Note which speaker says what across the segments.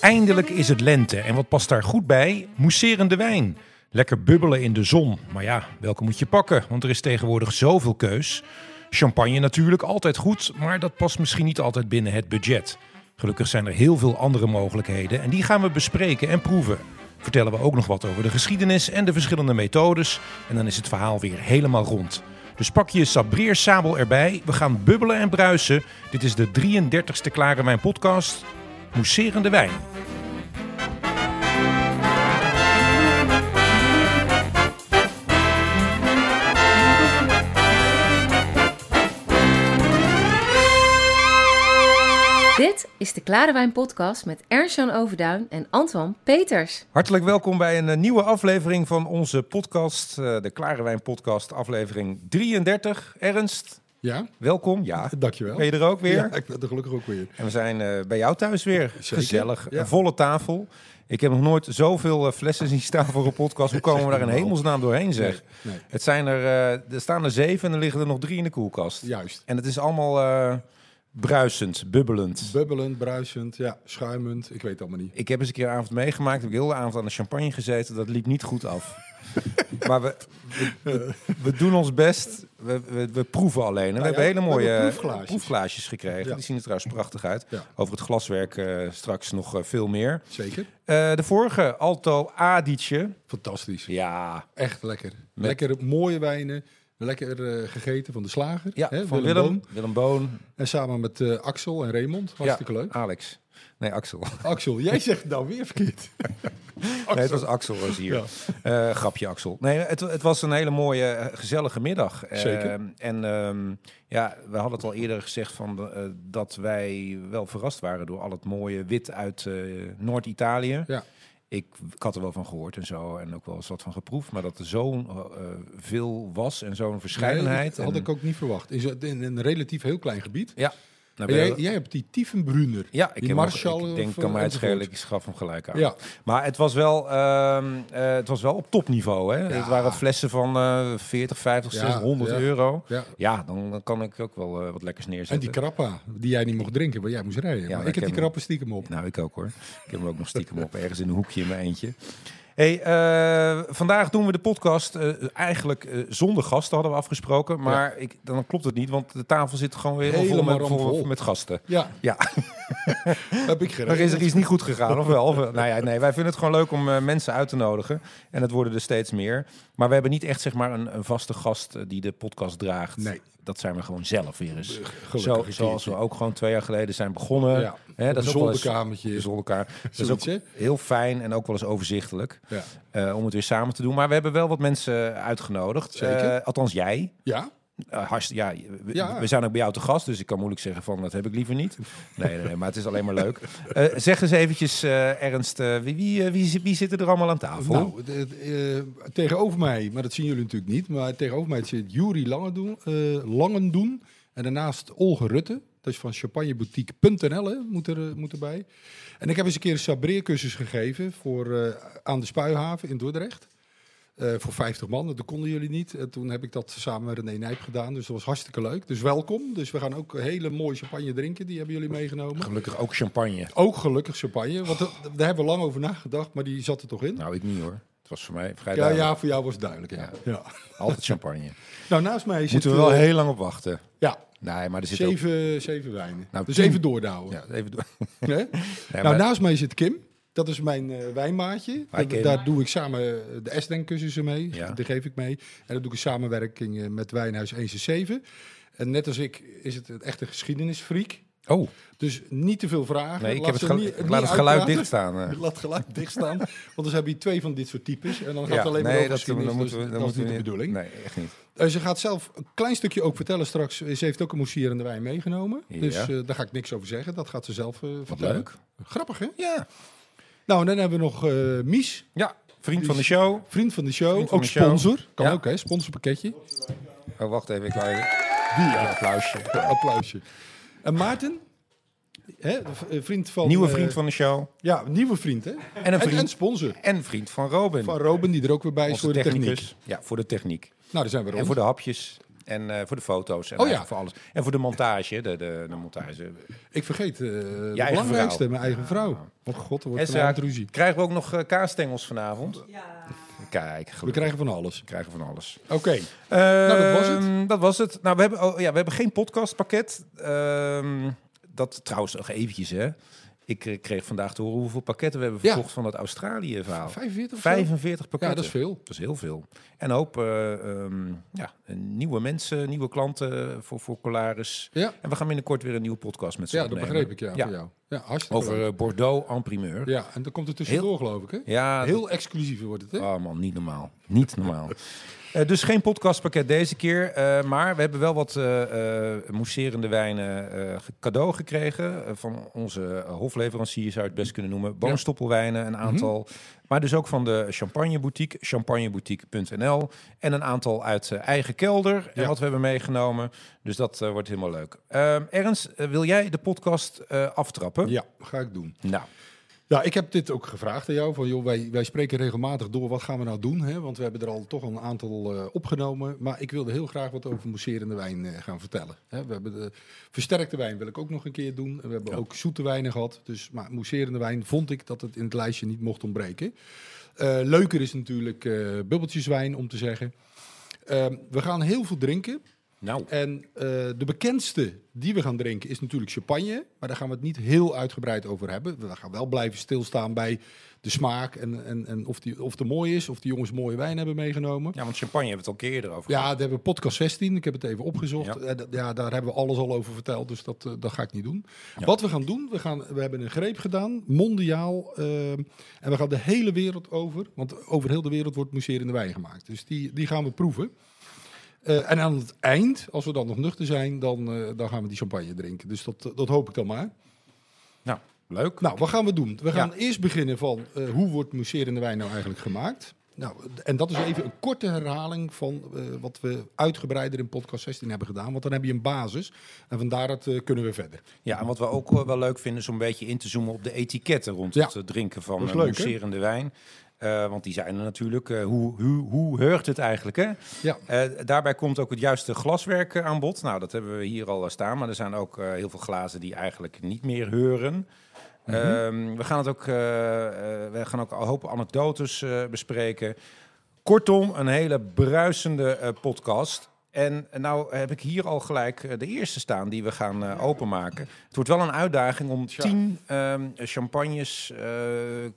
Speaker 1: Eindelijk is het lente en wat past daar goed bij? Mousserende wijn. Lekker bubbelen in de zon. Maar ja, welke moet je pakken? Want er is tegenwoordig zoveel keus. Champagne natuurlijk altijd goed, maar dat past misschien niet altijd binnen het budget. Gelukkig zijn er heel veel andere mogelijkheden en die gaan we bespreken en proeven. Vertellen we ook nog wat over de geschiedenis en de verschillende methodes. En dan is het verhaal weer helemaal rond. Dus pak je sabreersabel erbij. We gaan bubbelen en bruisen. Dit is de 33ste Klare Wijn podcast. Mousserende wijn.
Speaker 2: Dit is de Klare Wijn Podcast met Ernst-Jan Overduin en Antoine Peters.
Speaker 3: Hartelijk welkom bij een eh, nieuwe aflevering van onze podcast, eh, de Klare Wijn Podcast, aflevering 33. Ernst,
Speaker 4: Ja,
Speaker 3: welkom. Ja,
Speaker 4: dankjewel.
Speaker 3: ben je er ook weer?
Speaker 4: Ja, ik ben er gelukkig ook weer.
Speaker 3: En we zijn eh, bij jou thuis weer. Gezellig,
Speaker 4: ja.
Speaker 3: een volle tafel. Ik heb nog nooit zoveel eh, flessen zien staan voor een podcast. Hoe komen we daar in hemelsnaam doorheen, zeg?
Speaker 4: Nee, nee.
Speaker 3: Het zijn er, eh, er staan er zeven en er liggen er nog drie in de koelkast.
Speaker 4: Juist.
Speaker 3: En het is allemaal eh, bruisend, bubbelend.
Speaker 4: Bubbelend, bruisend, ja, schuimend, ik weet het allemaal niet.
Speaker 3: Ik heb eens een keer een avond meegemaakt. Heb ik heel de avond aan de champagne gezeten. Dat liep niet goed af. maar we, we, we- we doen ons best. We, we, we proeven alleen. En we hebben
Speaker 4: Nou ja,
Speaker 3: hele
Speaker 4: we
Speaker 3: mooie
Speaker 4: hebben
Speaker 3: eh,
Speaker 4: proefglaasjes.
Speaker 3: proefglaasjes gekregen.
Speaker 4: Ja.
Speaker 3: Die zien er trouwens prachtig uit.
Speaker 4: Ja.
Speaker 3: Over het glaswerk eh, straks nog eh, veel meer.
Speaker 4: Zeker.
Speaker 3: Eh, de vorige, Alto Adice.
Speaker 4: Fantastisch.
Speaker 3: Ja,
Speaker 4: Echt lekker. Lekker mooie wijnen. Lekker eh, gegeten van de slager.
Speaker 3: ja
Speaker 4: hè,
Speaker 3: van Willem.
Speaker 4: Boon.
Speaker 3: Willem Boon.
Speaker 4: En samen met eh, Axel en Raymond. Hartstikke
Speaker 3: ja,
Speaker 4: leuk.
Speaker 3: Alex. Nee, Axel.
Speaker 4: Axel, jij zegt het nou weer verkeerd.
Speaker 3: Nee, het was Axel was hier.
Speaker 4: Ja.
Speaker 3: Eh, grapje, Axel. Nee, het, het was een hele mooie, eh, gezellige middag. Eh,
Speaker 4: Zeker.
Speaker 3: En ehm, ja, we hadden het al eerder gezegd van, eh, dat wij wel verrast waren door al het mooie wit uit eh, Noord-Italië.
Speaker 4: Ja.
Speaker 3: Ik, ik had er wel van gehoord en zo, en ook wel eens wat van geproefd. Maar dat er zo'n eh, veel was en zo'n verscheidenheid.
Speaker 4: Nee, dat had
Speaker 3: en-
Speaker 4: ik ook niet verwacht. In, zo- in een relatief heel klein gebied.
Speaker 3: Ja, nou,
Speaker 4: En jij,
Speaker 3: we-
Speaker 4: jij hebt die Tiefenbrunner.
Speaker 3: ja, ik,
Speaker 4: die
Speaker 3: heb hem ook-
Speaker 4: Marshall
Speaker 3: ik
Speaker 4: of,
Speaker 3: denk,
Speaker 4: eh,
Speaker 3: kan mij het schelen, ik
Speaker 4: enzovoort.
Speaker 3: schaf hem gelijk aan.
Speaker 4: Ja,
Speaker 3: Maar het was wel, ehm, eh, het was wel op topniveau. Hè?
Speaker 4: Ja.
Speaker 3: Het waren flessen van eh 40, 50,
Speaker 4: Ja,
Speaker 3: 600
Speaker 4: ja.
Speaker 3: euro.
Speaker 4: ja.
Speaker 3: Ja, dan, dan kan ik ook wel eh, wat lekkers
Speaker 4: En die
Speaker 3: neerzetten.
Speaker 4: krappa, die jij niet mocht drinken, maar jij moest rijden.
Speaker 3: maar
Speaker 4: maar
Speaker 3: ik
Speaker 4: ik heb
Speaker 3: heb
Speaker 4: die krappen stiekem op.
Speaker 3: nou, ik ook hoor. Ik heb hem ook nog stiekem op, ergens in een hoekje in mijn eentje. Hey, eh, vandaag doen we de podcast eh, eigenlijk eh, zonder gasten, hadden we afgesproken. Maar ik, dan klopt het niet, want de tafel zit gewoon weer helemaal vol
Speaker 4: Helemaal
Speaker 3: met, vol-
Speaker 4: ramvol.
Speaker 3: met gasten.
Speaker 4: Ja,
Speaker 3: Ja,
Speaker 4: heb ik
Speaker 3: Er
Speaker 4: gereden.
Speaker 3: is er iets niet goed gegaan, of wel? Of- nou ja, nee, wij vinden het gewoon leuk om eh, mensen uit te nodigen. En het worden er steeds meer. Maar we hebben niet echt zeg maar, een, een vaste gast eh, die de podcast draagt.
Speaker 4: Nee.
Speaker 3: Dat zijn we gewoon zelf weer eens.
Speaker 4: Gelukkig
Speaker 3: Zo,
Speaker 4: een
Speaker 3: zoals we
Speaker 4: keertje.
Speaker 3: ook gewoon twee jaar geleden zijn begonnen.
Speaker 4: Ja,
Speaker 3: Hè,
Speaker 4: op
Speaker 3: dat is
Speaker 4: een
Speaker 3: ook wel eens-
Speaker 4: zolderkamertje.
Speaker 3: een zolderkamer. Dat is ook
Speaker 4: Zoiets, hè?
Speaker 3: heel fijn en ook wel eens overzichtelijk
Speaker 4: Ja.
Speaker 3: eh, om het weer samen te doen. Maar we hebben wel wat mensen eh, uitgenodigd.
Speaker 4: Zeker.
Speaker 3: Eh, althans, jij.
Speaker 4: ja,
Speaker 3: Eh, hartst- ja, we,
Speaker 4: Ja.
Speaker 3: we zijn ook bij jou te gast, dus ik kan moeilijk zeggen van dat heb ik liever niet. Nee, nee, nee, maar het is alleen maar leuk. Eh, zeg eens eventjes, eh, Ernst, eh, wie, wie, eh, wie, zi- wie zitten er allemaal aan tafel?
Speaker 4: nou, de- de, eh, tegenover mij, maar dat zien jullie natuurlijk niet, maar tegenover mij zit Jury Langendoen, eh, Langendoen en daarnaast Olge Rutte. Dat is van champagneboutique.nl, hè, moet, er, eh, moet erbij. En ik heb eens een keer een sabreercursus gegeven voor, eh, aan de Spuihaven in Dordrecht. Eh, voor 50 man, dat konden jullie niet. En toen heb ik dat samen met René Nijp gedaan, dus dat was hartstikke leuk. Dus welkom. Dus we gaan ook hele mooie champagne drinken, die hebben jullie meegenomen.
Speaker 3: Gelukkig ook champagne.
Speaker 4: Ook gelukkig champagne, want er- daar hebben we lang over nagedacht, maar die zat er toch in?
Speaker 3: Nou, ik niet hoor. Het was voor mij vrij
Speaker 4: ja,
Speaker 3: duidelijk.
Speaker 4: ja, voor jou was het duidelijk, ja. ja.
Speaker 3: Altijd champagne.
Speaker 4: Nou, naast mij zit...
Speaker 3: Moeten we wel
Speaker 4: eh,
Speaker 3: heel lang op wachten.
Speaker 4: Ja,
Speaker 3: Nee, maar er zit ook...
Speaker 4: zeven, zeven wijnen.
Speaker 3: Nou,
Speaker 4: dus
Speaker 3: tien.
Speaker 4: even doordouwen.
Speaker 3: Ja, even door.
Speaker 4: Hè?
Speaker 3: Nee,
Speaker 4: nou,
Speaker 3: maar-
Speaker 4: naast mij zit Kim. Dat is mijn eh, wijnmaatje.
Speaker 3: Hi, Kim.
Speaker 4: Daar, daar doe ik samen eh, de Esdenk-cursussen mee.
Speaker 3: Ja.
Speaker 4: Die geef ik mee. En dat doe ik in samenwerking eh, met Wijnhuis 167. En net als ik is het een echte geschiedenisfreak.
Speaker 3: Oh,
Speaker 4: Dus niet te veel vragen.
Speaker 3: nee, ik, heb
Speaker 4: Laat
Speaker 3: het
Speaker 4: ze
Speaker 3: geluid,
Speaker 4: niet-
Speaker 3: ik
Speaker 4: niet
Speaker 3: laat het geluid
Speaker 4: uitpraten.
Speaker 3: dicht staan. eh.
Speaker 4: Laat gelijk dichtstaan. Want dan heb je twee van dit soort types. En dan gaat het alleen maar
Speaker 3: nee,
Speaker 4: over
Speaker 3: dat,
Speaker 4: geschiedenis.
Speaker 3: dan moeten we,
Speaker 4: dus
Speaker 3: dan
Speaker 4: dat is
Speaker 3: moeten we
Speaker 4: niet de bedoeling.
Speaker 3: Nee, echt niet.
Speaker 4: Eh, ze gaat zelf een klein stukje ook vertellen straks. Eh, Ze heeft ook een mousserende wijn meegenomen.
Speaker 3: Ja.
Speaker 4: Dus eh, daar ga ik niks over zeggen. Dat gaat ze zelf eh vertellen.
Speaker 3: leuk.
Speaker 4: Grappig, hè?
Speaker 3: Ja,
Speaker 4: Nou, en dan hebben we nog eh, Mies.
Speaker 3: ja vriend
Speaker 4: Die
Speaker 3: van de
Speaker 4: is-
Speaker 3: show.
Speaker 4: Vriend van de show.
Speaker 3: Vriend van
Speaker 4: ook
Speaker 3: de show.
Speaker 4: sponsor. Kan
Speaker 3: Ja.
Speaker 4: ook, hè? Sponsorpakketje.
Speaker 3: Oh, wacht even, ik laat even... Een applausje.
Speaker 4: Applausje. En Maarten. Hè? de v- eh, vriend van...
Speaker 3: Nieuwe
Speaker 4: eh,
Speaker 3: vriend van de show.
Speaker 4: Ja, nieuwe vriend, hè?
Speaker 3: En een
Speaker 4: En,
Speaker 3: vriend,
Speaker 4: en sponsor.
Speaker 3: en vriend van Robin.
Speaker 4: Van Robin, die er ook weer bij is
Speaker 3: Onze
Speaker 4: voor de
Speaker 3: technicus.
Speaker 4: techniek.
Speaker 3: Ja, voor de techniek.
Speaker 4: Nou, daar zijn we rond.
Speaker 3: En voor de hapjes. En, En eh, voor de foto's. En
Speaker 4: Oh ja.
Speaker 3: eigenlijk voor alles. En voor de montage. De, de, de montage.
Speaker 4: Ik vergeet eh het
Speaker 3: eigen
Speaker 4: belangrijkste,
Speaker 3: vrouw.
Speaker 4: mijn eigen vrouw. Want god, er wordt
Speaker 3: Ezra,
Speaker 4: vanavond ruzie.
Speaker 3: Krijgen we ook nog eh, kaasstengels vanavond?
Speaker 5: Ja.
Speaker 3: Kijk, gelukkig.
Speaker 4: We krijgen van alles.
Speaker 3: We krijgen van alles.
Speaker 4: Oké,
Speaker 3: Ehm,
Speaker 4: Nou, dat was het.
Speaker 3: Dat was het. Nou, we hebben, oh, ja, we hebben geen podcastpakket. Ehm, dat trouwens nog eventjes, hè. Ik eh, kreeg vandaag te horen hoeveel pakketten we hebben
Speaker 4: Ja.
Speaker 3: verkocht van dat Australië-verhaal.
Speaker 4: 45 of zo?
Speaker 3: 45 pakketten.
Speaker 4: Ja, dat is veel.
Speaker 3: Dat is heel veel. En een hoop eh, ehm, ja, nieuwe mensen, nieuwe klanten voor, voor Colaris.
Speaker 4: Ja,
Speaker 3: En we gaan binnenkort weer een nieuwe podcast met ze
Speaker 4: ja dat
Speaker 3: opnemen.
Speaker 4: begreep ik ja,
Speaker 3: Ja.
Speaker 4: van jou. Ja, hartstikke
Speaker 3: Over
Speaker 4: leuk.
Speaker 3: eh, Bordeaux en primeur. Ja,
Speaker 4: Ja, en dan komt er tussendoor geloof ik hè?
Speaker 3: heel...
Speaker 4: Heel exclusief wordt het hè?
Speaker 3: Oh man, niet normaal. Niet normaal. Eh, dus geen podcastpakket deze keer. eh, maar we hebben wel wat eh, eh, mousserende wijnen eh, ge- cadeau gekregen. eh, van onze eh, hofleverancier, zou je het best kunnen noemen. Boomstoppelwijnen, een aantal. Maar dus ook van de Champagne Boutique, champagneboutique.nl. En een aantal uit eh, eigen kelder. En
Speaker 4: Ja.
Speaker 3: wat we hebben meegenomen. Dus dat eh, wordt helemaal leuk. Ehm Ernst, eh, wil jij de podcast eh, aftrappen?
Speaker 4: Ja, ga ik doen.
Speaker 3: Nou,
Speaker 4: Ja, ik heb dit ook gevraagd aan jou. Van, joh, wij, wij spreken regelmatig door, wat gaan we nou doen? Hè? Want we hebben er al toch al een aantal eh, opgenomen. Maar ik wilde heel graag wat over mousserende wijn eh, gaan vertellen. Hè? We hebben de versterkte wijn wil ik ook nog een keer doen. En We hebben ook zoete wijnen gehad. Dus, maar mousserende wijn vond ik dat het in het lijstje niet mocht ontbreken. Eh, leuker is natuurlijk eh, bubbeltjeswijn, om te zeggen. Ehm, we gaan heel veel drinken.
Speaker 3: nou.
Speaker 4: En eh, de bekendste die we gaan drinken is natuurlijk champagne. Maar daar gaan we het niet heel uitgebreid over hebben. We gaan wel blijven stilstaan bij de smaak en, en, en of, die, of de mooi is. Of die jongens mooie wijn hebben meegenomen.
Speaker 3: Ja, want champagne hebben we het al een keer eerder over.
Speaker 4: Ja, daar hebben we podcast 16. Ik heb het even opgezocht.
Speaker 3: Ja.
Speaker 4: Ja, ja daar hebben we alles al over verteld. Dus dat, eh, dat ga ik niet doen. Wat we gaan doen, we, gaan, we hebben een greep gedaan, mondiaal. ehm, en we gaan de hele wereld over. Want over heel de wereld wordt mousserende wijn gemaakt. Dus die, die gaan we proeven. Eh, en aan het eind, als we dan nog nuchter zijn, dan, eh, dan gaan we die champagne drinken. Dus dat, dat hoop ik dan maar.
Speaker 3: Nou, leuk.
Speaker 4: Nou, wat gaan we doen? We gaan eerst beginnen van eh, hoe wordt mousserende wijn nou eigenlijk gemaakt? Nou, en dat is even een korte herhaling van eh, wat we uitgebreider in podcast 16 hebben gedaan. Want dan heb je een basis en van daaruit eh, kunnen we verder.
Speaker 3: Ja, en wat we ook eh, wel leuk vinden is om een beetje in te zoomen op de etiketten rond
Speaker 4: Ja.
Speaker 3: het eh, drinken van
Speaker 4: Dat is
Speaker 3: eh,
Speaker 4: leuk, hè?
Speaker 3: mousserende wijn. Eh, want die zijn er natuurlijk. eh, hoe, hoe, hoe heurt het eigenlijk? Hè?
Speaker 4: Ja.
Speaker 3: Eh, daarbij komt ook het juiste glaswerk eh, aan bod. Nou, dat hebben we hier al eh, staan. Maar er zijn ook eh, heel veel glazen die eigenlijk niet meer heuren. Ehm, we gaan het ook, eh, eh, we gaan ook een hoop anekdotes eh, bespreken. Kortom, een hele bruisende eh, podcast. En nou heb ik hier al gelijk eh, de eerste staan die we gaan eh, openmaken. Het wordt wel een uitdaging om tien ehm, champagnes, eh,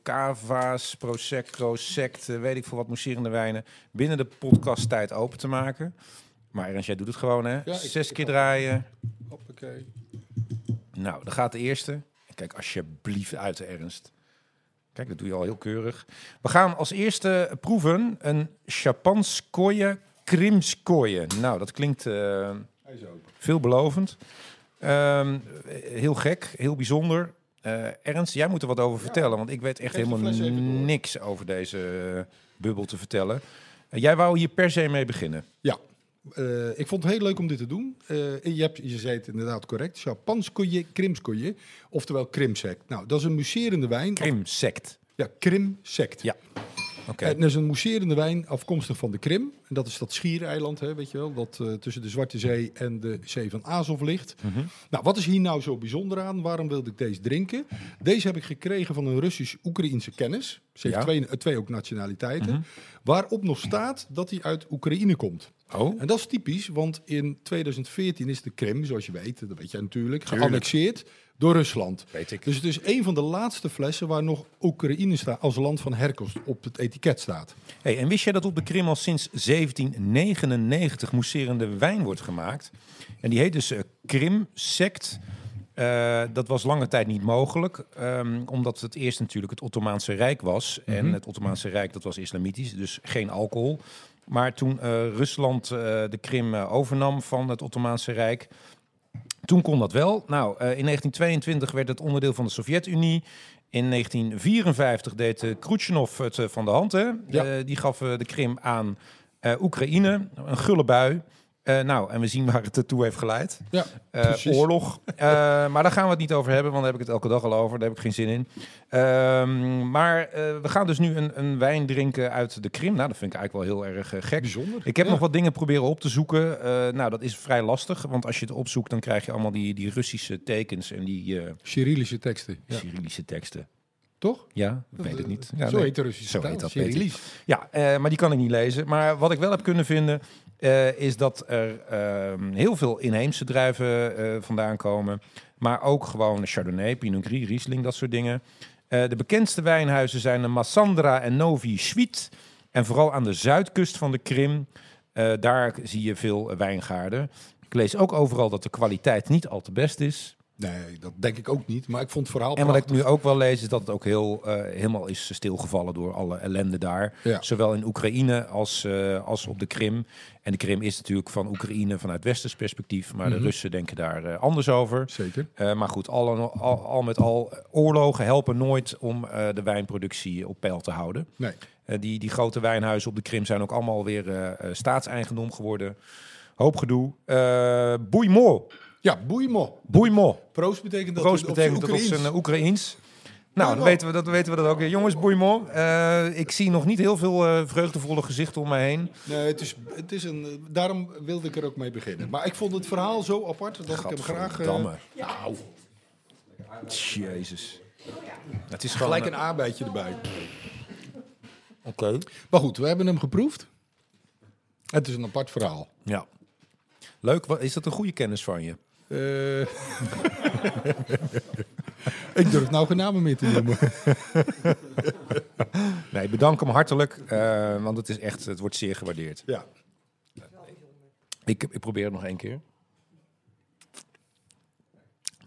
Speaker 3: cava's, prosecco, sect, eh, weet ik veel wat, mousserende wijnen binnen de podcasttijd open te maken. Maar Ernst, jij doet het gewoon hè?
Speaker 4: ik-
Speaker 3: Zes
Speaker 4: ik
Speaker 3: keer
Speaker 4: kan-
Speaker 3: draaien.
Speaker 4: Hoppakee.
Speaker 3: Nou, daar gaat de eerste. Kijk alsjeblieft uit, Ernst. Kijk, dat doe je al heel keurig. We gaan als eerste proeven een Chapanskoye Krimskoye. Nou, dat klinkt eh,
Speaker 4: Hij is open.
Speaker 3: veelbelovend. Ehm, heel gek, heel bijzonder. Eh, Ernst, jij moet er wat over vertellen, want ik weet echt
Speaker 4: geef de
Speaker 3: helemaal
Speaker 4: fles even door.
Speaker 3: niks over deze eh, bubbel te vertellen. Eh, jij wou hier per se mee beginnen.
Speaker 4: Ja, eh, ik vond het heel leuk om dit te doen. Eh, je, hebt, je zei het inderdaad correct. Chapanskoje, krimskoje, oftewel krimsect. Nou, dat is een muserende wijn.
Speaker 3: Krimsect.
Speaker 4: Ja, krimsect.
Speaker 3: Ja. Oké.
Speaker 4: En dat is een mousserende wijn afkomstig van de Krim. En dat is dat schiereiland, hè, weet je wel, dat eh, tussen de Zwarte Zee en de Zee van Azov ligt. Nou, wat is hier nou zo bijzonder aan? Waarom wilde ik deze drinken? Deze heb ik gekregen van een Russisch-Oekraïense kennis. Ze heeft
Speaker 3: Ja.
Speaker 4: twee, eh, twee ook nationaliteiten. Waarop nog staat dat hij uit Oekraïne komt.
Speaker 3: Oh.
Speaker 4: En dat is typisch, want in 2014 is de Krim, zoals je weet, dat weet jij natuurlijk, geannexeerd door Rusland.
Speaker 3: Weet ik.
Speaker 4: Dus het is een van de laatste flessen waar nog Oekraïne staat als land van herkomst op het etiket staat.
Speaker 3: Hey, en wist jij dat op de Krim al sinds 1799 mousserende wijn wordt gemaakt? En die heet dus eh, Krimsect. Eh, dat was lange tijd niet mogelijk, ehm, omdat het eerst natuurlijk het Ottomaanse Rijk was. En het Ottomaanse Rijk dat was islamitisch, dus geen alcohol. Maar toen eh, Rusland eh, de Krim eh, overnam van het Ottomaanse Rijk, toen kon dat wel. Nou, eh, in 1922 werd het onderdeel van de Sovjet-Unie. In 1954 deed eh Khrushchev het eh, van de hand. Hè?
Speaker 4: Ja.
Speaker 3: Eh, die gaf eh, de Krim aan eh, Oekraïne. Een gulle bui. Eh, nou, en we zien waar het toe heeft geleid.
Speaker 4: Ja,
Speaker 3: Eh,
Speaker 4: precies.
Speaker 3: oorlog. Eh, maar daar gaan we het niet over hebben, want daar heb ik het elke dag al over. Daar heb ik geen zin in. Ehm, maar eh, we gaan dus nu een, een wijn drinken uit de Krim. Nou, dat vind ik eigenlijk wel heel erg eh, gek.
Speaker 4: Bijzonder.
Speaker 3: Ik heb
Speaker 4: Ja.
Speaker 3: nog wat dingen proberen op te zoeken. Eh, nou, dat is vrij lastig, want als je het opzoekt, dan krijg je allemaal die, die Russische tekens en die eh
Speaker 4: Cyrillische teksten. Ja.
Speaker 3: Cyrillische teksten.
Speaker 4: Toch?
Speaker 3: Ja, ik weet het niet. Ja,
Speaker 4: Zo
Speaker 3: nee.
Speaker 4: heet de Russische
Speaker 3: Zo
Speaker 4: taal,
Speaker 3: heet dat,
Speaker 4: Cyrillisch.
Speaker 3: Ja, eh, maar die kan ik niet lezen. Maar wat ik wel heb kunnen vinden, eh, is dat er ehm, heel veel inheemse druiven eh, vandaan komen. Maar ook gewoon Chardonnay, Pinot Gris, Riesling, dat soort dingen. Eh, de bekendste wijnhuizen zijn de Massandra en Novi Schwit. En vooral aan de zuidkust van de Krim, eh, daar zie je veel eh, wijngaarden. Ik lees ook overal dat de kwaliteit niet al te best is.
Speaker 4: Nee, dat denk ik ook niet. Maar ik vond het verhaal
Speaker 3: En wat ik
Speaker 4: prachtig.
Speaker 3: nu ook wel lees, is dat het ook heel, eh, helemaal is stilgevallen door alle ellende daar.
Speaker 4: Ja.
Speaker 3: Zowel in Oekraïne als, eh, als op de Krim. En de Krim is natuurlijk van Oekraïne vanuit westers perspectief. Maar
Speaker 4: Mhm.
Speaker 3: de Russen denken daar eh, anders over.
Speaker 4: Zeker.
Speaker 3: Eh, maar goed, al, en al, al met al, oorlogen helpen nooit om eh, de wijnproductie op peil te houden.
Speaker 4: Nee.
Speaker 3: Eh, die, die grote wijnhuizen op de Krim zijn ook allemaal weer eh, eh, staatseigendom geworden. Hoop gedoe. Eh Boeimo.
Speaker 4: Ja, boeimo.
Speaker 3: Boeimo.
Speaker 4: Proost betekent dat
Speaker 3: Proost
Speaker 4: op
Speaker 3: betekent dat op
Speaker 4: Oekraïens.
Speaker 3: zijn Oekraïens. Nou, dan
Speaker 4: Boeimo.
Speaker 3: weten, we, dat, weten we dat ook. weer. Jongens, boeimon. Eh ik zie nog niet heel veel eh, vreugdevolle gezichten om mij heen.
Speaker 4: Nee, het is, het is een, daarom wilde ik er ook mee beginnen. Maar ik vond het verhaal zo apart dat ik hem graag... eh,
Speaker 3: Gadverdamme.
Speaker 4: nou,
Speaker 3: Jezus. Het is gewoon...
Speaker 4: gelijk een arbeidje erbij. Oké. Maar goed, we hebben hem geproefd. Het is een apart verhaal.
Speaker 3: Ja. Leuk. Wat, is dat een goede kennis van je?
Speaker 4: Eh, ik durf nou geen namen meer te noemen.
Speaker 3: Nee, bedank hem hartelijk. eh, want het, is echt, het wordt zeer gewaardeerd.
Speaker 4: Ja.
Speaker 3: Ik, ik probeer het nog één keer.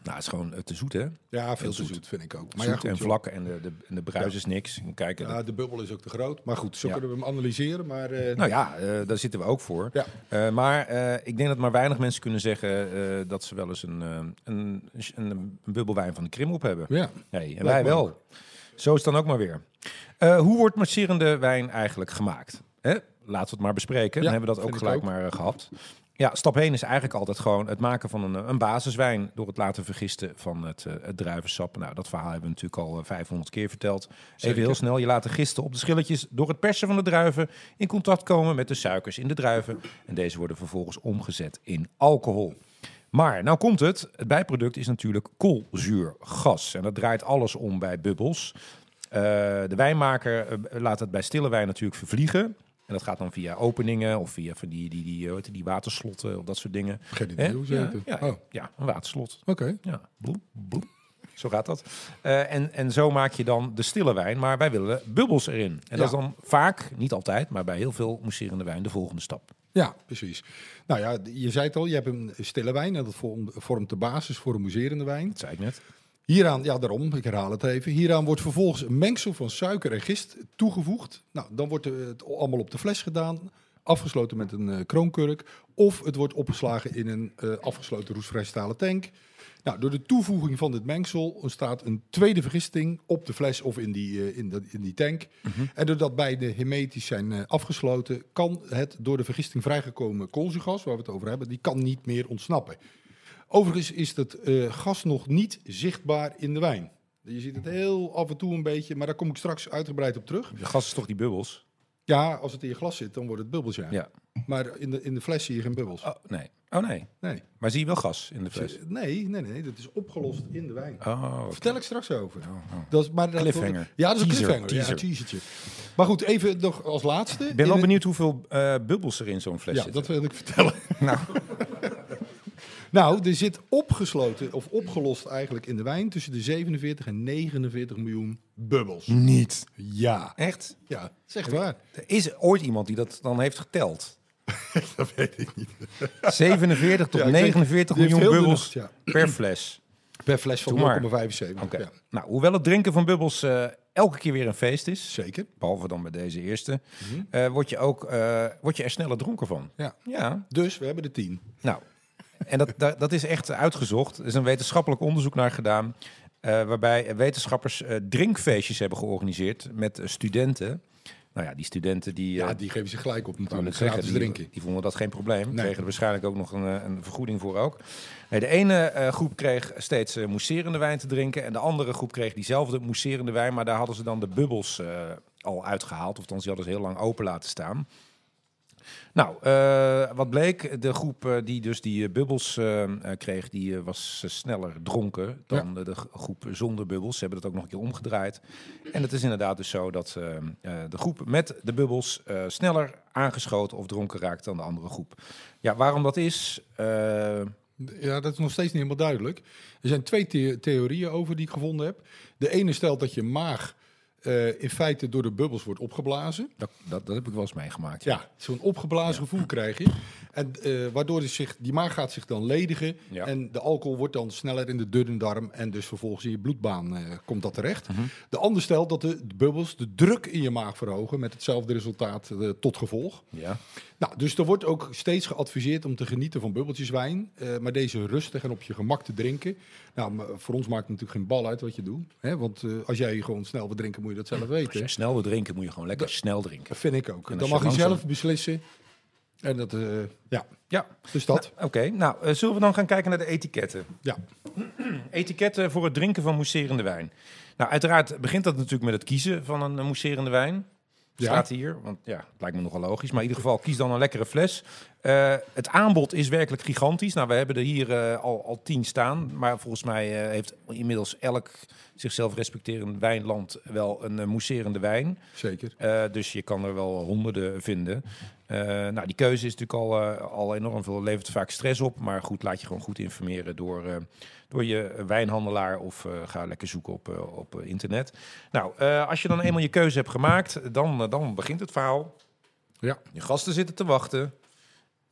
Speaker 3: Nou, het is gewoon eh, te zoet, hè?
Speaker 4: Ja, veel
Speaker 3: Heel
Speaker 4: te
Speaker 3: zoet.
Speaker 4: zoet vind ik ook.
Speaker 3: Maar
Speaker 4: Maar ja, goed,
Speaker 3: en
Speaker 4: joh.
Speaker 3: vlak en de, de, en de bruis is niks. Kijk,
Speaker 4: Ja, de bubbel is ook te groot. Maar goed, zo
Speaker 3: Ja.
Speaker 4: kunnen we hem analyseren. Maar eh,
Speaker 3: Nou ja, eh, daar zitten we ook voor.
Speaker 4: Ja.
Speaker 3: Eh, maar eh, ik denk dat maar weinig mensen kunnen zeggen eh, dat ze wel eens een, eh, een, een, een bubbelwijn van de Krim op hebben.
Speaker 4: ja.
Speaker 3: Nee, en wij
Speaker 4: Lijkt me
Speaker 3: wel. Zo is het dan ook maar weer. Eh, hoe wordt masserende wijn eigenlijk gemaakt? Hè? Laten we het maar bespreken.
Speaker 4: Ja,
Speaker 3: dan hebben we dat ook
Speaker 4: vind ik
Speaker 3: gelijk
Speaker 4: ook.
Speaker 3: maar eh, gehad. Ja, stap 1 is eigenlijk altijd gewoon het maken van een, eh, een basiswijn door het laten vergisten van het, eh, het druivensap. Nou, dat verhaal hebben we natuurlijk al eh, 500 keer verteld. Even heel snel, je laat de gisten op de schilletjes door het persen van de druiven in contact komen met de suikers in de druiven. En deze worden vervolgens omgezet in alcohol. Maar nou komt het, het bijproduct is natuurlijk koolzuurgas. En dat draait alles om bij bubbels. Eh, de wijnmaker eh, laat het bij stille wijn natuurlijk vervliegen. En dat gaat dan via openingen of via van die, die, die, eh, hoe heet het, die waterslotten of dat soort dingen.
Speaker 4: Geen
Speaker 3: Hè?
Speaker 4: idee hoe ze
Speaker 3: ja,
Speaker 4: heten.
Speaker 3: ja,
Speaker 4: Oh, oké.
Speaker 3: ja, een waterslot. Ja, bloem, bloem. Zo gaat dat. Eh, en, en zo maak je dan de stille wijn, maar wij willen bubbels erin. En dat is dan vaak, niet altijd, maar bij heel veel mousserende wijn de volgende stap.
Speaker 4: Ja, precies. Nou ja, d- je zei het al, je hebt een stille wijn en dat vorm- vormt de basis voor een mousserende wijn.
Speaker 3: Dat zei ik net.
Speaker 4: Hieraan, ja daarom, ik herhaal het even. Hieraan wordt vervolgens een mengsel van suiker en gist toegevoegd. Nou, dan wordt eh, het allemaal op de fles gedaan, afgesloten met een eh, kroonkurk. Of het wordt opgeslagen in een eh, afgesloten roestvrijstalen tank. Nou, door de toevoeging van dit mengsel ontstaat een tweede vergisting op de fles of in die, eh, in dat- in die tank. En doordat beide hermetisch zijn eh, afgesloten, kan het door de vergisting vrijgekomen koolzuurgas, waar we het over hebben, die kan niet meer ontsnappen. Overigens is dat eh, gas nog niet zichtbaar in de wijn. Je ziet het heel af en toe een beetje, maar daar kom ik straks uitgebreid op terug.
Speaker 3: De gas is toch die bubbels?
Speaker 4: Ja, als het in je glas zit, dan wordt het bubbels, ja.
Speaker 3: Ja.
Speaker 4: Maar in de, in de fles zie je geen bubbels.
Speaker 3: Oh, nee. Oh, nee.
Speaker 4: Nee. dus-
Speaker 3: Maar zie je wel gas in de fles?
Speaker 4: nee, nee, nee, dat is opgelost in de wijn.
Speaker 3: Oh, oké. Oh,
Speaker 4: Vertel ik straks over. Dat is, maar dat
Speaker 3: Cliffhanger.
Speaker 4: ja, dat is een
Speaker 3: Teaser,
Speaker 4: cliffhanger. Ja,
Speaker 3: teaser.
Speaker 4: een teasertje. Maar goed, even nog als laatste.
Speaker 3: Ik ben wel
Speaker 4: In-
Speaker 3: benieuwd hoeveel eh, bubbels er in zo'n fles
Speaker 4: Ja,
Speaker 3: zitten.
Speaker 4: dat wil ik vertellen.
Speaker 3: Nou.
Speaker 4: nou, er zit opgesloten, of opgelost eigenlijk in de wijn, tussen de 47 en 49 miljoen bubbels.
Speaker 3: Niet.
Speaker 4: Ja.
Speaker 3: Echt?
Speaker 4: Ja, dat is echt waar.
Speaker 3: Er is ooit iemand die dat dan heeft geteld. dat weet ik niet. 47 tot
Speaker 4: Ja, ik denk-
Speaker 3: 49
Speaker 4: die heeft
Speaker 3: miljoen
Speaker 4: heel
Speaker 3: bubbels
Speaker 4: de nacht,
Speaker 3: per fles.
Speaker 4: Per fles van
Speaker 3: Doe maar.
Speaker 4: 0,75.
Speaker 3: Oké.
Speaker 4: Ja,
Speaker 3: Nou, hoewel het drinken van bubbels eh, elke keer weer een feest is,
Speaker 4: zeker.
Speaker 3: behalve dan bij deze eerste,
Speaker 4: Mhm.
Speaker 3: eh, word, je ook, eh, word je er sneller dronken van.
Speaker 4: Ja.
Speaker 3: Ja,
Speaker 4: Dus we hebben de 10.
Speaker 3: nou. En dat, dat, dat is echt uitgezocht. Er is een wetenschappelijk onderzoek naar gedaan. eh, waarbij wetenschappers eh, drinkfeestjes hebben georganiseerd met eh, studenten. Nou ja, die studenten die...
Speaker 4: Ja,
Speaker 3: eh,
Speaker 4: die geven zich gelijk op
Speaker 3: wou net
Speaker 4: natuurlijk.
Speaker 3: zeggen,
Speaker 4: Gratis
Speaker 3: die,
Speaker 4: drinken.
Speaker 3: die vonden dat geen probleem.
Speaker 4: Nee.
Speaker 3: Kregen er waarschijnlijk ook nog een, eh, een vergoeding voor ook. Nee, de ene eh, groep kreeg steeds eh, mousserende wijn te drinken. En de andere groep kreeg diezelfde mousserende wijn. Maar daar hadden ze dan de bubbels eh, al uitgehaald. Of dan die hadden ze heel lang open laten staan. Nou, eh, wat bleek, de groep eh, die dus die eh, bubbels eh, eh, kreeg, die eh, was eh, sneller dronken dan eh, de g- groep zonder bubbels. Ze hebben dat ook nog een keer omgedraaid. En het is inderdaad dus zo dat eh, eh, de groep met de bubbels eh, sneller aangeschoten of dronken raakt dan de andere groep. Ja, waarom dat is? eh,
Speaker 4: Ja, dat is nog steeds niet helemaal duidelijk. Er zijn twee the- theorieën over die ik gevonden heb. De ene stelt dat je maag eh, in feite door de bubbels wordt opgeblazen.
Speaker 3: dat, dat, dat heb ik wel eens meegemaakt.
Speaker 4: Ja, zo'n opgeblazen gevoel krijg je. En eh, waardoor het zich, die maag gaat zich dan ledigen.
Speaker 3: Ja.
Speaker 4: En de alcohol wordt dan sneller in de dunne darm. En dus vervolgens in je bloedbaan eh, komt dat terecht.
Speaker 3: Mhm.
Speaker 4: De ander stelt dat de, de bubbels de druk in je maag verhogen. Met hetzelfde resultaat eh, tot gevolg.
Speaker 3: Ja.
Speaker 4: Nou, dus er wordt ook steeds geadviseerd om te genieten van bubbeltjes wijn. eh, maar deze rustig en op je gemak te drinken. Nou, maar voor ons maakt het natuurlijk geen bal uit wat je doet. Hè? Want eh, als jij gewoon snel wil drinken, moet je dat zelf
Speaker 3: Als je
Speaker 4: weten.
Speaker 3: snel wil drinken, moet je gewoon lekker snel drinken.
Speaker 4: Dat vind ik ook.
Speaker 3: als
Speaker 4: Dan
Speaker 3: je
Speaker 4: mag je
Speaker 3: langzaam-
Speaker 4: zelf beslissen. En dat, eh, ja,
Speaker 3: Ja,
Speaker 4: dus dat.
Speaker 3: oké. Nou, eh, zullen we dan gaan kijken naar de etiketten?
Speaker 4: Ja.
Speaker 3: Etiketten voor het drinken van mousserende wijn. Nou, uiteraard begint dat natuurlijk met het kiezen van een eh, mousserende wijn.
Speaker 4: Ja.
Speaker 3: Staat hier, want ja, het lijkt me nogal logisch. Maar in ieder geval, kies dan een lekkere fles. Eh, het aanbod is werkelijk gigantisch. Nou, we hebben er hier eh, al, al tien staan. Maar volgens mij eh, heeft inmiddels elk zichzelf respecterend wijnland wel een eh, mousserende wijn.
Speaker 4: Zeker.
Speaker 3: Eh, dus je kan er wel honderden vinden. Eh, nou, die keuze is natuurlijk al, eh, al enorm veel, levert vaak stress op. Maar goed, laat je gewoon goed informeren door, eh, door je wijnhandelaar of eh, ga lekker zoeken op, eh, op eh, internet. Nou, eh, als je dan eenmaal je keuze hebt gemaakt, dan, eh, dan begint het verhaal.
Speaker 4: Ja.
Speaker 3: Je gasten zitten te wachten.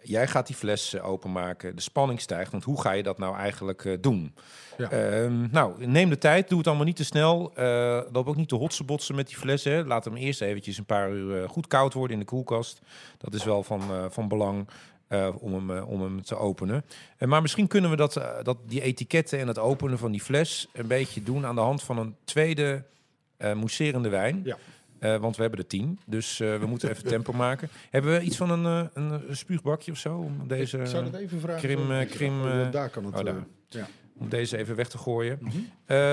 Speaker 3: Jij gaat die fles eh, openmaken. De spanning stijgt, want hoe ga je dat nou eigenlijk eh, doen?
Speaker 4: Ja.
Speaker 3: Ehm, nou, neem de tijd. Doe het allemaal niet te snel. Eh loop ook niet te hotsen botsen met die fles. Hè. Laat hem eerst eventjes een paar uur eh, goed koud worden in de koelkast. Dat is wel van, eh, van belang. eh, om, hem, eh, om hem te openen. Eh, maar misschien kunnen we dat, eh, dat, die etiketten en het openen van die fles een beetje doen aan de hand van een tweede eh mousserende wijn.
Speaker 4: Ja.
Speaker 3: Eh, want we hebben er tien, dus eh, we moeten even tempo maken. Hebben we iets van een, eh, een, eh, spuugbakje of zo? Om deze,
Speaker 4: Ik zou dat even vragen.
Speaker 3: Krim, eh, Krim,
Speaker 4: Oh, ja,
Speaker 3: eh,
Speaker 4: daar kan het.
Speaker 3: oh, daar. Mhm.
Speaker 4: eh, ja.
Speaker 3: om deze even weg te gooien.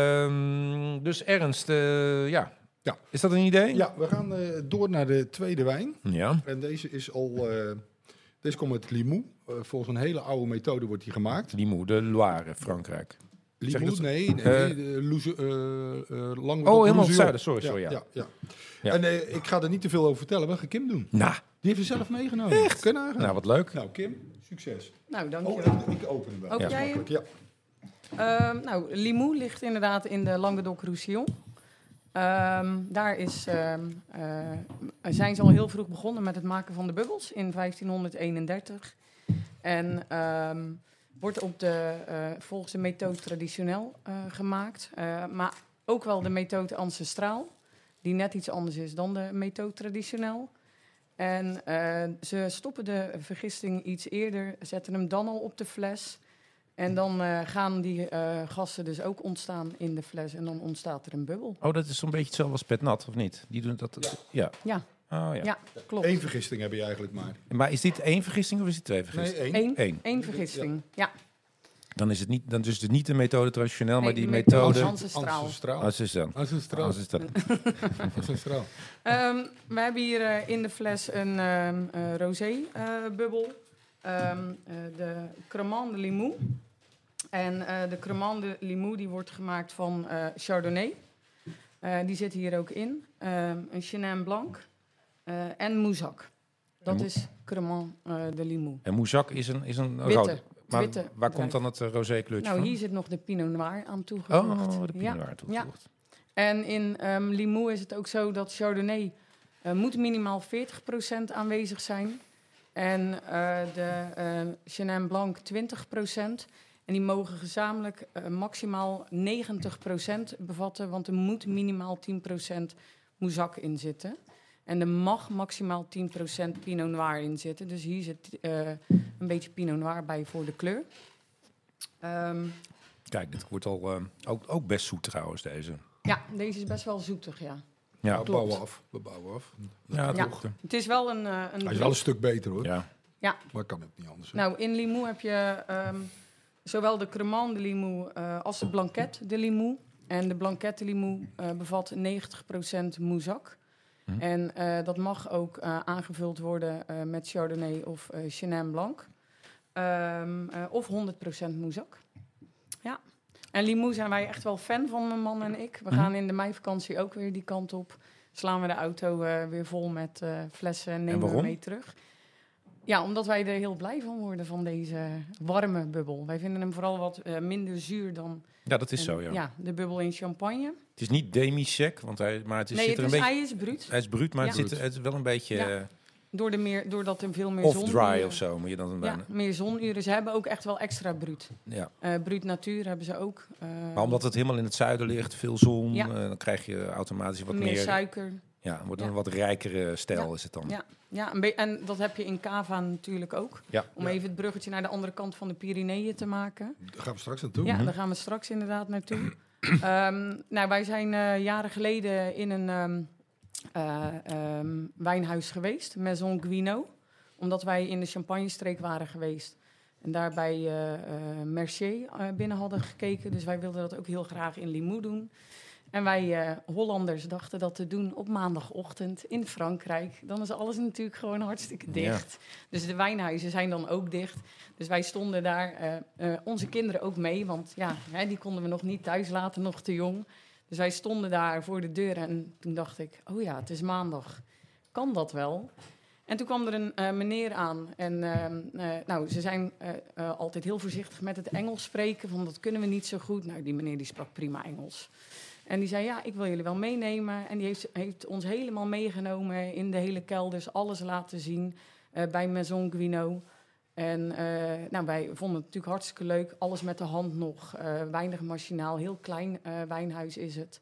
Speaker 3: Ehm, dus Ernst, eh, ja.
Speaker 4: Ja.
Speaker 3: Is dat een idee?
Speaker 4: ja, we gaan eh, door naar de tweede wijn.
Speaker 3: Ja.
Speaker 4: En deze is al. eh, deze komt uit Limoux. Eh, volgens een hele oude methode wordt die gemaakt.
Speaker 3: Limoux, de Loire, Frankrijk. Zeg je
Speaker 4: Limoux?
Speaker 3: dat-
Speaker 4: Nee, nee,
Speaker 3: Eh.
Speaker 4: nee, de Loeze- eh, eh, Languedoc-
Speaker 3: Oh, helemaal op het
Speaker 4: Louzeur.
Speaker 3: zuiden. Sorry, sorry. Ja.
Speaker 4: ja, ja.
Speaker 3: Ja.
Speaker 4: En eh, ik ga er niet te veel over vertellen, maar Kim doen.
Speaker 3: Nou,
Speaker 4: Die heeft er zelf meegenomen. Echt? Kunnen aangaan.
Speaker 3: nou,
Speaker 4: Nou,
Speaker 3: wat leuk.
Speaker 4: Kim, succes.
Speaker 5: Nou,
Speaker 4: Oh,
Speaker 5: dankjewel.
Speaker 4: en ik open hem wel.
Speaker 5: Ook
Speaker 3: Ja.
Speaker 5: jij?
Speaker 4: Makkelijk, Ja.
Speaker 5: Ehm, nou, Limoux ligt inderdaad in de Languedoc-Roussillon. Ehm, daar is, ehm, eh, zijn ze al heel vroeg begonnen met het maken van de bubbels in 1531. En ehm, wordt op de, eh, volgens de methode traditioneel eh, gemaakt. Eh, maar ook wel de methode ancestraal, die net iets anders is dan de methode traditioneel. En eh, ze stoppen de vergisting iets eerder, zetten hem dan al op de fles. En dan eh, gaan die eh, gassen dus ook ontstaan in de fles en dan ontstaat er een bubbel.
Speaker 3: Oh, dat is zo'n beetje hetzelfde als Petnat, of niet? Die doen dat. Ja.
Speaker 5: Ja,
Speaker 3: Oh, ja.
Speaker 5: ja, klopt.
Speaker 4: Eén vergisting heb je eigenlijk maar.
Speaker 3: Maar is dit één vergissing of is dit twee vergissingen?
Speaker 4: Nee, één.
Speaker 5: Eén,
Speaker 3: Eén.
Speaker 5: één vergisting. Ja,
Speaker 3: Dan is het niet, dan is het niet de methode traditioneel, maar
Speaker 5: Nee,
Speaker 3: die
Speaker 5: de methode
Speaker 3: methode.
Speaker 5: Hans- Ancestraal.
Speaker 4: Ancestraal.
Speaker 3: Als is dan.
Speaker 4: Ancestraal.
Speaker 3: Als is dan.
Speaker 4: Ancestraal.
Speaker 5: Ehm, we hebben hier eh, in de fles een ehm eh, rosé-bubbel. Ehm, eh, de Cremant de Limoux. En eh, de Cremant de Limoux die wordt gemaakt van eh, Chardonnay. Eh, die zit hier ook in. Ehm, een Chenin Blanc eh, en Moussac. Dat
Speaker 3: En
Speaker 5: is Cremant eh, de Limoux.
Speaker 3: En Moezak is een, is een
Speaker 5: Witte,
Speaker 3: rode. Maar
Speaker 5: witte
Speaker 3: waar
Speaker 5: bedrijf.
Speaker 3: komt dan het eh, rosé kleurtje
Speaker 5: Nou,
Speaker 3: van?
Speaker 5: hier zit nog de Pinot Noir aan toegevoegd.
Speaker 3: Oh, de
Speaker 5: Ja.
Speaker 3: Pinot Noir toegevoegd.
Speaker 5: En in ehm Limoux is het ook zo dat Chardonnay eh, moet minimaal 40% aanwezig zijn. En eh, de eh Chenin Blanc 20%. En die mogen gezamenlijk eh, maximaal 90% bevatten, want er moet minimaal 10% moezak in zitten. En er mag maximaal 10% Pinot Noir in zitten. Dus hier zit eh, een beetje Pinot Noir bij voor de kleur. Ehm,
Speaker 3: Kijk, dit wordt al eh, ook, ook best zoet trouwens, deze.
Speaker 5: ja, deze is best wel zoetig, ja.
Speaker 3: Ja.
Speaker 4: Nou, we bouwen af. We bouwen af.
Speaker 5: Mm.
Speaker 1: Ja,
Speaker 5: Ja.
Speaker 1: toch.
Speaker 5: Het is wel een... eh, een
Speaker 4: Hij is wel een stuk beter hoor,
Speaker 3: Ja.
Speaker 4: maar kan ook niet anders. hè.
Speaker 5: Nou, in Limoux heb je ehm, zowel de cremant de Limoux eh, als de blanquette de Limoux. En de blanquette de Limoux eh, bevat 90% moezak.
Speaker 1: Hm.
Speaker 5: En eh, dat mag ook eh, aangevuld worden eh, met Chardonnay of eh Chenin Blanc. Ehm, eh, of 100% moezak. Ja. En Limoux zijn wij echt wel fan van, mijn man en ik. We
Speaker 3: Mhm.
Speaker 1: Hm.
Speaker 5: gaan in de meivakantie ook weer die kant op. Slaan we de auto eh, weer vol met eh, flessen en nemen we
Speaker 1: waarom?
Speaker 5: mee terug. Ja, omdat wij er heel blij van worden van deze warme bubbel. Wij vinden hem vooral wat eh, minder zuur dan
Speaker 3: ja, dat is zo,
Speaker 5: een-
Speaker 3: ja.
Speaker 5: de bubbel in champagne.
Speaker 3: Het is niet demi-sec, want hij, maar het is,
Speaker 5: nee,
Speaker 3: Dus zit
Speaker 5: het
Speaker 3: er een
Speaker 5: is,
Speaker 3: beetje...
Speaker 5: hij is bruut.
Speaker 3: Hij is bruut, maar het,
Speaker 5: Ja.
Speaker 3: zit, het is wel een beetje
Speaker 5: Ja.
Speaker 3: eh,
Speaker 5: Door de meer, doordat er veel meer
Speaker 3: off-dry
Speaker 5: zonuren-
Speaker 3: of zo. Moet je dan
Speaker 5: Ja,
Speaker 3: dan.
Speaker 5: meer zonuren. Ze hebben ook echt wel extra bruut.
Speaker 3: Ja.
Speaker 5: Eh, bruut natuur hebben ze ook. eh,
Speaker 3: Maar omdat het helemaal in het zuiden ligt, veel zon,
Speaker 5: Ja.
Speaker 3: eh, dan krijg je automatisch wat
Speaker 5: meer,
Speaker 3: meer...
Speaker 5: suiker.
Speaker 3: ja, dan wordt het
Speaker 5: Ja.
Speaker 3: een wat rijkere stijl
Speaker 5: Ja.
Speaker 3: is het dan.
Speaker 5: Ja. Ja, een be- en dat heb je in cava natuurlijk ook.
Speaker 3: Ja.
Speaker 5: Om even het bruggetje naar de andere kant van de Pyreneeën te maken.
Speaker 4: Daar gaan we straks naartoe.
Speaker 3: Mhm.
Speaker 5: Ja, daar gaan we straks inderdaad naartoe. Ehm, nou, wij zijn eh, jaren geleden in een ehm, eh, ehm, wijnhuis geweest, Maison Guino. Omdat wij in de Champagne-streek waren geweest. En daarbij eh eh, Mercier eh, binnen hadden gekeken. Dus wij wilden dat ook heel graag in Limoux doen. En wij eh, Hollanders dachten dat te doen op maandagochtend in Frankrijk. Dan is alles natuurlijk gewoon hartstikke dicht. Dus de wijnhuizen zijn dan ook dicht. Dus wij stonden daar, eh, eh, onze kinderen ook mee, want ja, hè, die konden we nog niet thuis laten, nog te jong. Dus wij stonden daar voor de deur en toen dacht ik, oh ja, het is maandag. Kan dat wel? En toen kwam er een eh, meneer aan en ehm, eh, nou, ze zijn eh, eh, altijd heel voorzichtig met het Engels spreken, want dat kunnen we niet zo goed. Nou, die meneer die sprak prima Engels. En die zei, ja, ik wil jullie wel meenemen. En die heeft, heeft ons helemaal meegenomen in de hele kelders, alles laten zien eh, bij Maison Guino. En eh, nou, wij vonden het natuurlijk hartstikke leuk. Alles met de hand nog. eh, weinig machinaal. Heel klein eh, wijnhuis is het.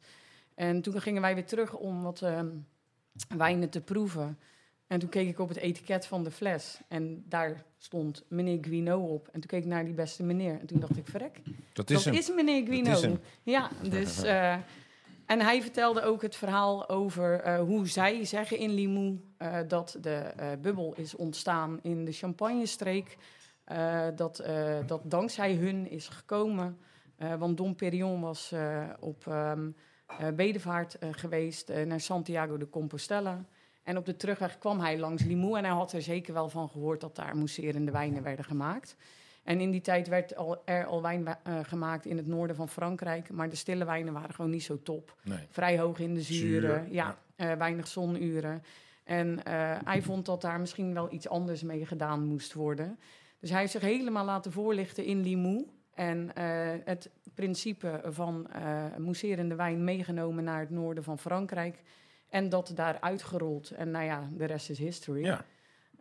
Speaker 5: En toen gingen wij weer terug om wat ehm, wijnen te proeven. En toen keek ik op het etiket van de fles. En daar stond meneer Guino op. En toen keek ik naar die beste meneer. En toen dacht ik, verrek,
Speaker 3: Dat is
Speaker 5: dat
Speaker 3: hem.
Speaker 5: is meneer Guino.
Speaker 3: Dat is hem.
Speaker 5: Ja, dus... eh, en hij vertelde ook het verhaal over eh, hoe zij zeggen in Limoux... eh, dat de eh, bubbel is ontstaan in de Champagne-streek. Eh, dat, eh, dat dankzij hun is gekomen. Eh, want Dom Perignon was eh, op ehm, eh, bedevaart eh, geweest eh, naar Santiago de Compostela... En op de terugweg kwam hij langs Limoux en hij had er zeker wel van gehoord dat daar mousserende wijnen werden gemaakt. En in die tijd werd al, er al wijn wa- eh, gemaakt in het noorden van Frankrijk. Maar de stille wijnen waren gewoon niet zo top.
Speaker 3: Nee.
Speaker 5: Vrij hoog in de zuren.
Speaker 3: Zuur,
Speaker 5: ja, eh, weinig zonuren. En eh, hij vond dat daar misschien wel iets anders mee gedaan moest worden. Dus hij heeft zich helemaal laten voorlichten in Limoux. En eh, het principe van eh mousserende wijn meegenomen naar het noorden van Frankrijk. En dat daar uitgerold. En nou ja, de rest is history.
Speaker 3: Ja.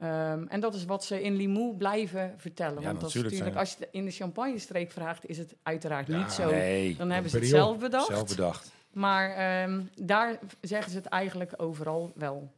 Speaker 5: Ehm, en dat is wat ze in Limoux blijven vertellen.
Speaker 3: Ja,
Speaker 5: Want dat is
Speaker 3: natuurlijk,
Speaker 5: natuurlijk,
Speaker 3: ja.
Speaker 5: als je het in de Champagne-streek vraagt, is het uiteraard
Speaker 4: Ja,
Speaker 5: niet zo.
Speaker 3: Ah, Nee,
Speaker 5: Dan hebben ze het
Speaker 4: Periol,
Speaker 5: zelf bedacht.
Speaker 3: zelf bedacht.
Speaker 5: Maar ehm, daar zeggen ze het eigenlijk overal wel.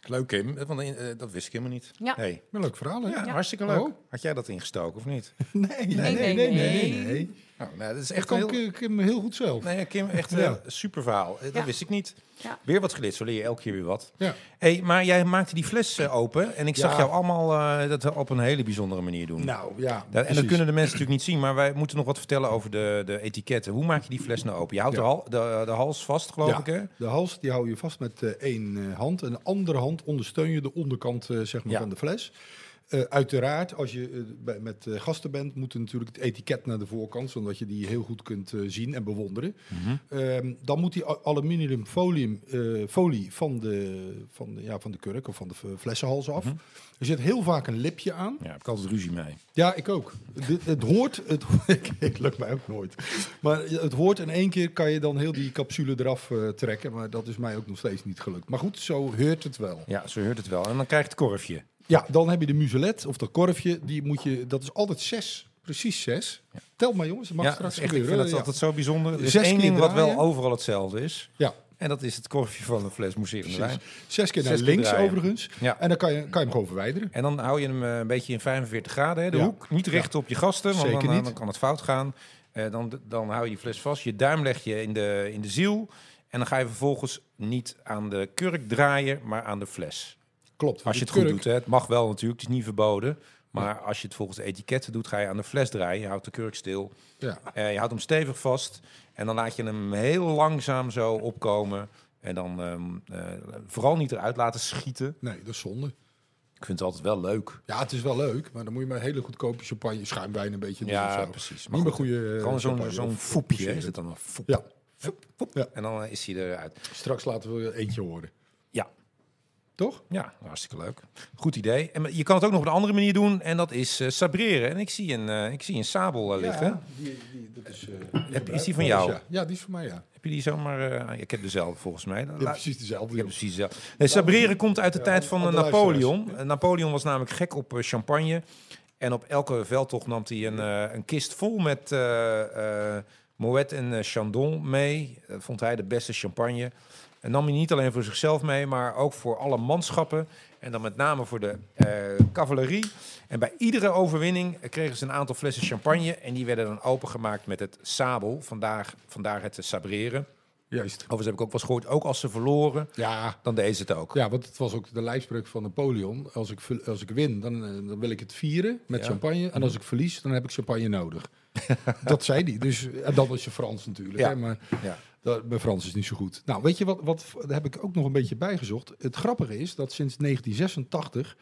Speaker 3: Leuk, Kim. Want eh, dat wist ik helemaal niet.
Speaker 5: Ja.
Speaker 3: Hey.
Speaker 4: Maar leuk verhaal hè?
Speaker 3: Ja,
Speaker 5: Ja.
Speaker 3: hartstikke leuk.
Speaker 4: Oh.
Speaker 3: Had jij dat ingestoken of niet?
Speaker 4: Nee, nee,
Speaker 5: nee, nee.
Speaker 3: Nou, nou, dat is
Speaker 4: Ik
Speaker 3: echt
Speaker 4: kan
Speaker 3: heel...
Speaker 4: Kim- Kim heel goed zelf.
Speaker 3: Nee, Kim, echt een
Speaker 4: Ja.
Speaker 3: super verhaal. Eh, Dat
Speaker 5: Ja.
Speaker 3: wist ik niet.
Speaker 5: Ja.
Speaker 3: Weer wat geleerd, zo leer je elke keer weer wat.
Speaker 4: Ja.
Speaker 3: Hey, maar jij maakte die fles eh, open en ik zag
Speaker 4: Ja.
Speaker 3: jou allemaal eh, dat op een hele bijzondere manier doen.
Speaker 4: Nou ja,
Speaker 3: Da- en dat
Speaker 4: precies.
Speaker 3: kunnen de mensen natuurlijk niet zien, maar wij moeten nog wat vertellen over de, de etiketten. Hoe maak je die fles nou open? Je houdt
Speaker 4: Ja.
Speaker 3: de, hal- de, de hals vast, geloof
Speaker 4: Ja.
Speaker 3: ik, hè?
Speaker 4: De hals die hou je vast met eh, één eh, hand. En de andere hand ondersteun je de onderkant eh, zeg maar,
Speaker 3: Ja.
Speaker 4: van de fles. Eh, uiteraard, als je eh, bij- met eh, gasten bent, moet er natuurlijk het etiket naar de voorkant, zodat je die heel goed kunt eh, zien en bewonderen. Ehm, dan moet die a- aluminium folium, eh, folie van de, van, de, ja, van de kurk of van de v- flessenhals af. Er zit heel vaak een lipje aan.
Speaker 3: Ja, heb ik altijd ruzie mee.
Speaker 4: Ja, ik ook. Dit, het hoort, het, ik- het lukt mij ook nooit. Maar het hoort in één keer kan je dan heel die capsule eraf eh, trekken. Maar dat is mij ook nog steeds niet gelukt. Maar goed, zo heurt het wel.
Speaker 3: Ja, zo hoort het wel. En dan krijg je het korfje.
Speaker 4: Ja, dan heb je de muzelet of dat korfje. Die moet je, dat is altijd zes. Precies zes. Tel maar jongens, het mag
Speaker 3: ja,
Speaker 4: straks
Speaker 3: dat is echt, ik
Speaker 4: gebeuren.
Speaker 3: vind dat
Speaker 4: ja.
Speaker 3: altijd zo bijzonder. Er is
Speaker 4: Zes
Speaker 3: één
Speaker 4: keer
Speaker 3: ding wat wel
Speaker 4: draaien.
Speaker 3: overal hetzelfde is.
Speaker 4: Ja,
Speaker 3: En dat is het korfje van een fles mousserende wijn.
Speaker 4: precies. Zes keer naar
Speaker 3: Zes keer
Speaker 4: links
Speaker 3: draaien.
Speaker 4: overigens.
Speaker 3: Ja.
Speaker 4: En dan kan je, kan je hem gewoon verwijderen.
Speaker 3: En dan hou je hem eh, een beetje in 45 graden, hè, de
Speaker 4: Ja.
Speaker 3: hoek. Niet recht op je gasten, want
Speaker 4: Zeker
Speaker 3: dan, eh,
Speaker 4: niet.
Speaker 3: dan kan het fout gaan. Eh, dan, dan hou je die fles vast. Je duim leg je in de, in de ziel. En En dan ga je vervolgens niet aan de kurk draaien, maar aan de fles.
Speaker 4: Klopt.
Speaker 3: Als je
Speaker 4: de
Speaker 3: het goed
Speaker 4: kurk-
Speaker 3: doet, hè. het mag wel natuurlijk, het is niet verboden. Maar als je het volgens de etiketten doet, ga je aan de fles draaien. Je houdt de kurk stil.
Speaker 4: Ja.
Speaker 3: Eh, je houdt hem stevig vast en dan laat je hem heel langzaam zo opkomen. En dan ehm, eh, vooral niet eruit laten schieten.
Speaker 4: Nee, dat is zonde.
Speaker 3: Ik vind het altijd wel leuk.
Speaker 4: Ja, het is wel leuk, maar dan moet je maar hele goedkope champagne, schuimwijn een beetje doen
Speaker 3: Ja,
Speaker 4: of zo.
Speaker 3: precies. Maar
Speaker 4: Niet meer
Speaker 3: goed,
Speaker 4: goede... eh,
Speaker 3: Gewoon zo'n
Speaker 4: champagne
Speaker 3: zo'n
Speaker 4: of-
Speaker 3: foepje.
Speaker 4: of-
Speaker 3: Is het dan een foep?
Speaker 4: Ja,
Speaker 3: Foep, foep.
Speaker 4: Ja.
Speaker 3: En dan eh, is hij eruit.
Speaker 4: straks laten we eentje horen.
Speaker 3: Ja.
Speaker 4: Toch?
Speaker 3: Ja, hartstikke leuk. Goed idee. En je kan het ook nog op een andere manier doen. En dat is eh, sabreren. En ik zie een, eh, ik zie een sabel eh, liggen.
Speaker 4: die, die, dat is, eh,
Speaker 3: Heb, is die van
Speaker 4: Ja,
Speaker 3: jou?
Speaker 4: Ja, ja, die is van mij, ja.
Speaker 3: Heb je die zomaar... eh, ik heb dezelfde volgens mij.
Speaker 4: Die
Speaker 3: Laat-
Speaker 4: heeft precies dezelfde.
Speaker 3: Ik heb
Speaker 4: joh.
Speaker 3: precies dezelfde. Nee, Eh, sabreren komt uit de
Speaker 4: Ja,
Speaker 3: tijd
Speaker 4: aan-
Speaker 3: van
Speaker 4: aan
Speaker 3: eh,
Speaker 4: de
Speaker 3: Napoleon. Eh, Napoleon was namelijk gek op eh, champagne. En op elke veldtocht nam hij een, eh, een kist vol met eh, eh, Moet en eh, Chandon mee. Dat vond hij de beste champagne. En nam hij niet alleen voor zichzelf mee, maar ook voor alle manschappen. En dan met name voor de eh, cavalerie. En bij iedere overwinning eh, kregen ze een aantal flessen champagne. En die werden dan opengemaakt met het sabel. Vandaar, vandaar het eh, sabreren.
Speaker 4: Juist.
Speaker 3: Overigens heb ik ook wel eens gehoord, ook als ze verloren,
Speaker 4: Ja,
Speaker 3: dan deed ze het ook.
Speaker 4: ja, want het was ook de lijfspreuk van Napoleon. Als ik, ver- als ik win, dan, eh, dan wil ik het vieren met
Speaker 3: Ja.
Speaker 4: champagne. En als ik verlies, dan heb ik champagne nodig. dat zei hij. Dus, en dat was je Frans natuurlijk.
Speaker 3: Ja.
Speaker 4: Hè, maar
Speaker 3: Ja.
Speaker 4: dat, mijn Frans is niet zo goed. Nou, weet je wat, wat? Daar heb ik ook nog een beetje bijgezocht. Het grappige is dat sinds 1986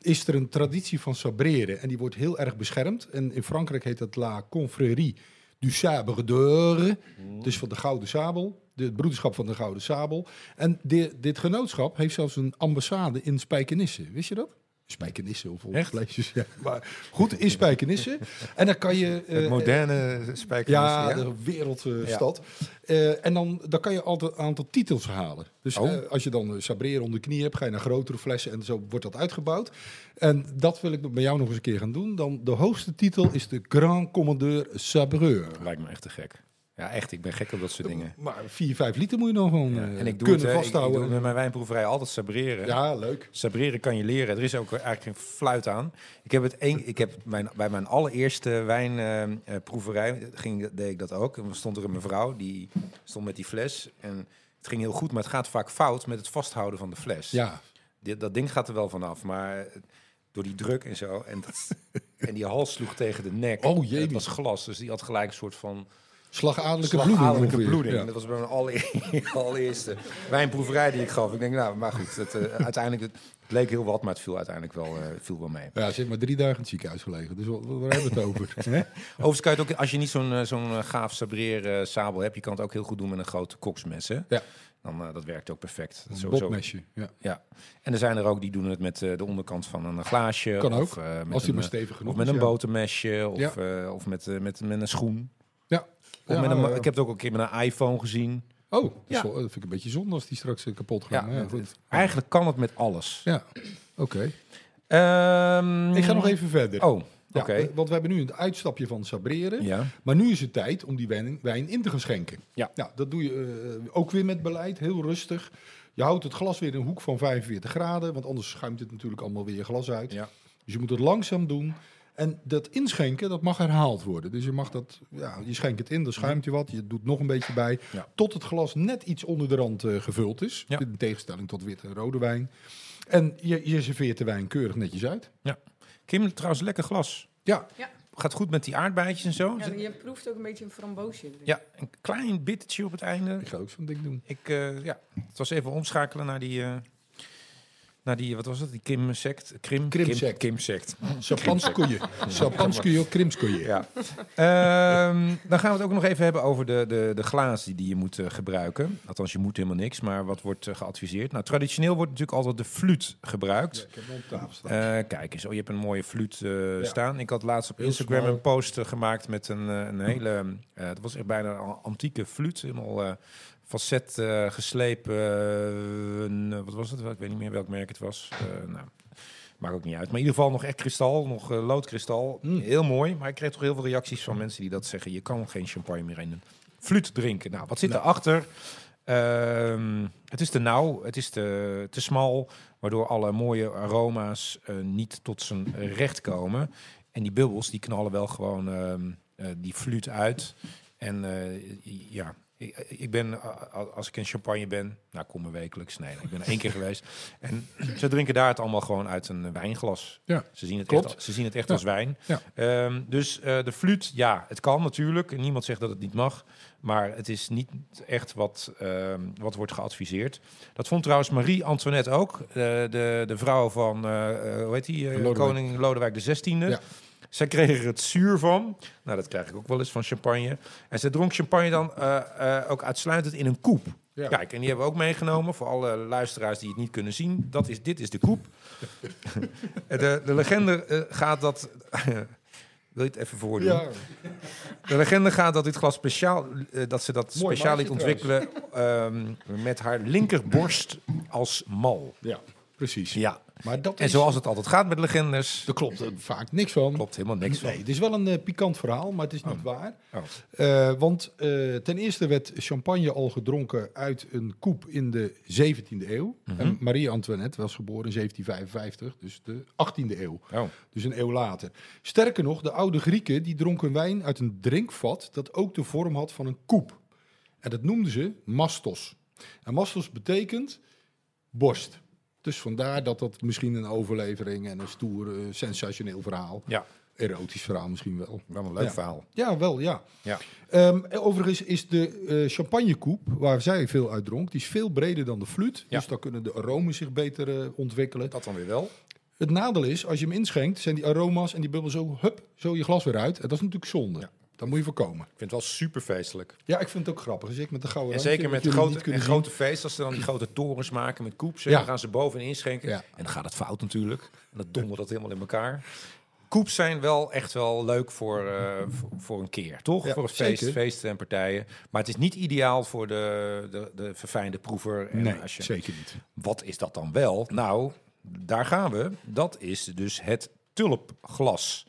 Speaker 4: is er een traditie van sabreren. En die wordt heel erg beschermd. En in Frankrijk heet dat la confrérie du sabre d'or. Dus van de Gouden Sabel. De het broederschap van de Gouden Sabel. En di- dit genootschap heeft zelfs een ambassade in Spijkenisse. Wist je dat? Spijkenisse of
Speaker 3: Echt?
Speaker 4: Leesjes, ja. Maar goed, in Spijkenisse. En dan kan je... eh,
Speaker 3: moderne spijker.
Speaker 4: ja, de wereldstad. Eh, en dan, dan kan je altijd een aantal titels halen. Dus
Speaker 3: Oh.
Speaker 4: eh, als je dan eh, sabreren onder de knie hebt, ga je naar grotere flessen en zo wordt dat uitgebouwd. En dat wil ik nog- met jou nog eens een keer gaan doen. Dan de hoogste titel is de Grand Commandeur Sabreur.
Speaker 3: lijkt me echt te gek. Ja, echt, ik ben gek op dat soort dingen.
Speaker 4: Maar 4, 5 liter moet je nog gewoon eh,
Speaker 3: en ik doe
Speaker 4: kunnen
Speaker 3: het, hè, ik- Ik,
Speaker 4: vasthouden.
Speaker 3: doe het met mijn wijnproeverij altijd sabreren.
Speaker 4: ja, leuk.
Speaker 3: Sabreren kan je leren. Er is ook eigenlijk geen fluit aan. Ik heb het één, ik heb mijn, bij mijn allereerste eh, wijnproeverij ging, deed ik dat ook. En dan stond er een mevrouw die stond met die fles en het ging heel goed, maar het gaat vaak fout met het vasthouden van de fles.
Speaker 4: Ja,
Speaker 3: Dit, dat ding gaat er wel vanaf, maar eh, door die druk en zo. En, dat, en die hals sloeg tegen de nek.
Speaker 4: Oh,
Speaker 3: En Het
Speaker 4: jee.
Speaker 3: was glas, dus die had gelijk een soort van
Speaker 4: slagadelijke bloeding.
Speaker 3: slagadelijke
Speaker 4: ongeveer.
Speaker 3: bloeding.
Speaker 4: Ja.
Speaker 3: Dat was bij mijn alle- allereerste wijnproeverij die ik gaf. Ik denk, nou, maar goed, het, eh, uiteindelijk het, het leek heel wat, maar het viel uiteindelijk wel, eh, viel wel mee.
Speaker 4: Ja, ze heeft maar drie dagen in het ziekenhuis gelegen. Dus wat- waar hebben we het over? Hè?
Speaker 3: Overigens kan je het ook, als je niet zo'n eh, zo'n eh, gaaf sabreer eh, sabel hebt, je kan het ook heel goed doen met een grote koksmes, hè?
Speaker 4: Ja.
Speaker 3: Dan, eh, dat werkt ook perfect. Dat is
Speaker 4: Een
Speaker 3: sowieso-
Speaker 4: botmesje. Ja.
Speaker 3: Ja. En er zijn er ook die doen het met eh, de onderkant van een glaasje.
Speaker 4: Kan
Speaker 3: of,
Speaker 4: ook,
Speaker 3: eh, met
Speaker 4: Als die
Speaker 3: een,
Speaker 4: maar
Speaker 3: eh,
Speaker 4: stevig genoeg
Speaker 3: Of met
Speaker 4: is,
Speaker 3: een
Speaker 4: ja.
Speaker 3: botermesje, of,
Speaker 4: Ja.
Speaker 3: eh, of met, eh, met, met een schoen.
Speaker 4: Ja.
Speaker 3: Of
Speaker 4: Ja, eh,
Speaker 3: met een,
Speaker 4: ja,
Speaker 3: mo-
Speaker 4: ja.
Speaker 3: Ik heb het ook een keer met een iPhone gezien.
Speaker 4: Oh, dat, is
Speaker 3: Ja.
Speaker 4: wel- dat vind ik een beetje zonde als die straks eh, kapot
Speaker 3: Ja,
Speaker 4: gaan. Ja, ja,
Speaker 3: het-
Speaker 4: goed.
Speaker 3: het- eigenlijk kan het met alles.
Speaker 4: ja. oké.
Speaker 3: Ehm,
Speaker 4: Ik ga nog even verder.
Speaker 3: Oh, oké.
Speaker 4: Ja, eh, Want we hebben nu een uitstapje van sabreren.
Speaker 3: Ja.
Speaker 4: Maar nu is het tijd om die wijn, wijn in te gaan schenken.
Speaker 3: Ja.
Speaker 4: Nou, dat doe je eh, ook weer met beleid, heel rustig. Je houdt het glas weer in een hoek van 45 graden, want anders schuimt het natuurlijk allemaal weer je glas uit.
Speaker 3: Ja.
Speaker 4: Dus je moet het langzaam doen. En dat inschenken, dat mag herhaald worden. Dus je mag dat, ja, je schenkt het in, dan schuimt je wat, je doet nog een beetje bij.
Speaker 3: Ja.
Speaker 4: Tot het glas net iets onder de rand eh, gevuld is.
Speaker 3: Ja.
Speaker 4: In tegenstelling tot witte en rode wijn. En je, je serveert de wijn keurig netjes uit.
Speaker 3: Kim, trouwens, lekker glas.
Speaker 4: Ja,
Speaker 3: Gaat goed met die aardbeidjes en zo.
Speaker 5: Ja, je proeft ook een beetje een framboosje. erin.
Speaker 3: Ja, een klein bittertje op het einde.
Speaker 4: ik ga ook zo'n ding doen.
Speaker 3: Ik, eh, ja, het was even omschakelen naar die... eh, naar die, wat was het? Die Kim-sect? Krim?
Speaker 4: Krimsect.
Speaker 3: Kim-sect.
Speaker 4: Sapanskoeje. Sapanskoeje, krimskoeje.
Speaker 3: Ja. Ehm, dan gaan we het ook nog even hebben over de, de, de glazen die, die je moet eh, gebruiken. Althans, je moet helemaal niks, maar wat wordt eh, geadviseerd? Nou, traditioneel wordt natuurlijk altijd de fluit gebruikt.
Speaker 4: ik heb hem op tafel staan.
Speaker 3: Eh, kijk eens, oh, je hebt een mooie fluit eh,
Speaker 4: Ja.
Speaker 3: staan. Ik had laatst op
Speaker 4: Heel
Speaker 3: Instagram
Speaker 4: smal.
Speaker 3: een post eh, gemaakt met een, eh, een hele... eh het was echt bijna een antieke fluit. Helemaal eh, facet eh, geslepen. eh, een, eh, wat was het? Ik weet niet meer welk merk het was. Eh, nou, maakt ook niet uit. Maar in ieder geval nog echt kristal, nog eh, loodkristal.
Speaker 4: Mm.
Speaker 3: Heel mooi. Maar ik kreeg toch heel veel reacties van mensen die dat zeggen. Je kan geen champagne meer in een fluit drinken. Nou, wat zit erachter? Ehm, het is te nauw, het is te, te smal, waardoor alle mooie aroma's eh, niet tot zijn recht komen. En die bubbels die knallen wel gewoon ehm, eh, die fluit uit. En eh, ja, Ik, ik ben, a- a- als ik in Champagne ben, nou kom er wekelijks, nee, ik ben er één keer geweest. En ze drinken daar het allemaal gewoon uit een eh, wijnglas.
Speaker 4: Ja,
Speaker 3: Ze zien het
Speaker 4: klopt.
Speaker 3: echt, al- ze zien het echt
Speaker 4: Ja.
Speaker 3: als wijn.
Speaker 4: Ja.
Speaker 3: Ehm, dus eh, de fluit, ja, het kan natuurlijk. Niemand zegt dat het niet mag. Maar het is niet echt wat, ehm, wat wordt geadviseerd. Dat vond trouwens Marie-Antoinette ook. eh, de, de vrouw van, eh, eh, hoe heet die, eh,
Speaker 4: Lodewijk.
Speaker 3: koning Lodewijk XVI.
Speaker 4: Ja.
Speaker 3: Zij kreeg er het zuur van. Nou, dat krijg ik ook wel eens van champagne. En zij dronk champagne dan eh, eh, ook uitsluitend in een koep.
Speaker 4: Ja.
Speaker 3: Kijk, en die hebben we ook meegenomen voor alle luisteraars die het niet kunnen zien. Dat is, dit is de koep. de, de legende eh, gaat dat... wil je het even voordoen?
Speaker 4: Ja,
Speaker 3: De legende gaat dat dit glas speciaal, eh, dat ze dat
Speaker 4: Mooi
Speaker 3: speciaal liet
Speaker 4: maatje
Speaker 3: ontwikkelen ehm, met haar linkerborst als mal.
Speaker 4: ja, precies.
Speaker 3: Ja.
Speaker 4: Maar dat
Speaker 3: En
Speaker 4: is,
Speaker 3: zoals het altijd gaat met legendes,
Speaker 4: er klopt er vaak niks van.
Speaker 3: klopt helemaal niks van.
Speaker 4: Nee, het is wel een eh, pikant verhaal, maar het is niet waar.
Speaker 3: Oh.
Speaker 4: Eh, want eh, ten eerste werd champagne al gedronken uit een koep in de 17e eeuw.
Speaker 3: Mhm.
Speaker 4: En Marie Antoinette was geboren in 1755, dus de 18e eeuw.
Speaker 3: Oh.
Speaker 4: Dus een eeuw later. Sterker nog, de oude Grieken die dronken wijn uit een drinkvat dat ook de vorm had van een koep. En dat noemden ze mastos. En mastos betekent borst. Dus vandaar dat dat misschien een overlevering en een stoer, eh, sensationeel verhaal.
Speaker 3: Ja.
Speaker 4: Erotisch verhaal misschien wel.
Speaker 3: Wel een leuk
Speaker 4: Ja.
Speaker 3: verhaal.
Speaker 4: Ja, wel, ja.
Speaker 3: Ja.
Speaker 4: Ehm, en overigens is de eh champagnekoep, waar zij veel uit dronk, die is veel breder dan de fluit.
Speaker 3: Ja.
Speaker 4: Dus daar kunnen de aromen zich beter eh, ontwikkelen.
Speaker 3: Dat dan weer wel.
Speaker 4: Het nadeel is, als je hem inschenkt, zijn die aroma's en die bubbel zo, hup, zo je glas weer uit. En dat is natuurlijk zonde.
Speaker 3: Ja.
Speaker 4: Dat moet je voorkomen.
Speaker 3: Ik vind het wel super feestelijk.
Speaker 4: Ja, ik vind het ook grappig. Dus ik met de gouden
Speaker 3: En
Speaker 4: randje,
Speaker 3: zeker
Speaker 4: wat
Speaker 3: met
Speaker 4: jullie
Speaker 3: grote,
Speaker 4: niet kunnen
Speaker 3: en
Speaker 4: zien.
Speaker 3: grote feest, als ze dan die grote torens maken met koeps. En
Speaker 4: Ja.
Speaker 3: dan gaan ze boven inschenken.
Speaker 4: Ja.
Speaker 3: En dan gaat het fout natuurlijk. En dan dondert dat helemaal in elkaar. Koeps zijn wel echt wel leuk voor, eh, voor, voor een keer, toch?
Speaker 4: Ja,
Speaker 3: voor een feest,
Speaker 4: zeker.
Speaker 3: feesten en partijen. Maar het is niet ideaal voor de, de, de verfijnde proever. En
Speaker 4: Nee,
Speaker 3: als je-
Speaker 4: zeker niet.
Speaker 3: Wat is dat dan wel? Nou, daar gaan we. Dat is dus het tulpglas.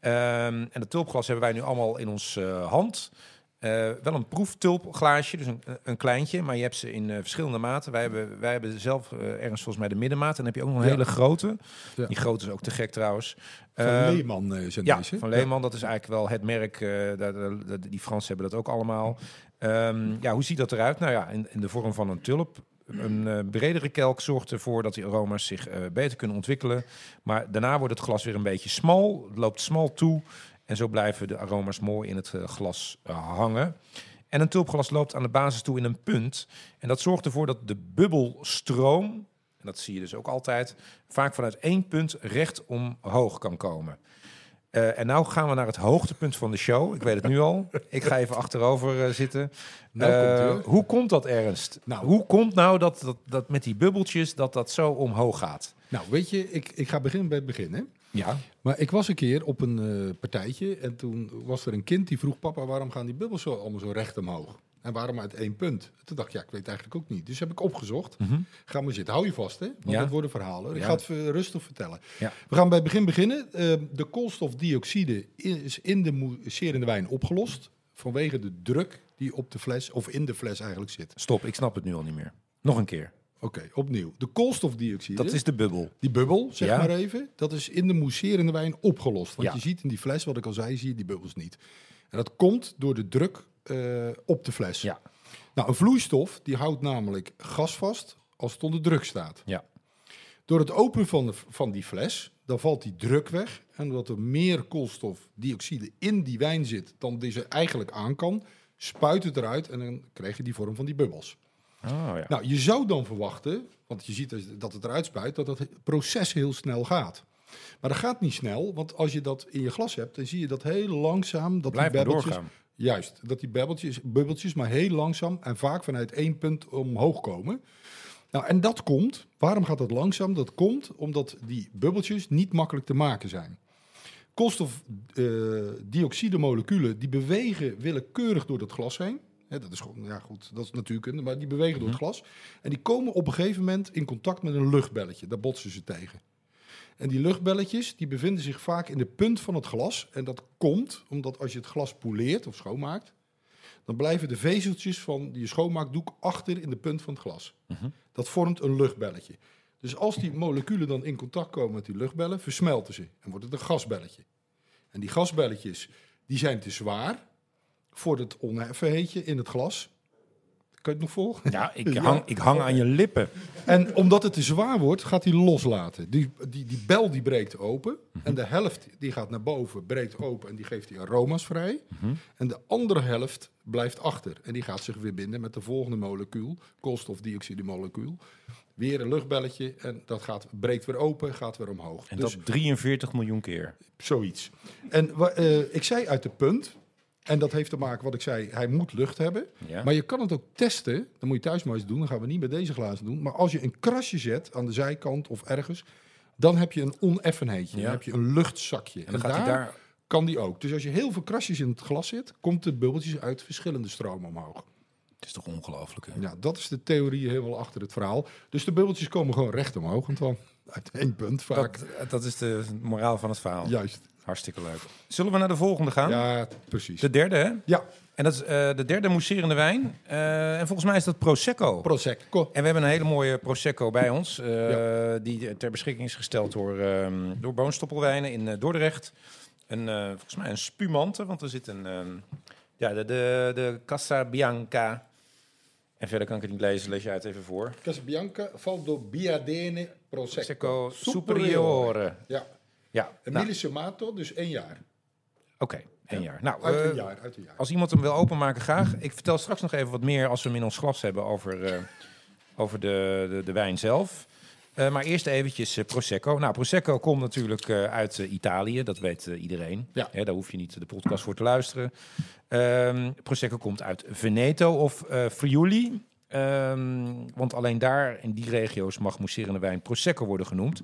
Speaker 3: Ehm, en dat tulpglas hebben wij nu allemaal in ons eh, hand. Eh, wel een proeftulpglaasje, dus een, een kleintje, maar je hebt ze in eh, verschillende maten. Wij hebben, wij hebben zelf eh, ergens volgens mij de middenmaat. En dan heb je ook nog een
Speaker 4: Ja.
Speaker 3: hele grote.
Speaker 4: Ja.
Speaker 3: Die grote is ook te gek trouwens.
Speaker 4: Van
Speaker 3: Ehm,
Speaker 4: Leeman eh, zijn
Speaker 3: ja,
Speaker 4: deze.
Speaker 3: van Leeman, dat is eigenlijk wel het merk. eh, daar- daar- daar- die Fransen hebben dat ook allemaal. Ehm, ja, hoe ziet dat eruit? Nou ja, in, in de vorm van een tulp. Een eh, bredere kelk zorgt ervoor dat die aroma's zich eh, beter kunnen ontwikkelen. Maar daarna wordt het glas weer een beetje smal. Het loopt smal toe. En zo blijven de aroma's mooi in het eh, glas eh, hangen. En een tulpglas loopt aan de basis toe in een punt. En dat zorgt ervoor dat de bubbelstroom, en dat zie je dus ook altijd, vaak vanuit één punt recht omhoog kan komen. Eh, en nou gaan we naar het hoogtepunt van de show. Ik weet het nu al. Ik ga even achterover eh, zitten.
Speaker 4: Nou komt
Speaker 3: Eh,
Speaker 4: ie, hoor.
Speaker 3: hoe komt dat, Ernst?
Speaker 4: Nou.
Speaker 3: Hoe komt nou dat, dat, dat met die bubbeltjes dat dat zo omhoog gaat?
Speaker 4: Nou, weet je, ik, ik ga beginnen bij het begin, hè.
Speaker 3: Ja.
Speaker 4: Maar ik was een keer op een eh, partijtje en toen was er een kind die vroeg... papa, waarom gaan die bubbels zo, allemaal zo recht omhoog? En waarom uit één punt? Toen dacht ik, ja, ik weet eigenlijk ook niet. Dus heb ik opgezocht.
Speaker 3: Mhm.
Speaker 4: Ga maar zitten. Hou je vast, hè? Want
Speaker 3: Ja.
Speaker 4: dat worden verhalen. Ik
Speaker 3: Ja.
Speaker 4: ga het eh, rustig vertellen.
Speaker 3: Ja.
Speaker 4: We gaan bij het begin beginnen. Eh, de koolstofdioxide is in de mousserende wijn opgelost... vanwege de druk die op de fles, of in de fles eigenlijk zit.
Speaker 3: Stop, ik snap het nu al niet meer. Nog een keer.
Speaker 4: Oké, opnieuw. De koolstofdioxide...
Speaker 3: Dat is de bubbel.
Speaker 4: Die bubbel, zeg
Speaker 3: Ja.
Speaker 4: maar even, dat is in de mousserende wijn opgelost. Want
Speaker 3: Ja.
Speaker 4: je ziet in die fles, wat ik al zei, zie je die bubbels niet. En dat komt door de druk eh, op de fles.
Speaker 3: Ja.
Speaker 4: Nou, een vloeistof die houdt namelijk gas vast als het onder druk staat.
Speaker 3: Ja.
Speaker 4: Door het openen van, de, van die fles, dan valt die druk weg. En omdat er meer koolstofdioxide in die wijn zit dan deze eigenlijk aan kan, spuit het eruit en dan krijg je die vorm van die bubbels.
Speaker 3: Oh, ja.
Speaker 4: Nou, je zou dan verwachten, want je ziet dus dat het eruit spuit, dat het proces heel snel gaat. Maar dat gaat niet snel, want als je dat in je glas hebt, dan zie je dat heel langzaam dat
Speaker 3: Blijf
Speaker 4: die
Speaker 3: maar
Speaker 4: bebbeltjes,
Speaker 3: doorgaan.
Speaker 4: juist, dat die bebbeltjes, bubbeltjes, maar heel langzaam en vaak vanuit één punt omhoog komen. Nou, en dat komt. Waarom gaat dat langzaam? Dat komt omdat die bubbeltjes niet makkelijk te maken zijn. Koolstofdioxide moleculen die bewegen willekeurig door dat glas heen. Hè, dat is gewoon, ja goed, dat is natuurkunde, maar die bewegen door het glas. En die komen op een gegeven moment in contact met een luchtbelletje. Daar botsen ze tegen. En die luchtbelletjes die bevinden zich vaak in de punt van het glas. En dat komt omdat als je het glas poleert of schoonmaakt, dan blijven de vezeltjes van je schoonmaakdoek achter in de punt van het glas. Dat vormt een luchtbelletje. Dus als die moleculen dan in contact komen met die luchtbellen, versmelten ze en wordt het een gasbelletje. En die gasbelletjes die zijn te zwaar voor het onheffen heetje in het glas. Kan je het nog volgen?
Speaker 3: Ja, ik hang, ik hang aan je lippen.
Speaker 4: En omdat het te zwaar wordt, gaat hij loslaten. Die, die, die bel die breekt open.
Speaker 3: Mhm.
Speaker 4: En de helft die gaat naar boven, breekt open en die geeft die aroma's vrij.
Speaker 3: Mhm.
Speaker 4: En de andere helft blijft achter. En die gaat zich weer binden met de volgende molecuul, koolstofdioxide molecuul. Weer een luchtbelletje en dat gaat, breekt weer open, gaat weer omhoog.
Speaker 3: En
Speaker 4: dus
Speaker 3: dat 43 miljoen keer.
Speaker 4: zoiets. En wa- eh, ik zei uit de punt, en dat heeft te maken wat ik zei, hij moet lucht hebben.
Speaker 3: Ja.
Speaker 4: Maar je kan het ook testen. Dan moet je thuis maar eens doen. Dan gaan we niet met deze glazen doen. Maar als je een krasje zet aan de zijkant of ergens, dan heb je een oneffenheidje.
Speaker 3: Ja.
Speaker 4: Dan heb je een luchtzakje. En,
Speaker 3: en dan gaat hij daar...
Speaker 4: kan die ook. Dus als je heel veel krasjes in het glas zit, komt de bubbeltjes uit verschillende stromen omhoog.
Speaker 3: Het is toch ongelooflijk, hè?
Speaker 4: Ja, dat is de theorie helemaal achter het verhaal. Dus de bubbeltjes komen gewoon recht omhoog, Antoine. Uit één punt vaak.
Speaker 3: Dat, dat is de moraal van het verhaal.
Speaker 4: Juist.
Speaker 3: Hartstikke leuk. Zullen we naar de volgende gaan?
Speaker 4: Ja, precies.
Speaker 3: De derde, hè?
Speaker 4: Ja,
Speaker 3: En dat is eh, de derde mousserende wijn. Eh, en volgens mij is dat Prosecco.
Speaker 4: Prosecco.
Speaker 3: en we hebben een hele mooie Prosecco bij ons. eh, Die ter beschikking is gesteld door, ehm door Boonstoppelwijnen in eh, Dordrecht. Een, eh, volgens mij een spumante, want er zit een... ehm, ja, de, de, de Casa Bianca. En verder kan ik het niet lezen, lees je uit even voor.
Speaker 4: Casabianca, Valdo Biadene, Prosecco.
Speaker 3: Prosecco
Speaker 4: Superiore.
Speaker 3: Superiore.
Speaker 4: Ja.
Speaker 3: Ja, nou,
Speaker 4: Emile Samato, dus één jaar.
Speaker 3: oké. één jaar. Nou,
Speaker 4: Uit
Speaker 3: eh,
Speaker 4: een jaar, uit een jaar.
Speaker 3: Als iemand hem wil openmaken, graag. Ik vertel straks nog even wat meer als we hem in ons glas hebben over, eh, over de, de, de wijn zelf. Eh, maar eerst eventjes eh, Prosecco. Nou, Prosecco komt natuurlijk eh, uit eh, Italië, dat weet eh, iedereen.
Speaker 4: Ja.
Speaker 3: Hè, daar hoef je niet de podcast voor te luisteren. Ehm, Prosecco komt uit Veneto of eh, Friuli. Ehm, want alleen daar, in die regio's, mag mousserende wijn Prosecco worden genoemd.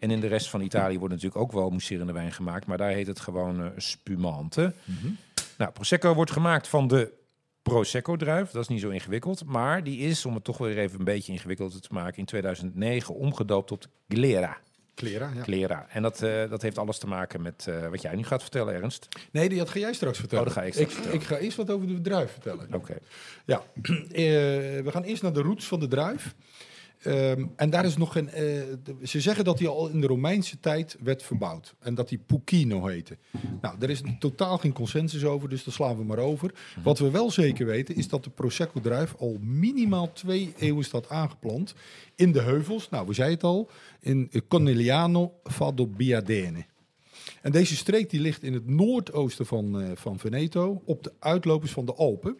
Speaker 3: En in de rest van Italië wordt natuurlijk ook wel mousserende wijn gemaakt. Maar daar heet het gewoon eh, spumante. Nou, Prosecco wordt gemaakt van de Prosecco-druif. Dat is niet zo ingewikkeld. Maar die is, om het toch weer even een beetje ingewikkeld te maken... in 2009 omgedoopt tot Glera.
Speaker 4: Klera, ja.
Speaker 3: Glera. En dat, eh, dat heeft alles te maken met eh, wat jij nu gaat vertellen, Ernst.
Speaker 4: Nee, die had ga jij straks vertellen.
Speaker 3: Oh, dat ga ik straks vertellen.
Speaker 4: Ik ga eerst wat over de druif vertellen.
Speaker 3: Oké.
Speaker 4: Ja, eh, we gaan eerst naar de roots van de druif. Ehm, en daar is nog geen. eh, de- ze zeggen dat die al in de Romeinse tijd werd verbouwd. En dat die Pucchino heette. Nou, daar is totaal geen consensus over, dus daar slaan we maar over. Wat we wel zeker weten is dat de Prosecco-druif al minimaal twee eeuwen staat aangeplant. In de heuvels, nou, we zeiden het al. In Corneliano Fadobiadene. En deze streek die ligt in het noordoosten van, eh, van Veneto, op de uitlopers van de Alpen.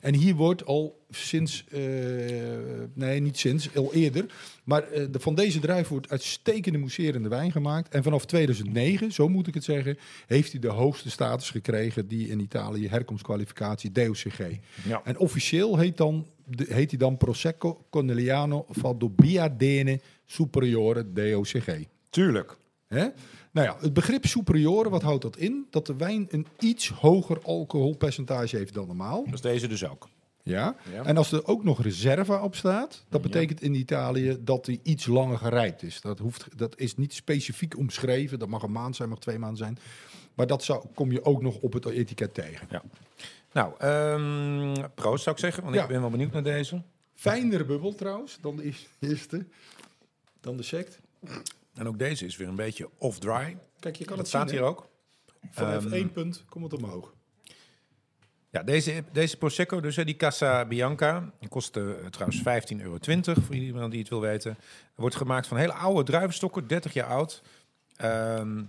Speaker 4: En hier wordt al sinds, eh, nee niet sinds, al eerder, maar eh, de, van deze druif wordt uitstekende mousserende wijn gemaakt. En vanaf 2009, zo moet ik het zeggen, heeft hij de hoogste status gekregen die in Italië herkomstkwalificatie DOCG.
Speaker 3: Ja.
Speaker 4: En officieel heet, dan, de- heet hij dan Prosecco Corneliano Valdobbiadene Superiore DOCG.
Speaker 3: Tuurlijk.
Speaker 4: Hè? Nou ja, het begrip superiore, wat houdt dat in? Dat de wijn een iets hoger alcoholpercentage heeft dan normaal.
Speaker 3: Dat is deze dus ook.
Speaker 4: Ja?
Speaker 3: Ja.
Speaker 4: En als er ook nog reserva op staat, dat betekent in Italië dat die iets langer gerijpt is. Dat, hoeft, dat is niet specifiek omschreven, dat mag een maand zijn, mag twee maanden zijn. Maar dat zou, kom je ook nog op het etiket tegen.
Speaker 3: Nou, ehm proost zou ik zeggen, want
Speaker 4: Ja.
Speaker 3: ik ben wel benieuwd naar deze.
Speaker 4: Fijnere bubbel trouwens dan de eer- eerste, dan de sect.
Speaker 3: En ook deze is weer een beetje off-dry.
Speaker 4: Kijk, je kan
Speaker 3: Dat
Speaker 4: het
Speaker 3: staat
Speaker 4: zien.
Speaker 3: hier
Speaker 4: hè?
Speaker 3: ook.
Speaker 4: Vanaf
Speaker 3: Ehm,
Speaker 4: één punt komt het omhoog.
Speaker 3: Ja, deze, deze Prosecco, dus hè, die Casa Bianca, die kost eh, trouwens 15,20 euro voor iedereen die het wil weten. Wordt gemaakt van hele oude druivenstokken, 30 jaar oud. Ehm,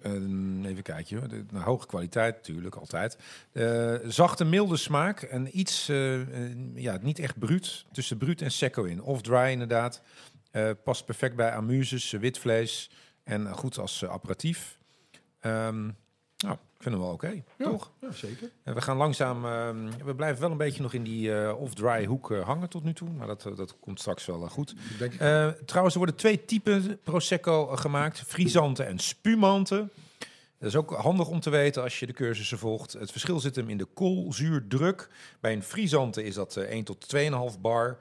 Speaker 3: ehm, even kijken, hoor. De, nou, hoge kwaliteit natuurlijk, altijd. Eh, zachte, milde smaak en iets, eh, eh, ja, niet echt bruut, tussen bruut en secco in. Of dry inderdaad. Eh, past perfect bij amuses, eh, wit vlees en eh, goed als eh, apparatief. Ehm nou, ik vind hem wel oké, toch?
Speaker 4: Ja, zeker.
Speaker 3: En we gaan langzaam, eh, we blijven wel een beetje nog in die eh, off-dry hoek eh, hangen tot nu toe. Maar dat, eh, dat komt straks wel eh, goed.
Speaker 4: Denk ik.
Speaker 3: Eh, trouwens, er worden twee typen Prosecco eh, gemaakt. Frisante en spumante. Dat is ook handig om te weten als je de cursussen volgt. Het verschil zit hem in de koolzuurdruk. Bij een frisante is dat eh, 1 tot 2,5 bar.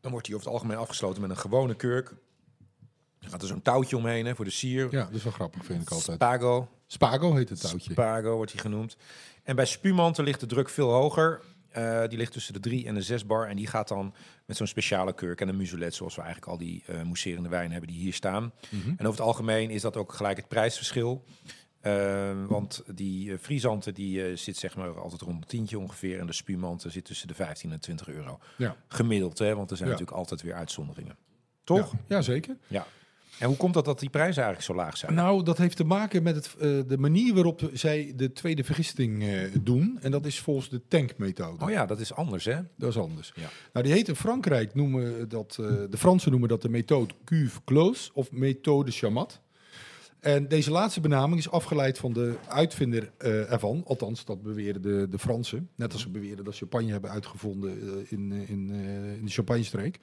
Speaker 3: Dan wordt die over het algemeen afgesloten met een gewone kurk. Er gaat er zo'n touwtje omheen hè, voor de sier.
Speaker 4: Ja, dat is wel grappig, vind ik altijd.
Speaker 3: Spago.
Speaker 4: Spago heet het touwtje.
Speaker 3: Spago wordt hij genoemd. En bij Spumanten ligt de druk veel hoger. Eh, die ligt tussen de 3 en de 6 bar. En die gaat dan met zo'n speciale kurk en een muzelet, zoals we eigenlijk al
Speaker 4: Mhm.
Speaker 3: die eh mousserende wijnen hebben die hier staan. En over het algemeen is dat ook gelijk het prijsverschil. Eh, want die eh, friesanten die eh, zit zeg maar altijd rond een tientje ongeveer. En de spumanten zit tussen de 15 en 20 euro.
Speaker 4: Ja.
Speaker 3: Gemiddeld, hè, want er zijn
Speaker 4: Ja.
Speaker 3: natuurlijk altijd weer uitzonderingen. Toch?
Speaker 4: Ja, ja, zeker.
Speaker 3: En hoe komt dat dat die prijzen eigenlijk zo laag zijn?
Speaker 4: Nou, dat heeft te maken met het, eh, de manier waarop zij de tweede vergisting eh, doen. En dat is volgens de tankmethode.
Speaker 3: oh ja, dat is anders hè?
Speaker 4: Dat is anders.
Speaker 3: Ja.
Speaker 4: Nou, die heet in Frankrijk noemen dat, eh, de Fransen noemen dat de methode cuve close of methode chamat. En deze laatste benaming is afgeleid van de uitvinder eh, ervan. Althans, dat beweren de, de Fransen. Net als ze beweren dat ze champagne hebben uitgevonden eh, in, eh, in, eh, in de Champagne-streek.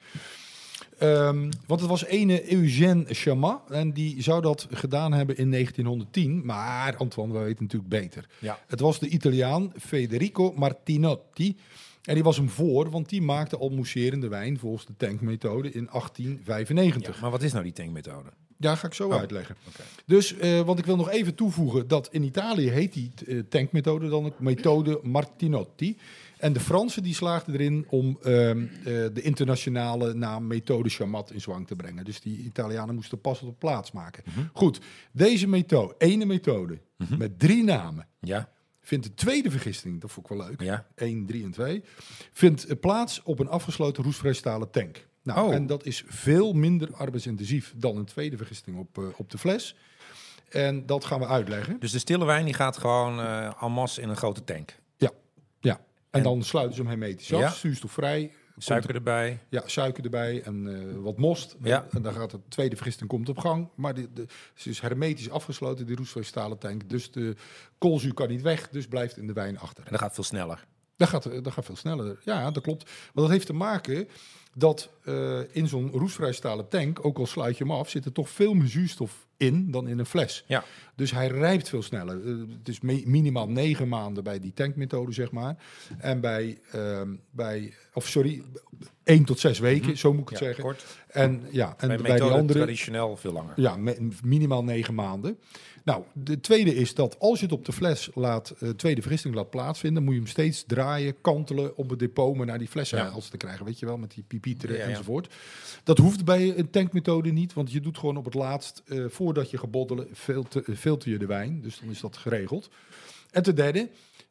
Speaker 4: Ehm, want het was ene Eugène Chamat. En die zou dat gedaan hebben in 1910. Maar Antoine, we weten natuurlijk beter.
Speaker 3: Ja.
Speaker 4: Het was de Italiaan Federico Martinotti. En die was hem voor, want die maakte al mousserende wijn volgens de tankmethode in 1895.
Speaker 3: Maar wat is nou die tankmethode?
Speaker 4: Daar ga ik zo
Speaker 3: Oh,
Speaker 4: uitleggen.
Speaker 3: oké.
Speaker 4: Dus, eh, want ik wil nog even toevoegen dat in Italië heet die eh, tankmethode dan ook methode Martinotti. En de Fransen die slaagden erin om ehm, eh, de internationale naam methode Chamat in zwang te brengen. Dus die Italianen moesten pas op de plaats maken.
Speaker 3: Mhm.
Speaker 4: Goed, deze methode, ene methode, met drie namen,
Speaker 3: Ja,
Speaker 4: vindt de tweede vergisting, dat vond ik wel leuk,
Speaker 3: ja.
Speaker 4: 1, 3 en 2, vindt eh, plaats op een afgesloten roestvrijstalen tank. Nou,
Speaker 3: Oh.
Speaker 4: En dat is veel minder arbeidsintensief dan een tweede vergisting op, eh, op de fles. En dat gaan we uitleggen.
Speaker 3: Dus de stille wijn die gaat gewoon eh en masse in een grote tank.
Speaker 4: Ja. En,
Speaker 3: En-
Speaker 4: dan sluiten ze hem hermetisch af,
Speaker 3: Ja.
Speaker 4: zuurstofvrij.
Speaker 3: Suiker erbij.
Speaker 4: Ja, suiker erbij en eh, wat most.
Speaker 3: Ja.
Speaker 4: En dan gaat de tweede vergisting komt op gang. Maar de, de, ze is hermetisch afgesloten, die roestvrijstalen tank. Dus de koolzuur kan niet weg, dus blijft in de wijn achter.
Speaker 3: En dat gaat veel sneller.
Speaker 4: Dat gaat, eh, dat gaat veel sneller. Ja, dat klopt. Want dat heeft te maken dat eh, in zo'n roestvrijstalen tank, ook al sluit je hem af, zit er toch veel meer zuurstof in dan in een fles.
Speaker 3: Ja.
Speaker 4: Dus hij rijpt veel sneller. Eh, het is me- minimaal negen maanden bij die tankmethode, zeg maar. En bij, ehm, bij of sorry, één tot zes weken, zo moet ik het
Speaker 3: Mhm. Ja,
Speaker 4: zeggen.
Speaker 3: kort.
Speaker 4: En ja,
Speaker 3: Bij,
Speaker 4: en bij, die
Speaker 3: methode
Speaker 4: andere
Speaker 3: traditioneel veel langer.
Speaker 4: ja, me- minimaal negen maanden. Nou, de tweede is dat als je het op de fles laat, eh, tweede vergisting laat plaatsvinden, moet je hem steeds draaien, kantelen om het depot maar naar die fles
Speaker 3: Ja.
Speaker 4: te krijgen. Weet je wel, met die pipieteren
Speaker 3: Ja, ja.
Speaker 4: enzovoort. Dat hoeft bij een tankmethode niet, want je doet gewoon op het laatst, eh, voordat je geboddelen, filter, eh, filter je de wijn. Dus dan is dat geregeld. En ten derde,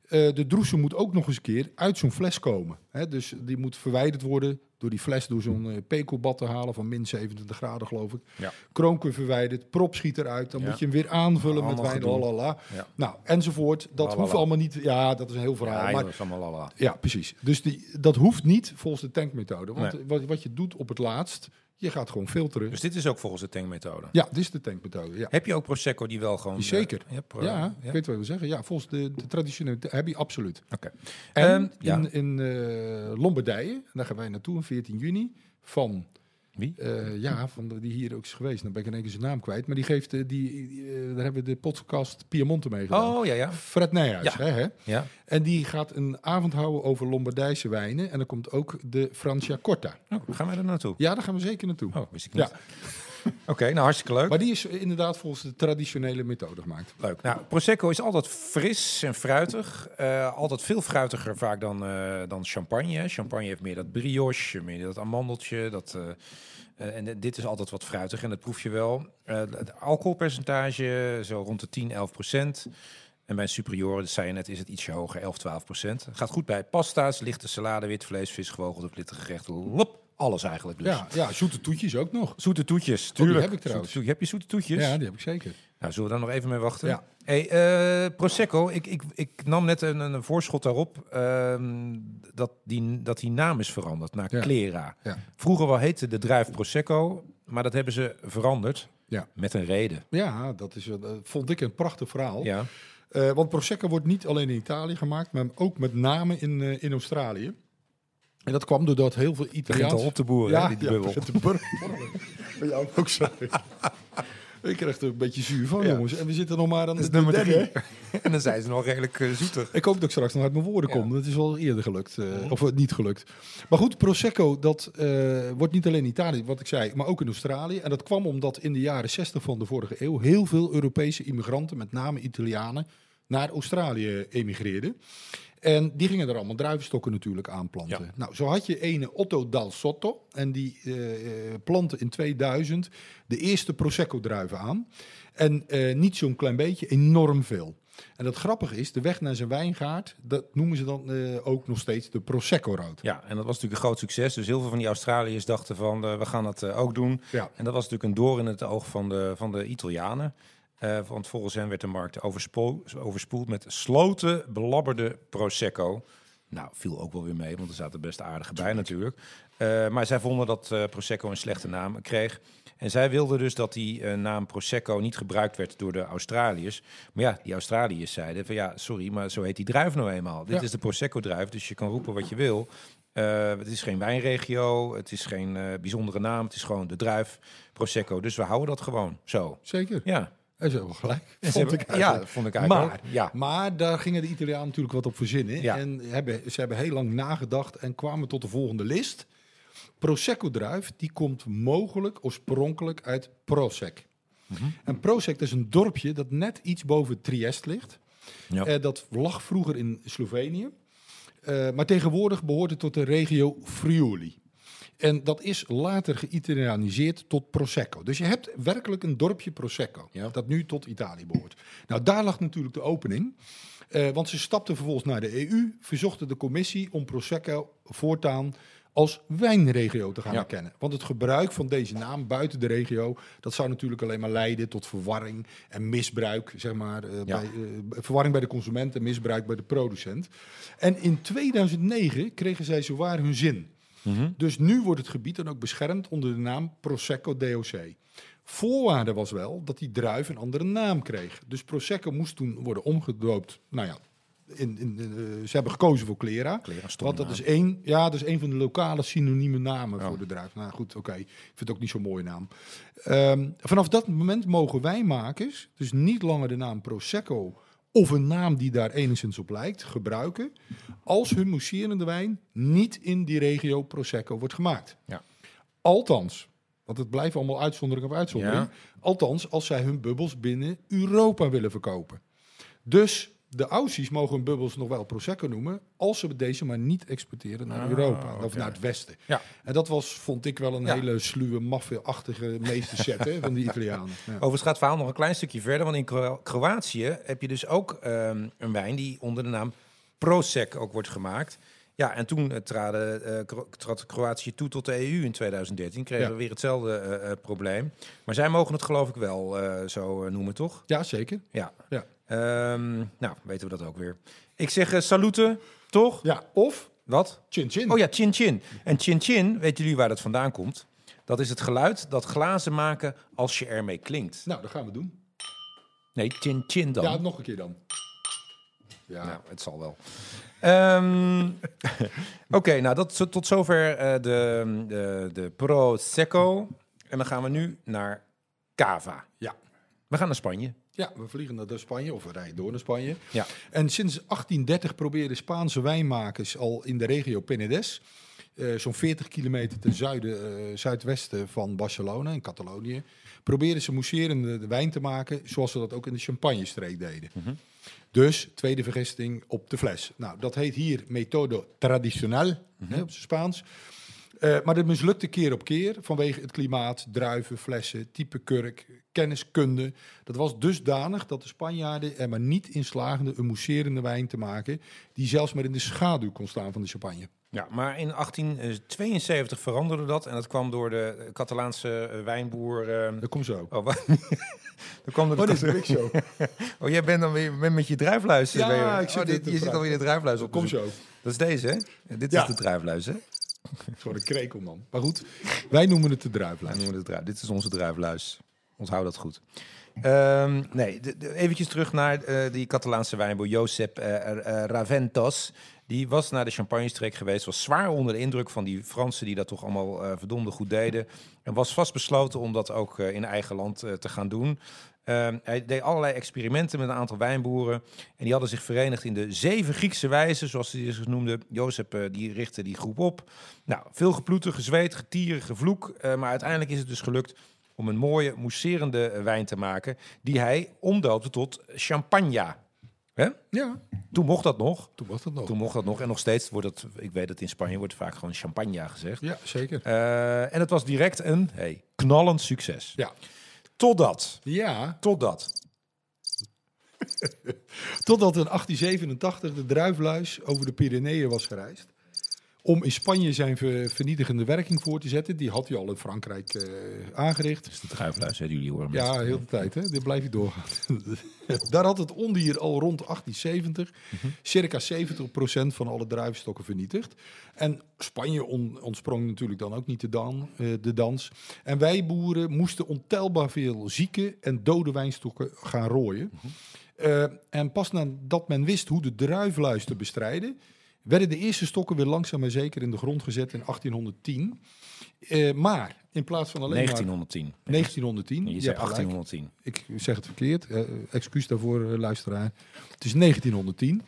Speaker 4: eh, de droesem moet ook nog eens een keer uit zo'n fles komen. Hè, dus die moet verwijderd worden door die fles door zo'n eh, pekelbad te halen van min 27 graden, geloof ik.
Speaker 3: Ja.
Speaker 4: Kroonken verwijderd, prop schiet eruit. Dan
Speaker 3: Ja.
Speaker 4: moet je hem weer aanvullen
Speaker 3: Allemaal
Speaker 4: met wijn,
Speaker 3: gedoe.
Speaker 4: lalala.
Speaker 3: Ja.
Speaker 4: Nou, enzovoort. Dat
Speaker 3: Lalala.
Speaker 4: hoeft allemaal niet... Ja, dat is een heel verhaal.
Speaker 3: Ja,
Speaker 4: maar
Speaker 3: joh, is allemaal lala.
Speaker 4: ja, precies. Dus die, dat hoeft niet volgens de tankmethode. Want
Speaker 3: Nee.
Speaker 4: wat, wat je doet op het laatst, je gaat gewoon filteren.
Speaker 3: Dus dit is ook volgens de tankmethode.
Speaker 4: ja, dit is de tankmethode. Ja,
Speaker 3: Heb je ook Prosecco die wel gewoon... eh,
Speaker 4: Zeker.
Speaker 3: je hebt, eh,
Speaker 4: ja, ik
Speaker 3: ja.
Speaker 4: weet wat je wil zeggen. Ja, volgens de, de traditionele heb je absoluut.
Speaker 3: Oké.
Speaker 4: En
Speaker 3: Ehm, ja.
Speaker 4: in, in eh, Lombardije, en daar gaan wij naartoe op 14 juni, van...
Speaker 3: Wie?
Speaker 4: Eh, ja, van de- die hier ook is geweest. Dan ben ik in één keer zijn naam kwijt. Maar die geeft, eh, die, die, eh, daar hebben we de podcast Piemonte mee gedaan.
Speaker 3: Oh, ja, ja.
Speaker 4: Fred Nijhuis,
Speaker 3: Ja.
Speaker 4: hè, hè?
Speaker 3: Ja,
Speaker 4: En die gaat een avond houden over Lombardijse wijnen. En dan komt ook de Franciacorta.
Speaker 3: Oh, gaan wij er naartoe?
Speaker 4: Ja, daar gaan we zeker naartoe.
Speaker 3: Oh, wist ik
Speaker 4: Nou, Ja.
Speaker 3: niet. Oké, nou hartstikke leuk.
Speaker 4: Maar die is inderdaad volgens de traditionele methode gemaakt.
Speaker 3: Leuk. Nou, Prosecco is altijd fris en fruitig. Eh, altijd veel fruitiger vaak dan, eh, dan champagne. hè. Champagne heeft meer dat brioche, meer dat amandeltje. Dat, eh, eh, en dit is altijd wat fruitig en dat proef je wel. Eh, het alcoholpercentage zo rond de 10, 11 procent. En bij een superiore, dat zei je net, is het ietsje hoger, 11, 12 procent. Gaat goed bij pasta's, lichte salade, wit vlees, vis, gewogeld of lichte gerechten. Lop, alles eigenlijk dus.
Speaker 4: Ja, ja, zoete toetjes ook nog.
Speaker 3: Zoete toetjes,
Speaker 4: die
Speaker 3: tuurlijk.
Speaker 4: heb ik trouwens.
Speaker 3: Zoete toe- heb je zoete toetjes?
Speaker 4: Ja, die heb ik zeker.
Speaker 3: Nou, zullen we daar nog even mee wachten?
Speaker 4: Ja.
Speaker 3: Hey, eh, Prosecco, ik, ik, ik nam net een, een voorschot daarop ehm, dat, die, dat die naam is veranderd naar
Speaker 4: Ja.
Speaker 3: Clera.
Speaker 4: Ja.
Speaker 3: Vroeger wel heette de druif Prosecco, maar dat hebben ze veranderd
Speaker 4: Ja.
Speaker 3: met een reden.
Speaker 4: Ja, dat is, eh, vond ik een prachtig verhaal.
Speaker 3: Ja.
Speaker 4: Eh, want Prosecco wordt niet alleen in Italië gemaakt, maar ook met name in, eh, in Australië. En dat kwam doordat heel veel
Speaker 3: Begint al
Speaker 4: Italiaans...
Speaker 3: op te boeren, hè, die bubbel.
Speaker 4: begint te borrelen. Van jou ook zo. Ik krijg er een beetje zuur van,
Speaker 3: Ja.
Speaker 4: jongens. En we zitten nog maar aan de
Speaker 3: is nummer
Speaker 4: derde,
Speaker 3: drie.
Speaker 4: hè?
Speaker 3: en dan zijn ze nog redelijk eh, zoetig.
Speaker 4: Ik hoop dat ik straks nog uit mijn woorden kom.
Speaker 3: Ja.
Speaker 4: Dat is wel eerder gelukt. eh, Of eh, niet gelukt. Maar goed, Prosecco, dat eh, wordt niet alleen in Italië, wat ik zei, maar ook in Australië. En dat kwam omdat in de jaren 60 van de vorige eeuw heel veel Europese immigranten, met name Italianen, naar Australië emigreerden. En die gingen er allemaal druivenstokken natuurlijk aanplanten.
Speaker 3: Ja.
Speaker 4: Nou, zo had je ene Otto dal Sotto. En die eh, eh, plantte in 2000 de eerste Prosecco-druiven aan. En eh, niet zo'n klein beetje, enorm veel. En het grappige is, de weg naar zijn wijngaard, dat noemen ze dan eh, ook nog steeds de Prosecco-route.
Speaker 3: Ja, en dat was natuurlijk een groot succes. Dus heel veel van die Australiërs dachten van, eh, we gaan dat eh, ook doen.
Speaker 4: Ja.
Speaker 3: En dat was natuurlijk een door in het oog van de, van de Italianen. Eh, want volgens hen werd de markt overspo- overspoeld met sloten belabberde Prosecco. Nou, viel ook wel weer mee, want er zaten best aardige bij natuurlijk. Eh, maar zij vonden dat eh, Prosecco een slechte naam kreeg. En zij wilden dus dat die eh, naam Prosecco niet gebruikt werd door de Australiërs. Maar ja, die Australiërs zeiden van ja, sorry, maar zo heet die druif nou eenmaal. Dit
Speaker 4: Ja.
Speaker 3: is de Prosecco-druif, dus je kan roepen wat je wil. Eh, het is geen wijnregio, het is geen eh, bijzondere naam, het is gewoon de druif Prosecco. Dus we houden dat gewoon zo.
Speaker 4: Zeker.
Speaker 3: Ja,
Speaker 4: En ze hebben gelijk.
Speaker 3: En ze
Speaker 4: Vond
Speaker 3: hebben-
Speaker 4: ik
Speaker 3: ja,
Speaker 4: eigenlijk.
Speaker 3: vond ik eigenlijk
Speaker 4: Maar,
Speaker 3: ook. Ja.
Speaker 4: maar daar gingen de Italianen natuurlijk wat op verzinnen.
Speaker 3: Ja.
Speaker 4: En hebben, ze hebben heel lang nagedacht en kwamen tot de volgende list. Prosecco-druif, die komt mogelijk oorspronkelijk uit Prosec.
Speaker 3: Mhm.
Speaker 4: En Prosec dat is een dorpje dat net iets boven Trieste ligt.
Speaker 3: Ja.
Speaker 4: Eh, dat lag vroeger in Slovenië. Eh, maar tegenwoordig behoort het tot de regio Friuli. En dat is later geïtalianiseerd tot Prosecco. Dus je hebt werkelijk een dorpje Prosecco,
Speaker 3: Ja.
Speaker 4: dat nu tot Italië behoort. Nou, daar lag natuurlijk de opening. Eh, want ze stapten vervolgens naar de EU, verzochten de commissie om Prosecco voortaan als wijnregio te gaan
Speaker 3: Ja.
Speaker 4: erkennen. Want het gebruik van deze naam buiten de regio, dat zou natuurlijk alleen maar leiden tot verwarring en misbruik, zeg maar, eh,
Speaker 3: Ja.
Speaker 4: bij, eh, verwarring bij de consument en misbruik bij de producent. En in 2009 kregen zij zowaar hun zin. Dus nu wordt het gebied dan ook beschermd onder de naam Prosecco DOC. Voorwaarde was wel dat die druif een andere naam kreeg. Dus Prosecco moest toen worden omgedoopt. Nou ja, in, in, eh, ze hebben gekozen voor Clera.
Speaker 3: Kleren stomme
Speaker 4: Want dat
Speaker 3: naam.
Speaker 4: is één, ja, dat is één van de lokale synonieme namen voor de druif. Nou goed, oké. Ik vind het ook niet zo'n mooie naam. Ehm, vanaf dat moment mogen wijnmakers dus niet langer de naam Prosecco of een naam die daar enigszins op lijkt gebruiken als hun mousserende wijn niet in die regio Prosecco wordt gemaakt.
Speaker 3: Ja.
Speaker 4: Althans, want het blijft allemaal uitzondering op uitzondering.
Speaker 3: Ja.
Speaker 4: Althans, als zij hun bubbels binnen Europa willen verkopen. Dus de Aussies mogen hun bubbels nog wel Prosecco noemen, als ze deze maar niet exporteren naar
Speaker 3: Ah,
Speaker 4: Europa of
Speaker 3: oké.
Speaker 4: naar het Westen.
Speaker 3: Ja.
Speaker 4: En dat was, vond ik wel een
Speaker 3: Ja.
Speaker 4: hele sluwe, maffia-achtige meesterset hè, van de Italianen. Oh, Ja.
Speaker 3: Overigens gaat het verhaal nog een klein stukje verder. Want in Kro- Kroatië heb je dus ook ehm, een wijn die onder de naam Prosec ook wordt gemaakt. Ja, en toen eh, traden, eh, Kro- trad Kroatië toe tot de EU in 2013. Kregen
Speaker 4: Ja.
Speaker 3: we weer hetzelfde eh, eh, probleem. Maar zij mogen het geloof ik wel eh, zo eh, noemen, toch?
Speaker 4: ja, zeker.
Speaker 3: Ja.
Speaker 4: Ja.
Speaker 3: Ehm, nou, weten we dat ook weer. Ik zeg eh, salute, toch?
Speaker 4: Ja, of
Speaker 3: Wat?
Speaker 4: Chin Chin.
Speaker 3: Oh ja, chin chin. En chin chin, weten jullie waar dat vandaan komt? Dat is het geluid dat glazen maken als je ermee klinkt.
Speaker 4: Nou, dat gaan we doen.
Speaker 3: Nee, chin chin dan.
Speaker 4: Ja, nog een keer dan. Ja,
Speaker 3: Nou, het zal wel. Ehm, Oké, nou dat zo- tot zover eh, de, de, de Prosecco. En dan gaan we nu naar Cava.
Speaker 4: Ja.
Speaker 3: We gaan naar Spanje.
Speaker 4: ja, we vliegen naar Spanje of we rijden door naar Spanje.
Speaker 3: Ja.
Speaker 4: En sinds 1830 probeerden Spaanse wijnmakers al in de regio Penedès, eh, zo'n 40 kilometer ten zuiden, eh, zuidwesten van Barcelona in Catalonië, probeerden ze mousserende wijn te maken, zoals ze dat ook in de Champagne-streek deden. Dus tweede vergisting op de fles. Nou, dat heet hier metodo tradicional, hè, op zijn Spaans. Eh, maar dat mislukte keer op keer vanwege het klimaat, druiven, flessen, type kurk, kenniskunde. Dat was dusdanig dat de Spanjaarden er maar niet in slaagden een mousserende wijn te maken die zelfs maar in de schaduw kon staan van de champagne.
Speaker 3: Ja, maar in 1872 veranderde dat. En dat kwam door de Catalaanse eh, wijnboer... ehm,
Speaker 4: Dat komt zo.
Speaker 3: Oh, wat? dat kwam door de
Speaker 4: Oh, dat is een zo.
Speaker 3: Oh, jij bent dan weer bent met je druifluizen.
Speaker 4: Ja,
Speaker 3: ben je-
Speaker 4: ik zit
Speaker 3: oh,
Speaker 4: dit
Speaker 3: dit,
Speaker 4: te
Speaker 3: je zit
Speaker 4: praten.
Speaker 3: alweer de druifluis op. te
Speaker 4: Kom
Speaker 3: zoeken.
Speaker 4: zo.
Speaker 3: Dat is deze, hè? Dit
Speaker 4: Ja.
Speaker 3: is de druifluis, hè?
Speaker 4: Gewoon een krekel, man. Maar goed, wij noemen het de
Speaker 3: Wij
Speaker 4: druiflijn.
Speaker 3: noemen het druif. Dit is onze druifluis. Onthoud dat goed. Ehm, nee, de, de- eventjes terug naar eh, die Catalaanse wijnboer Josep eh, eh, Raventos. Die was naar de Champagne-streek geweest, was zwaar onder de indruk van die Fransen die dat toch allemaal eh, verdomde goed deden. En was vastbesloten om dat ook eh, in eigen land eh, te gaan doen. Ehm, hij deed allerlei experimenten met een aantal wijnboeren. En die hadden zich verenigd in de zeven Griekse wijzen, zoals die zich noemde. Jozef eh, die richtte die groep op. Nou, veel geploeter, gezweet, getier, gevloek. eh, maar uiteindelijk is het dus gelukt om een mooie, mousserende eh, wijn te maken. Die hij omdoopte tot champagne. Hè?
Speaker 4: Ja,
Speaker 3: Toen mocht dat nog.
Speaker 4: toen was dat nog.
Speaker 3: Toen mocht dat nog. En nog steeds wordt het, ik weet dat in Spanje wordt vaak gewoon champagne gezegd.
Speaker 4: Ja, zeker.
Speaker 3: Eh, en het was direct een hey, knallend succes.
Speaker 4: Ja,
Speaker 1: Totdat.
Speaker 4: Ja,
Speaker 1: Totdat.
Speaker 4: totdat in 1887 de druifluis over de Pyreneeën was gereisd. Om in Spanje zijn ver- vernietigende werking voor te zetten. Die had hij al in Frankrijk eh, aangericht.
Speaker 6: Dus de druifluis, hebben jullie hoor.
Speaker 4: Ja, heel de tijd. Hè? Dit blijft niet doorgaan. Daar had het ondier al rond 1870
Speaker 3: Mhm.
Speaker 4: circa 70% van alle druivenstokken vernietigd. En Spanje on- ontsprong natuurlijk dan ook niet de, dan, eh, de dans. En wij boeren moesten ontelbaar veel zieke en dode wijnstokken gaan rooien.
Speaker 3: Mhm.
Speaker 4: Eh, en pas nadat men wist hoe de druifluis te bestrijden... werden de eerste stokken weer langzaam maar zeker in de grond gezet in 1810. Eh, maar in plaats van alleen maar...
Speaker 3: 1910.
Speaker 4: 1910.
Speaker 3: Je
Speaker 4: Je
Speaker 3: zei
Speaker 4: hebt gelijk.
Speaker 3: 1810.
Speaker 4: Ik zeg het verkeerd. Eh, eh, excuus daarvoor, eh, luisteraar. Het is 1910.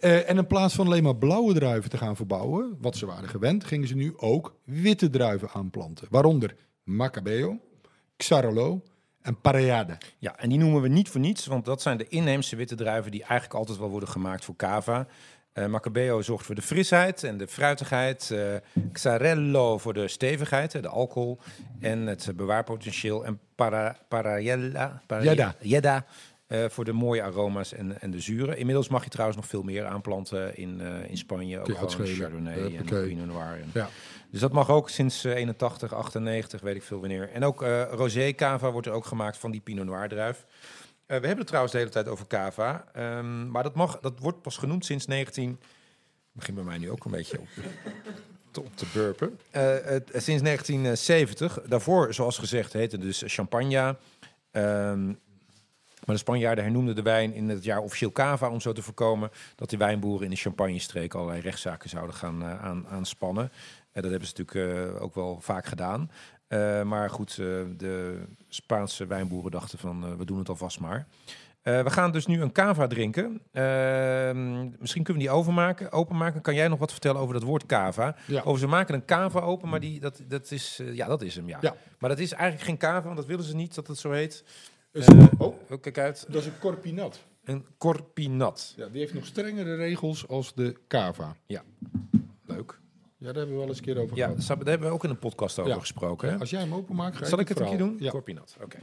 Speaker 4: Eh, en in plaats van alleen maar blauwe druiven te gaan verbouwen, wat ze waren gewend, gingen ze nu ook witte druiven aanplanten. Waaronder Macabeo, Xarolo en Pareade.
Speaker 3: Ja, en die noemen we niet voor niets, want dat zijn de inheemse witte druiven die eigenlijk altijd wel worden gemaakt voor cava. Eh Macabeo zorgt voor de frisheid en de fruitigheid. eh, Xarello voor de stevigheid, hè, de alcohol en het bewaarpotentieel. En para, Paraiella, para-
Speaker 4: Jedda.
Speaker 3: Jedda, eh, voor de mooie aroma's en, en de zuren. Inmiddels mag je trouwens nog veel meer aanplanten in, eh, in Spanje. Ook
Speaker 4: Kun je
Speaker 3: gewoon
Speaker 4: uitschelen.
Speaker 3: Chardonnay en
Speaker 4: Huppakee.
Speaker 3: Pinot Noir. En,
Speaker 4: Ja.
Speaker 3: dus dat mag ook sinds eh, 81, 98, weet ik veel wanneer. En ook eh rosé cava wordt er ook gemaakt van die Pinot Noir druif. Eh, we hebben het trouwens de hele tijd over cava. ehm, maar dat, mag, dat wordt pas genoemd sinds 19... Het begint bij mij nu ook een beetje op te, op te burpen. Eh, het- sinds 1970. Daarvoor, zoals gezegd, heette dus champagne. Ehm, maar de Spanjaarden hernoemden de wijn in het jaar officieel cava... om zo te voorkomen dat de wijnboeren in de Champagne-streek... allerlei rechtszaken zouden gaan eh, aan, aanspannen. En dat hebben ze natuurlijk eh, ook wel vaak gedaan. Eh, maar goed, eh, de Spaanse wijnboeren dachten van... eh, we doen het alvast maar. Eh, we gaan dus nu een cava drinken. Ehm, misschien kunnen we die overmaken, openmaken. Kan jij nog wat vertellen over dat woord cava?
Speaker 4: Ja. Mm.
Speaker 3: Over ze maken een cava open, maar die, dat, dat is, eh, ja, dat is hem, ja.
Speaker 4: Ja.
Speaker 3: Maar dat is eigenlijk geen cava, want dat willen ze niet dat het zo heet.
Speaker 4: Dus-
Speaker 3: Eh,
Speaker 4: oh,
Speaker 3: Oh, kijk uit.
Speaker 4: dat is een Corpinat.
Speaker 3: Een corpinat.
Speaker 4: Ja, die heeft nog strengere regels als de Cava.
Speaker 3: Leuk.
Speaker 4: Ja, daar hebben we wel eens een keer over
Speaker 3: Ja,
Speaker 4: gehad.
Speaker 3: Sab- daar hebben we ook in een podcast over
Speaker 4: Ja.
Speaker 3: gesproken. Hè?
Speaker 4: Als jij hem openmaakt, ga
Speaker 3: Zal ik het een
Speaker 4: verhaal.
Speaker 3: keer doen?
Speaker 4: Ja.
Speaker 3: Corpinat. Oké.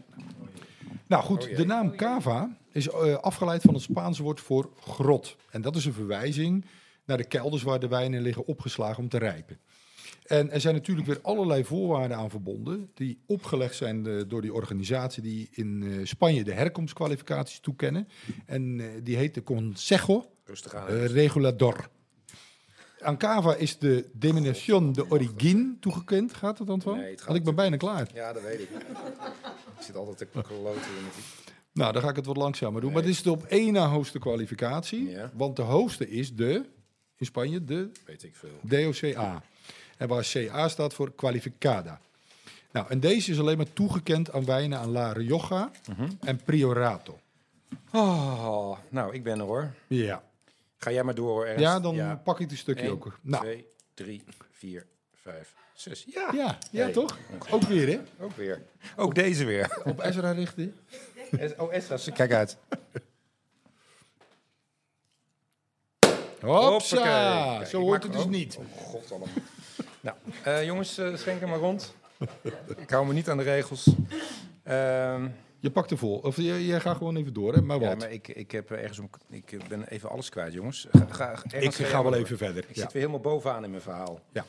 Speaker 4: Nou
Speaker 3: Oh,
Speaker 4: goed, de naam cava is eh, afgeleid van het Spaanse woord voor grot. En dat is een verwijzing naar de kelders waar de wijnen liggen opgeslagen om te rijpen. En er zijn natuurlijk weer allerlei voorwaarden aan verbonden... die opgelegd zijn eh, door die organisatie die in eh, Spanje de herkomstkwalificaties toekennen. En eh, die heet de Consejo
Speaker 3: Nou, Rustig aan.
Speaker 4: eh, Regulador. Aan cava is de denominación de origine toegekend. Gaat dat, Antoine?
Speaker 3: Nee, het gaat
Speaker 4: Want ik ben bijna klaar.
Speaker 3: Ja, dat weet ik. ik zit altijd te kloten in het...
Speaker 4: Nou, dan ga ik het wat langzamer doen. Maar dit is de op één na hoogste kwalificatie.
Speaker 3: Ja.
Speaker 4: Want de hoogste is de, in Spanje, de
Speaker 3: Weet ik veel.
Speaker 4: DOCA. En waar CA staat voor Qualificada. Nou, en deze is alleen maar toegekend aan wijnen aan La Rioja
Speaker 3: Mhm.
Speaker 4: en Priorato.
Speaker 3: Oh, nou, ik ben er hoor.
Speaker 4: Ja,
Speaker 3: Ga jij maar door hoor, Ernst.
Speaker 4: ja dan pak ik het stukje
Speaker 3: Eén,
Speaker 4: ook. Nou,
Speaker 3: Twee, drie, vier, vijf, zes. Ja,
Speaker 4: ja, ja
Speaker 3: Hey.
Speaker 4: toch? Ook weer, hè?
Speaker 3: ook weer. Ook deze weer.
Speaker 4: Op Ezra richten.
Speaker 3: oh, Esra, kijk uit. Hoppakee.
Speaker 4: Hopsa!
Speaker 3: Kijk,
Speaker 4: Zo
Speaker 3: ik maak
Speaker 4: hoort het
Speaker 3: er
Speaker 4: dus
Speaker 3: ook-
Speaker 4: niet.
Speaker 3: Oh, god allemaal. nou, eh, jongens, eh, schenk hem maar rond. ik hou me niet aan de regels. Ehm,
Speaker 4: Je pakt er vol. Of jij, jij gaat gewoon even door, hè? Maar wat?
Speaker 3: ja, maar ik, ik, heb ergens om, ik ben even alles kwijt, jongens. Ga, ga, Ernst,
Speaker 4: ik
Speaker 3: jij
Speaker 4: ga
Speaker 3: maar
Speaker 4: wel
Speaker 3: door.
Speaker 4: even verder.
Speaker 3: Ik
Speaker 4: Ja.
Speaker 3: zit weer helemaal bovenaan in mijn verhaal.
Speaker 4: Ja.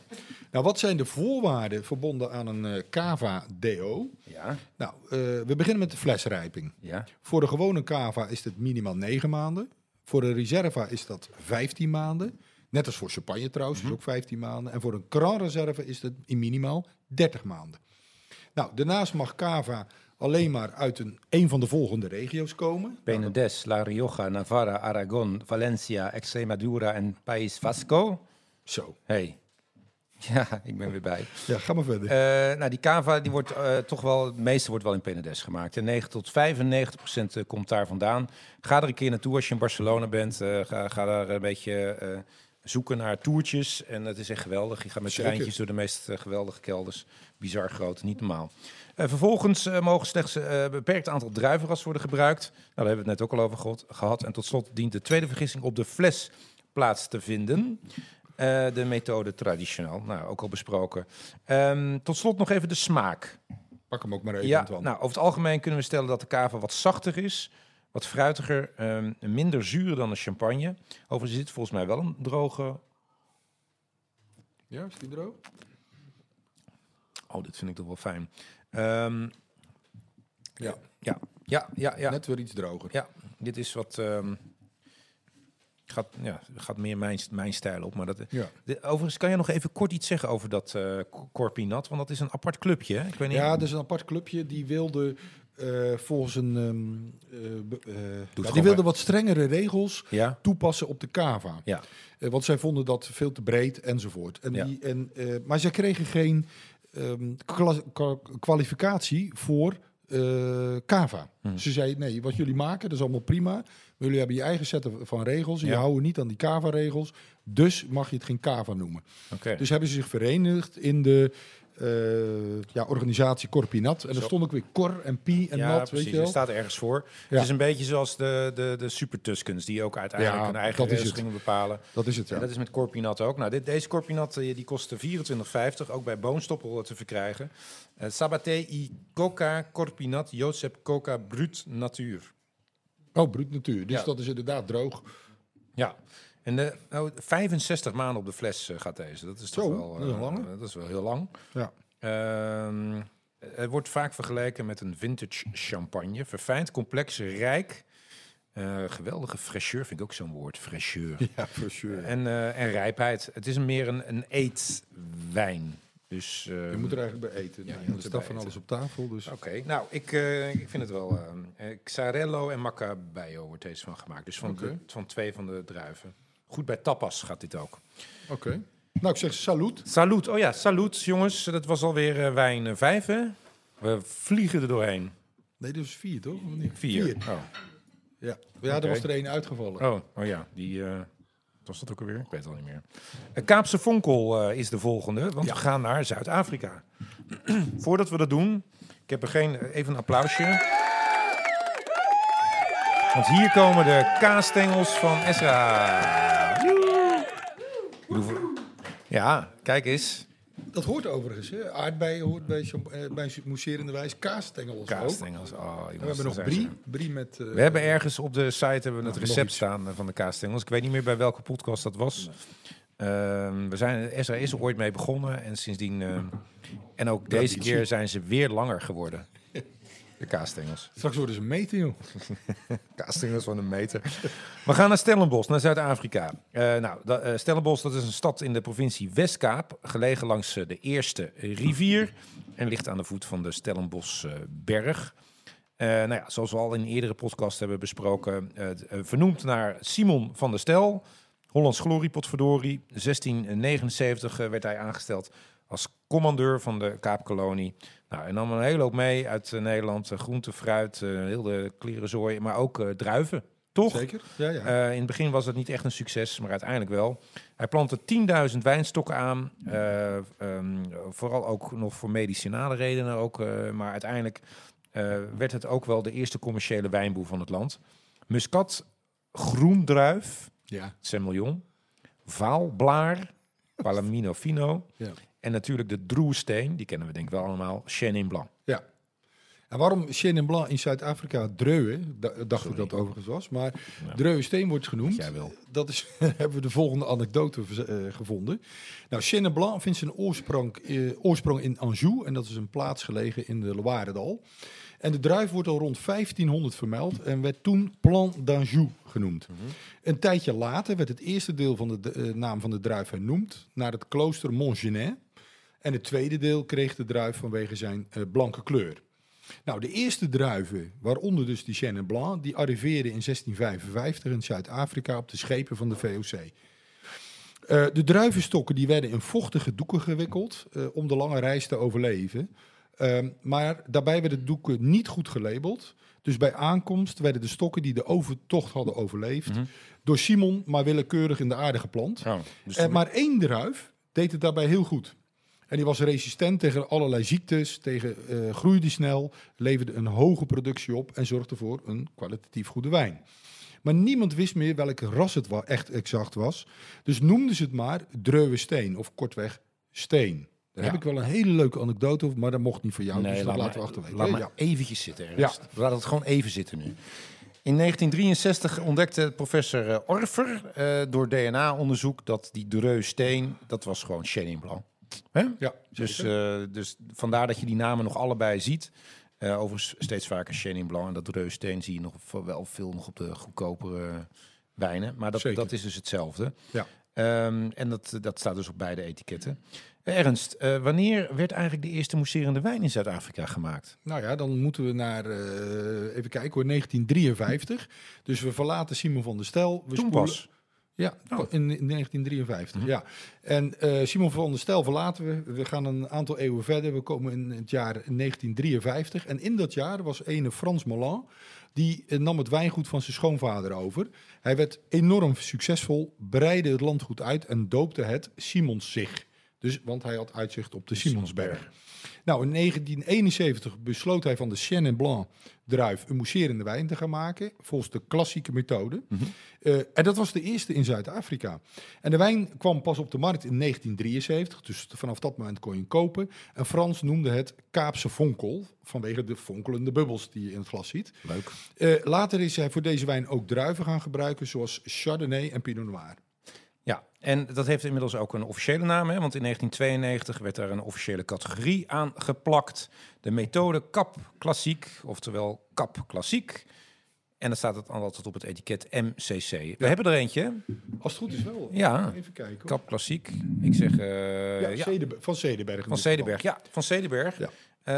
Speaker 4: Nou, wat zijn de voorwaarden verbonden aan een eh, cava DO?
Speaker 3: Ja,
Speaker 4: Nou, eh, we beginnen met de flesrijping.
Speaker 3: ja.
Speaker 4: Voor de gewone cava is dit minimaal 9 maanden. Voor de reserva is dat 15 maanden. Net als voor champagne trouwens,
Speaker 3: Mhm.
Speaker 4: is ook 15 maanden. En voor een Grand Reserve is dat in minimaal 30 maanden. Nou, daarnaast mag cava alleen maar uit een, een van de volgende regio's komen.
Speaker 3: Penedès, La Rioja, Navarra, Aragon, Valencia, Extremadura en País Vasco.
Speaker 4: Zo,
Speaker 3: Hey. Ja, ik ben weer bij.
Speaker 4: ja, ga maar verder.
Speaker 3: Eh, nou, die cava die wordt eh, toch wel, het meeste wordt wel in Penedès gemaakt. En 9 tot 95 procent eh, komt daar vandaan. Ga er een keer naartoe als je in Barcelona bent. Eh, ga, ga daar een beetje eh, zoeken naar toertjes. En het is echt geweldig. Je gaat met
Speaker 4: Zeker.
Speaker 3: treintjes door de meest eh, geweldige kelders. Bizar groot, niet normaal. Eh, vervolgens eh, mogen slechts eh, een beperkt aantal druivenras worden gebruikt. Nou, daar hebben we het net ook al over geho- gehad. En tot slot dient de tweede vergissing op de fles plaats te vinden. Eh, de methode traditioneel, nou, ook al besproken. Ehm, tot slot nog even de smaak.
Speaker 4: Pak hem ook maar even,
Speaker 3: Ja,
Speaker 4: Antoine.
Speaker 3: nou, over het algemeen kunnen we stellen dat de kava wat zachter is, wat fruitiger, ehm, minder zuur dan de champagne. Overigens zit volgens mij wel een droge...
Speaker 4: Ja, is die droog?
Speaker 3: Oh, dit vind ik toch wel fijn. Ehm,
Speaker 4: Ja,
Speaker 3: ja, ja, ja, ja.
Speaker 4: net weer iets droger.
Speaker 3: Ja, dit is wat... ehm, gaat, ja, gaat meer mijn, mijn stijl op, maar dat...
Speaker 4: Ja.
Speaker 3: De- overigens kan je nog even kort iets zeggen over dat eh Cor- Corpinat, want dat is een apart clubje. hè? Ik weet niet.
Speaker 4: Ja, dus- dat is een apart clubje. Die wilde eh, volgens een... ehm, eh, be- eh, ja, die
Speaker 3: gewoon
Speaker 4: wilde
Speaker 3: maar.
Speaker 4: wat strengere regels
Speaker 3: ja,
Speaker 4: toepassen op de cava.
Speaker 3: Ja.
Speaker 4: Eh, want zij vonden dat veel te breed enzovoort. En
Speaker 3: Ja.
Speaker 4: die, en, eh, maar zij kregen geen ehm, kla- kwa- kwalificatie voor eh, cava.
Speaker 3: Mhm.
Speaker 4: Ze zei, nee, wat jullie maken, dat is allemaal prima. Maar jullie hebben je eigen set van regels. Je
Speaker 3: Ja.
Speaker 4: houden niet aan die cava-regels. Dus mag je het geen cava noemen.
Speaker 3: oké.
Speaker 4: Dus hebben ze zich verenigd in de eh, ja, organisatie Corpinat. En
Speaker 3: Zo.
Speaker 4: er stond ook weer Cor en Pi en
Speaker 3: ja,
Speaker 4: Nat,
Speaker 3: precies.
Speaker 4: weet je wel.
Speaker 3: Er staat ergens voor.
Speaker 4: Ja.
Speaker 3: Het is een beetje zoals de, de, de Super Tuskens, die ook uiteindelijk
Speaker 4: Ja,
Speaker 3: hun eigen
Speaker 4: dat is het.
Speaker 3: regels gingen bepalen.
Speaker 4: Dat is het, ja.
Speaker 3: En dat is met Corpinat ook. Nou, dit, deze Corpinat eh, die kostte 24,50, ook bij Boonstoppel eh, te verkrijgen. Eh, Sabaté i Coca Corpinat Josep Coca Brut Natuur.
Speaker 4: Oh, bruut natuur. Dus
Speaker 3: Ja.
Speaker 4: dat is inderdaad droog.
Speaker 3: Ja. En de, nou, 65 maanden op de fles eh, gaat deze. Dat is toch
Speaker 4: Zo,
Speaker 3: wel,
Speaker 4: dat is
Speaker 3: eh,
Speaker 4: lang, hè?
Speaker 3: eh, dat is wel heel lang.
Speaker 4: Ja.
Speaker 3: Ehm, het wordt vaak vergeleken met een vintage champagne. Verfijnd, complex, rijk. Eh, geweldige fraîcheur vind ik ook zo'n woord. Fraîcheur.
Speaker 4: Ja, for sure.
Speaker 3: En, eh, en rijpheid. Het is meer een, een eetwijn. Dus, eh,
Speaker 4: Je moet er eigenlijk bij eten.
Speaker 3: Ja,
Speaker 4: Ja,
Speaker 3: je
Speaker 4: je
Speaker 3: moet
Speaker 4: er
Speaker 3: erbij
Speaker 4: staat van
Speaker 3: eten.
Speaker 4: alles op tafel. Dus.
Speaker 3: Oké, nou, ik, eh, ik vind het wel... eh, eh, Xarello en Macabeo wordt deze van gemaakt. Dus van,
Speaker 4: Oké.
Speaker 3: de- van twee van de druiven. Goed bij tapas gaat dit ook.
Speaker 4: Oké. Nou, ik zeg salut.
Speaker 3: Salut. Oh ja, salut jongens. Dat was alweer eh, wijn eh, vijf, hè? We vliegen er doorheen.
Speaker 4: Nee, dat is vier, toch? Of niet?
Speaker 3: Vier. Oh.
Speaker 4: Ja, ja
Speaker 3: Oké.
Speaker 4: er was er één uitgevallen.
Speaker 3: Oh, oh ja, die. eh, wat was dat ook alweer? Ik weet het al niet meer. Eh, Kaapse Vonkel eh, is de volgende, want we gaan naar Zuid-Afrika. Voordat we dat doen, ik heb er geen. eh, Even een applausje. Want hier komen de kaasstengels van Esra. Ik doe voor- Ja, kijk eens.
Speaker 4: Dat hoort overigens. Hè. Aardbeien hoort bij, champ- eh, bij mousserende wijs. Kaasstengels ook.
Speaker 3: Kaasstengels. Oh, jongens,
Speaker 4: We hebben
Speaker 3: dat
Speaker 4: nog
Speaker 3: zijn
Speaker 4: brie.
Speaker 3: ze.
Speaker 4: Brie met... eh,
Speaker 3: We hebben ergens op de site hebben we het
Speaker 4: nog
Speaker 3: recept
Speaker 4: iets.
Speaker 3: staan eh, van de kaasstengels. Ik weet niet meer bij welke podcast dat was. Ehm, we zijn, Esra is er ooit mee begonnen en sindsdien... ehm, en ook deze
Speaker 4: Traditie.
Speaker 3: keer zijn ze weer langer geworden. De kaasstengels.
Speaker 4: Straks worden ze meten, joh.
Speaker 3: Kaasstengels van een meter. We gaan naar Stellenbosch, naar Zuid-Afrika. Eh, nou, da- eh, Stellenbosch dat is een stad in de provincie Westkaap, gelegen langs eh, de eerste rivier en ligt aan de voet van de Stellenbosberg. Eh nou ja, zoals we al in eerdere podcast hebben besproken, eh, het, eh, vernoemd naar Simon van der Stel, Hollands glorie potverdorie. 1679 eh, werd hij aangesteld als commandeur van de Kaapkolonie. Nou, en nam een hele hoop mee uit eh, Nederland. Eh, groente, fruit, eh, heel de klerenzooi, maar ook eh, druiven. Toch?
Speaker 4: Zeker? Ja, ja.
Speaker 3: Eh, in het begin was het niet echt een succes, maar uiteindelijk wel. Hij plantte 10.000 wijnstokken aan. eh, ehm, vooral ook nog voor medicinale redenen. Ook, eh, maar uiteindelijk eh, werd het ook wel de eerste commerciële wijnboer van het land. Muscat, groendruif,
Speaker 4: ja.
Speaker 3: Semillon, Vaalblaar, Palomino Fino.
Speaker 4: Ja.
Speaker 3: En natuurlijk de Droesteen, die kennen we denk ik wel allemaal, Chenin Blanc.
Speaker 4: Ja. En waarom Chenin Blanc in Zuid-Afrika Dreuwe, da- dacht ik dat het overigens was, maar Dreuwe steen wordt genoemd.
Speaker 3: Jij wil.
Speaker 4: Dat is, hebben we de volgende anekdote verz- eh, gevonden. Nou, Chenin Blanc vindt zijn oorsprong, eh, oorsprong in Anjou en dat is een plaats gelegen in de Loiredal. En de druif wordt al rond 1500 vermeld en werd toen Plan d'Anjou genoemd.
Speaker 3: Mhm.
Speaker 4: Een tijdje later werd het eerste deel van de, de- eh, naam van de druif hernoemd naar het klooster Montgenet. En het tweede deel kreeg de druif vanwege zijn eh, blanke kleur. Nou, de eerste druiven, waaronder dus die Chenin Blanc, die arriveerden in 1655 in Zuid-Afrika op de schepen van de VOC. Eh, de druivenstokken die werden in vochtige doeken gewikkeld eh, om de lange reis te overleven. Ehm, maar daarbij werden doeken niet goed gelabeld. Dus bij aankomst werden de stokken die de overtocht hadden overleefd, door Simon maar willekeurig in de aarde geplant.
Speaker 3: dus
Speaker 4: Eh, maar één druif deed het daarbij heel goed. En die was resistent tegen allerlei ziektes, tegen, eh, groeide snel, leverde een hoge productie op en zorgde voor een kwalitatief goede wijn. Maar niemand wist meer welke ras het wa- echt exact was. Dus noemden ze het maar Dreuwe Steen of kortweg Steen. Daar
Speaker 3: Ja.
Speaker 4: heb ik wel een hele leuke anekdote over, maar dat mocht niet voor jou. dus dat
Speaker 3: laat
Speaker 4: laten we
Speaker 3: maar-
Speaker 4: achterwege.
Speaker 3: Laat
Speaker 4: Ja.
Speaker 3: maar eventjes zitten. Ernst. Laat het gewoon even zitten nu. In 1963 ontdekte professor eh, Orfer eh, door DNA-onderzoek dat die Dreux-steen, dat was gewoon Chenin Blanc. Hè?
Speaker 4: Ja,
Speaker 3: Dus,
Speaker 4: zeker.
Speaker 3: eh, dus vandaar dat je die namen nog allebei ziet. Eh, overigens steeds vaker Chenin Blanc en dat Dreux-steen zie je nog v- wel veel nog op de goedkopere wijnen. Maar dat,
Speaker 4: Zeker.
Speaker 3: dat is dus hetzelfde.
Speaker 4: Ja.
Speaker 3: Ehm, en dat, dat staat dus op beide etiketten. Eh, Ernst, eh, wanneer werd eigenlijk de eerste mousserende wijn in Zuid-Afrika gemaakt?
Speaker 4: Nou ja, dan moeten we naar, eh, even kijken hoor, 1953. Dus we verlaten Simon van der Stel. We
Speaker 3: Toen
Speaker 4: spoelen-
Speaker 3: pas.
Speaker 4: Ja,
Speaker 3: Oh. Mhm.
Speaker 4: in, in 1953, ja. En eh, Simon van der Stel verlaten we. We gaan een aantal eeuwen verder. We komen in het jaar 1953. En in dat jaar was ene Frans Molan... die eh, nam het wijngoed van zijn schoonvader over. Hij werd enorm succesvol, breidde het landgoed uit... en doopte het Simonszig. Dus, want hij had uitzicht op de Simonsberg. Nou, in 1971 besloot hij van de Chenin Blanc druif een mousserende wijn te gaan maken, volgens de klassieke methode.
Speaker 3: Mhm.
Speaker 4: Eh, en dat was de eerste in Zuid-Afrika. En de wijn kwam pas op de markt in 1973, dus vanaf dat moment kon je hem kopen. En Frans noemde het Kaapse vonkel, vanwege de vonkelende bubbels die je in het glas ziet.
Speaker 3: Leuk.
Speaker 4: Eh, later is hij voor deze wijn ook druiven gaan gebruiken, zoals Chardonnay en Pinot Noir.
Speaker 3: Ja, en dat heeft inmiddels ook een officiële naam, hè? want in 1992 werd daar een officiële categorie aan geplakt. De methode CAP Klassiek, oftewel CAP Klassiek. En dan staat het dan altijd op het etiket MCC. We hebben er eentje, hè?
Speaker 4: Als het goed is wel.
Speaker 3: ja,
Speaker 4: Even kijken. hoor.
Speaker 3: CAP Klassiek. Ik zeg, eh,
Speaker 4: Ja,
Speaker 3: ja,
Speaker 4: Zedebe- van Zedenberg.
Speaker 3: van Zedenberg. Ja, van Zedenberg.
Speaker 4: Ja.
Speaker 3: Eh,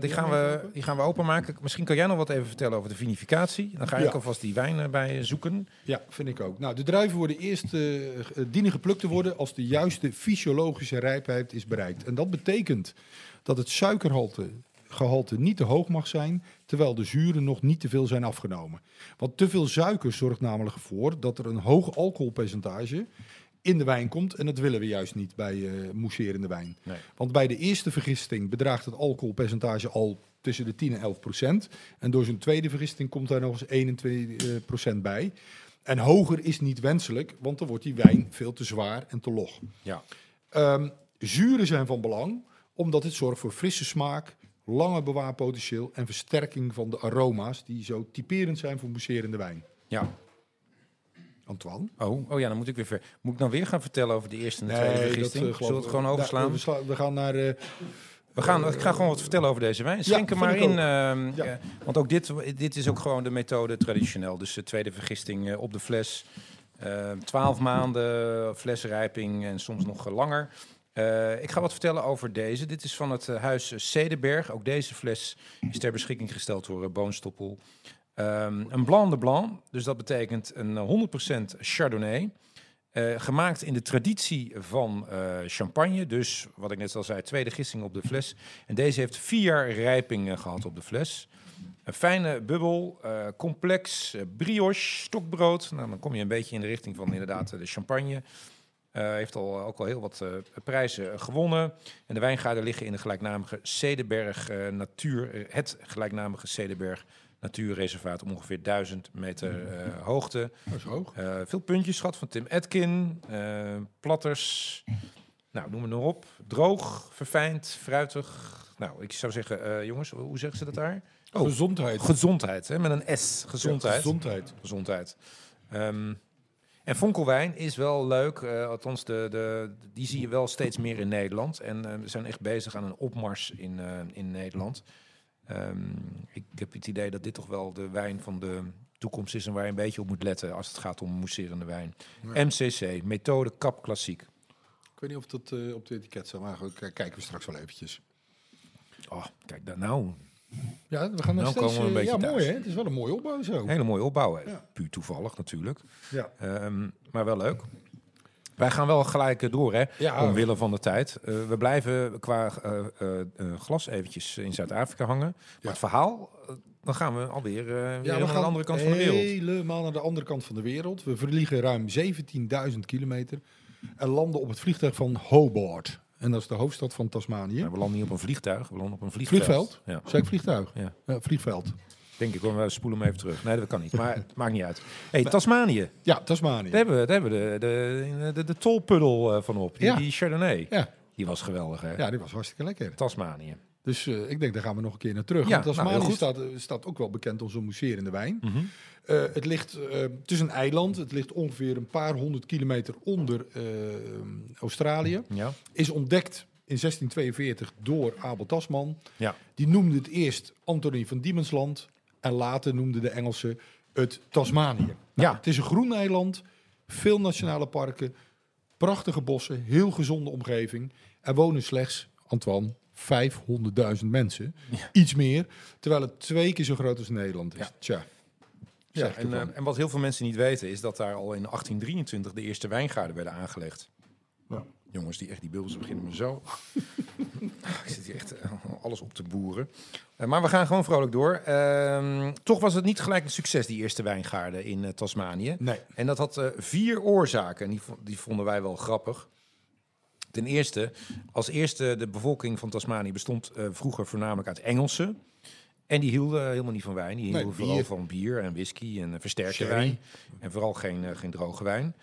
Speaker 3: die,
Speaker 4: Ja,
Speaker 3: gaan
Speaker 4: even
Speaker 3: we,
Speaker 4: open.
Speaker 3: die gaan we openmaken. Misschien kan jij nog wat even vertellen over de vinificatie. Dan ga ik
Speaker 4: Ja.
Speaker 3: alvast die wijn erbij zoeken.
Speaker 4: Ja, vind ik ook. Nou, de druiven worden eerst eh, eh, dienen geplukt te worden als de juiste fysiologische rijpheid is bereikt. En dat betekent dat het suikergehalte gehalte niet te hoog mag zijn, terwijl de zuren nog niet te veel zijn afgenomen. Want te veel suiker zorgt namelijk voor dat er een hoog alcoholpercentage in de wijn komt. En dat willen we juist niet bij eh mousserende wijn.
Speaker 3: Nee.
Speaker 4: Want bij de eerste vergisting bedraagt het alcoholpercentage al tussen de 10 en 11 procent. En door zo'n tweede vergisting komt daar nog eens 21 eh, procent bij. En hoger is niet wenselijk, want dan wordt die wijn veel te zwaar en te log.
Speaker 3: Ja.
Speaker 4: Ehm, zuren zijn van belang, omdat het zorgt voor frisse smaak, lange bewaarpotentieel en versterking van de aroma's die zo typerend zijn voor mousserende wijn.
Speaker 3: Ja,
Speaker 4: Antoine?
Speaker 3: Oh, oh ja, dan moet ik weer ver. Moet ik dan weer gaan vertellen over de eerste en de tweede vergisting?
Speaker 4: eh, geloof
Speaker 3: Zullen we
Speaker 4: ik-
Speaker 3: het gewoon
Speaker 4: Nou,
Speaker 3: overslaan?
Speaker 4: we, sla- we gaan naar... eh,
Speaker 3: we gaan, ik ga gewoon wat vertellen over deze wijn. Schenk er
Speaker 4: vind
Speaker 3: maar
Speaker 4: ik
Speaker 3: in.
Speaker 4: ook.
Speaker 3: ehm,
Speaker 4: Ja.
Speaker 3: eh, want ook dit, dit is ook gewoon de methode traditioneel. Dus de tweede vergisting eh, op de fles. Ehm, Twaalf maanden flesrijping en soms nog eh, langer. Eh, ik ga wat vertellen over deze. Dit is van het eh, huis Zedenberg. Ook deze fles is ter beschikking gesteld door eh, Boonstoppel. Ehm, een blanc de blanc, dus dat betekent een eh, 100% chardonnay. Eh, gemaakt in de traditie van eh, champagne. Dus wat ik net al zei, tweede gisting op de fles. En deze heeft vier jaar rijping eh, gehad op de fles. Een fijne bubbel, eh, complex, eh, brioche, stokbrood. Nou, dan kom je een beetje in de richting van inderdaad eh, de champagne. Eh, heeft al, ook al heel wat eh, prijzen eh, gewonnen. En de wijngaarden liggen in de gelijknamige Cedenberg eh, Natuur... eh, het gelijknamige Cedenberg Natuurreservaat... op ongeveer 1000 meter eh, hoogte.
Speaker 4: dat is Oh, hoog.
Speaker 3: Eh, veel puntjes gehad van Tim Atkin. eh, platters. Nou, noem het maar op. Droog, verfijnd, fruitig. Nou, ik zou zeggen, eh, jongens, hoe hoe zeggen ze dat daar? Oh.
Speaker 4: Gezondheid.
Speaker 3: Gezondheid, hè? met een S.
Speaker 4: Ja,
Speaker 3: Gezondheid.
Speaker 4: gezondheid.
Speaker 3: Gezondheid. Ehm, en fonkelwijn is wel leuk. eh, althans, de, de, die zie je wel steeds meer in Nederland. En eh, we zijn echt bezig aan een opmars in, eh, in Nederland. Ehm, ik heb het idee dat dit toch wel de wijn van de toekomst is... en waar je een beetje op moet letten als het gaat om mousserende wijn. MCC, methode kap klassiek.
Speaker 4: Ik weet niet of dat eh, op de etiket staat, maar goed, k- kijken we straks wel eventjes.
Speaker 3: Oh, kijk daar nou.
Speaker 4: Ja, we
Speaker 3: Nou
Speaker 4: gaan nog steeds...
Speaker 3: komen we een
Speaker 4: eh, ja,
Speaker 3: beetje
Speaker 4: mooi
Speaker 3: thuis.
Speaker 4: hè? Het is wel een mooie opbouw zo.
Speaker 3: Hele mooie opbouw. hè.
Speaker 4: Ja.
Speaker 3: Puur toevallig natuurlijk.
Speaker 4: Ja.
Speaker 3: Ehm, maar wel leuk. Wij gaan wel gelijk eh, door, hè?
Speaker 4: Ja.
Speaker 3: Omwille van de tijd. Eh, we blijven qua eh, eh, eh, glas eventjes in Zuid-Afrika hangen. Maar
Speaker 4: Ja.
Speaker 3: het verhaal, eh, dan gaan we alweer, eh, weer
Speaker 4: Ja,
Speaker 3: helemaal aan de andere kant van de wereld.
Speaker 4: helemaal naar de andere kant van de wereld. We vliegen ruim 17.000 kilometer en landen op het vliegtuig van Hobart. En dat is de hoofdstad van Tasmanië.
Speaker 3: Nou, we landen niet op een vliegtuig, we landen op een vliegveld.
Speaker 4: vliegveld?
Speaker 3: Ja,
Speaker 4: Zeg ik vliegtuig? Eh,
Speaker 3: Ja.
Speaker 4: vliegveld.
Speaker 3: denk ik. hoor. We spoelen hem even terug. Nee, dat kan niet. Maar het maakt niet uit. hey, Tasmanië.
Speaker 4: Ja, Tasmanië.
Speaker 3: Daar hebben we, daar hebben we de, de, de, de tolpuddel eh, van op. Die,
Speaker 4: Ja.
Speaker 3: die Chardonnay.
Speaker 4: Ja,
Speaker 3: Die was geweldig, hè?
Speaker 4: Ja, die was hartstikke lekker.
Speaker 3: Tasmanië.
Speaker 4: Dus eh, ik denk, daar gaan we nog een keer naar terug.
Speaker 3: Ja, nou,
Speaker 4: want
Speaker 3: heel
Speaker 4: Tasmanië
Speaker 3: goed.
Speaker 4: staat, eh, staat ook wel bekend als een mousserende wijn.
Speaker 3: Mhm.
Speaker 4: Eh, het, ligt, eh, het is een eiland. Het ligt ongeveer een paar honderd kilometer onder eh, Australië.
Speaker 3: Ja.
Speaker 4: Is ontdekt in 1642 door Abel Tasman.
Speaker 3: Ja.
Speaker 4: Die noemde het eerst Anthony van Diemensland. En later noemden de Engelsen het Tasmanië. Nou,
Speaker 3: Ja.
Speaker 4: Het is een groen eiland. Veel nationale parken. Prachtige bossen. Heel gezonde omgeving. Er wonen slechts, Antoine, 500.000 mensen. Iets meer. Terwijl het twee keer zo groot als Nederland is.
Speaker 3: Ja.
Speaker 4: Tja.
Speaker 3: Ja,
Speaker 4: Zeg ik
Speaker 3: en,
Speaker 4: ervan.
Speaker 3: eh, en wat heel veel mensen niet weten is dat daar al in 1823 de eerste wijngaarden werden aangelegd.
Speaker 4: Ja.
Speaker 3: Jongens, die echt die bubbels beginnen me zo. Ah, Ik zit hier echt eh, alles op te boeren. Eh, maar we gaan gewoon vrolijk door. Ehm, toch was het niet gelijk een succes, die eerste wijngaarden in eh, Tasmanië.
Speaker 4: Nee.
Speaker 3: En dat had eh, vier oorzaken. En die, vo- die vonden wij wel grappig. Ten eerste, als eerste, de bevolking van Tasmanië bestond eh, vroeger voornamelijk uit Engelsen. En die hielden eh, helemaal niet van wijn. Die hielden
Speaker 4: Nee,
Speaker 3: vooral
Speaker 4: bier.
Speaker 3: van bier en whisky en eh, versterkte
Speaker 4: Sherry.
Speaker 3: wijn. En vooral geen, eh, geen droge wijn.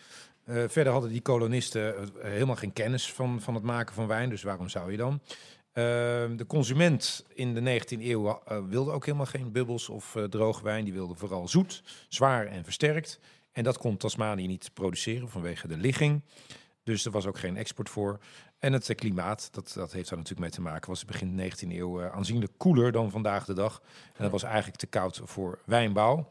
Speaker 3: Eh, verder hadden die kolonisten eh, helemaal geen kennis van, van het maken van wijn. Dus waarom zou je dan? Eh, de consument in de 19e eeuw eh, wilde ook helemaal geen bubbels of eh droge wijn. Die wilde vooral zoet, zwaar en versterkt. En dat kon Tasmanië niet produceren vanwege de ligging. Dus er was ook geen export voor. En het eh, klimaat, dat, dat heeft daar natuurlijk mee te maken, was begin 19e eeuw eh, aanzienlijk koeler dan vandaag de dag. En dat was eigenlijk te koud voor wijnbouw.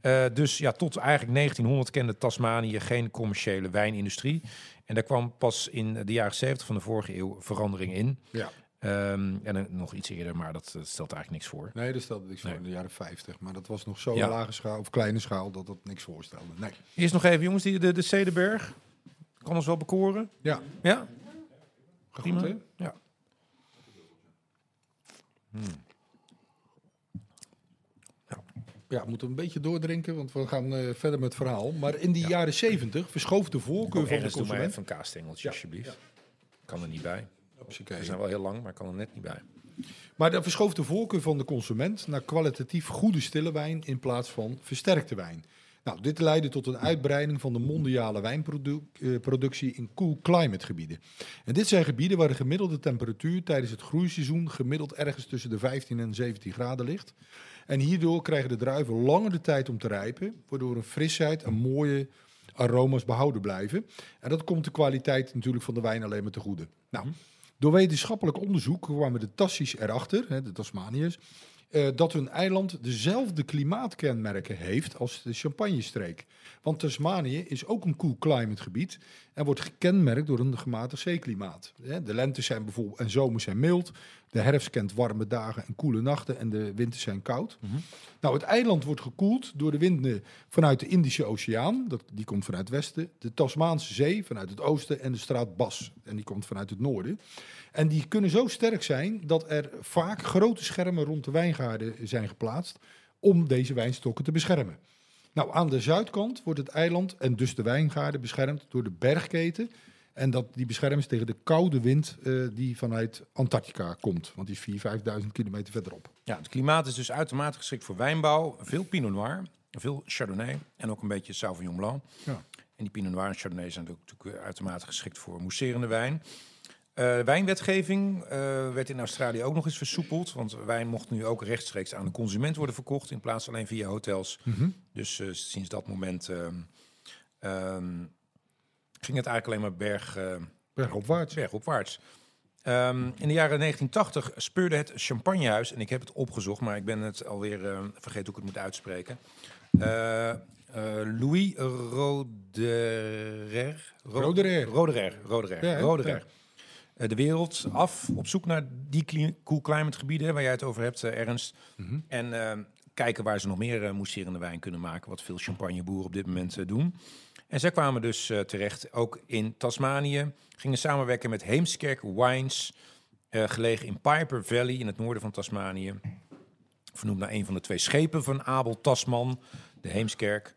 Speaker 3: Eh, dus ja, tot eigenlijk 1900 kende Tasmanië geen commerciële wijnindustrie. En daar kwam pas in de jaren 70 van de vorige eeuw verandering in.
Speaker 4: Ja.
Speaker 3: Ehm, en eh, nog iets eerder, maar dat eh, stelt eigenlijk niks voor.
Speaker 4: Nee, dat stelde niks voor
Speaker 3: Nee.
Speaker 4: in de jaren 50. Maar dat was nog zo
Speaker 3: Ja.
Speaker 4: lage schaal of kleine schaal dat dat niks voorstelde. Nee.
Speaker 3: Eerst nog even, jongens, die, de, de Cederberg. Kan ons wel bekoren.
Speaker 4: Ja,
Speaker 3: Ja,
Speaker 4: goed
Speaker 3: prima.
Speaker 4: hè?
Speaker 3: Ja.
Speaker 4: Ja, we moeten een beetje doordrinken, want we gaan eh, verder met het verhaal. Maar in die jaren 70 verschoof de voorkeur
Speaker 3: Ook
Speaker 4: van de
Speaker 3: ergens doe maar
Speaker 4: consument.
Speaker 3: even een kaastengeltje,
Speaker 4: Ja,
Speaker 3: alsjeblieft. Kan er niet bij.
Speaker 4: Hopsakee.
Speaker 3: Ze zijn wel heel lang, maar kan er net niet bij.
Speaker 4: Maar daar verschoof de voorkeur van de consument naar kwalitatief goede stille wijn in plaats van versterkte wijn. Nou, dit leidde tot een uitbreiding van de mondiale wijnproductie in cool climate gebieden. En dit zijn gebieden waar de gemiddelde temperatuur tijdens het groeiseizoen gemiddeld ergens tussen de 15 en 17 graden ligt. En hierdoor krijgen de druiven langer de tijd om te rijpen, waardoor een frisheid en mooie aroma's behouden blijven. En dat komt de kwaliteit natuurlijk van de wijn alleen maar te goede. Nou, door wetenschappelijk onderzoek kwamen de Tassies erachter, hè, de Tasmaniërs, eh, dat hun eiland dezelfde klimaatkenmerken heeft als de Champagne-streek. Want Tasmanië is ook een koel climate gebied en wordt gekenmerkt door een gematigd zeeklimaat. Hè, De lentes zijn bijvoorbeeld en zomers zijn mild, de herfst kent warme dagen en koele nachten en de winters zijn koud. Nou, het eiland wordt gekoeld door de winden vanuit de Indische Oceaan, dat, die komt vanuit het westen, de Tasmaanse Zee vanuit het oosten en de straat Bas, en die komt vanuit het noorden. En die kunnen zo sterk zijn dat er vaak grote schermen rond de wijngaarden zijn geplaatst om deze wijnstokken te beschermen. Nou, aan de zuidkant wordt het eiland en dus de wijngaarden beschermd door de bergketen. En dat die beschermd is tegen de koude wind eh, die vanuit Antarctica komt. Want die is 4.000, 5.000 kilometer verderop.
Speaker 3: Ja, het klimaat is dus uitermate geschikt voor wijnbouw. Veel Pinot Noir, veel Chardonnay en ook een beetje Sauvignon Blanc.
Speaker 4: Ja.
Speaker 3: En die Pinot Noir en Chardonnay zijn natuurlijk natuurlijk weer uitermate geschikt voor mousserende wijn. Eh, wijnwetgeving eh, werd in Australië ook nog eens versoepeld. Want wijn mocht nu ook rechtstreeks aan de consument worden verkocht. In plaats alleen via hotels. Dus eh, sinds dat moment ehm, ehm, ging het eigenlijk alleen maar berg, eh,
Speaker 4: Bergopwaarts.
Speaker 3: bergopwaarts. Ehm, in de jaren 1980 speurde het Champagnehuis, en ik heb het opgezocht, maar ik ben het alweer eh, vergeten hoe ik het moet uitspreken. Eh, eh, Louis Roderer. Ro-
Speaker 4: Roderer.
Speaker 3: Roderer. Roderer.
Speaker 4: Ja, hè?
Speaker 3: Roderer.
Speaker 4: Ja.
Speaker 3: Eh, de wereld af op zoek naar die cli- cool climate gebieden hè, waar jij het over hebt, eh, Ernst.
Speaker 4: Mhm.
Speaker 3: En eh, kijken waar ze nog meer eh, mousserende wijn kunnen maken, wat veel champagneboeren op dit moment eh, doen. En zij kwamen dus eh, terecht ook in Tasmanië. Gingen samenwerken met Heemskerk Wines, eh, gelegen in Piper Valley in het noorden van Tasmanië. Vernoemd naar een van de twee schepen van Abel Tasman, de Heemskerk.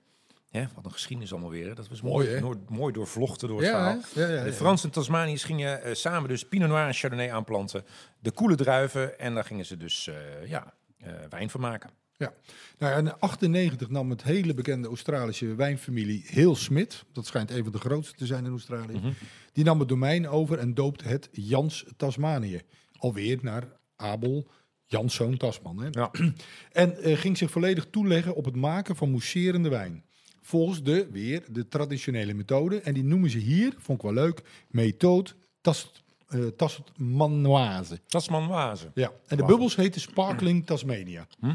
Speaker 3: Hè, wat een geschiedenis allemaal weer. hè. Dat was mooi,
Speaker 4: Mooi, hè?
Speaker 3: noor- mooi doorvlochten door het
Speaker 4: Ja,
Speaker 3: verhaal.
Speaker 4: hè? ja, ja,
Speaker 3: De
Speaker 4: ja.
Speaker 3: Fransen en Tasmaniërs gingen eh, samen dus Pinot Noir en Chardonnay aanplanten. De koele druiven. En daar gingen ze dus eh, ja, eh, wijn van maken.
Speaker 4: Nou, ja, in 1998 nam het hele bekende Australische wijnfamilie Heel Smit, dat schijnt een van de grootste te zijn in Australië,
Speaker 3: Mhm.
Speaker 4: die nam het domein over en doopte het Jans Tasmanië. Alweer naar Abel Janszoon Tasman. Hè?
Speaker 3: Ja.
Speaker 4: En eh, ging zich volledig toeleggen op het maken van mousserende wijn. Volgens de, weer, de traditionele methode. En die noemen ze hier, vond ik wel leuk, methode tas, eh, Tasmanoise.
Speaker 3: Tasman Wazen.
Speaker 4: Ja, en de bubbels heten Sparkling Tasmania.
Speaker 3: Hm.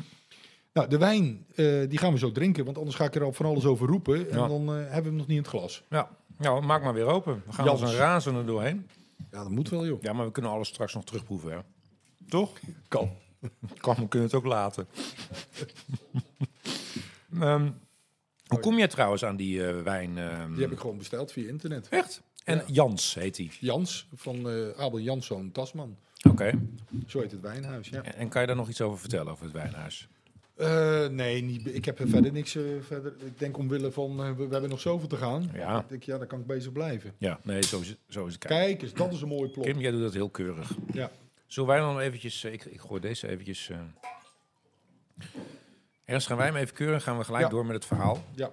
Speaker 4: Nou, de wijn, eh, die gaan we zo drinken, want anders ga ik er al van alles over roepen. En
Speaker 3: Ja.
Speaker 4: dan eh, hebben we hem nog niet in het glas.
Speaker 3: Ja. Nou, maak maar weer open. We gaan
Speaker 4: Jans.
Speaker 3: als een razende doorheen.
Speaker 4: Ja, dat moet wel, joh.
Speaker 3: Ja, maar we kunnen alles straks nog terugproeven, hè? Toch? Kan. Kan, we kunnen het ook laten. Ehm, hoe kom je trouwens aan die eh, wijn? ehm?
Speaker 4: Die heb ik gewoon besteld via internet.
Speaker 3: Echt? En
Speaker 4: Ja.
Speaker 3: Jans heet die.
Speaker 4: Jans, van eh, Abel Janszoon Tasman.
Speaker 3: Oké.
Speaker 4: Zo heet het wijnhuis, ja.
Speaker 3: En, en kan je daar nog iets over vertellen, over het wijnhuis?
Speaker 4: Eh, nee, niet, be- ik heb er verder niks eh, verder. Ik denk omwille van, eh, we, we hebben nog zoveel te gaan.
Speaker 3: Ja.
Speaker 4: Ik denk, ja, daar kan ik bezig blijven.
Speaker 3: Ja. Nee, zo is, zo is het. Kijk.
Speaker 4: Kijk eens, dat is een mooi plot.
Speaker 3: Kim, jij doet dat heel keurig.
Speaker 4: Ja.
Speaker 3: Zullen wij dan eventjes... eh, Ik, ik gooi deze eventjes... eh Ernst, gaan wij hem even keuren en gaan we gelijk
Speaker 4: Ja.
Speaker 3: door met het verhaal.
Speaker 4: Ja.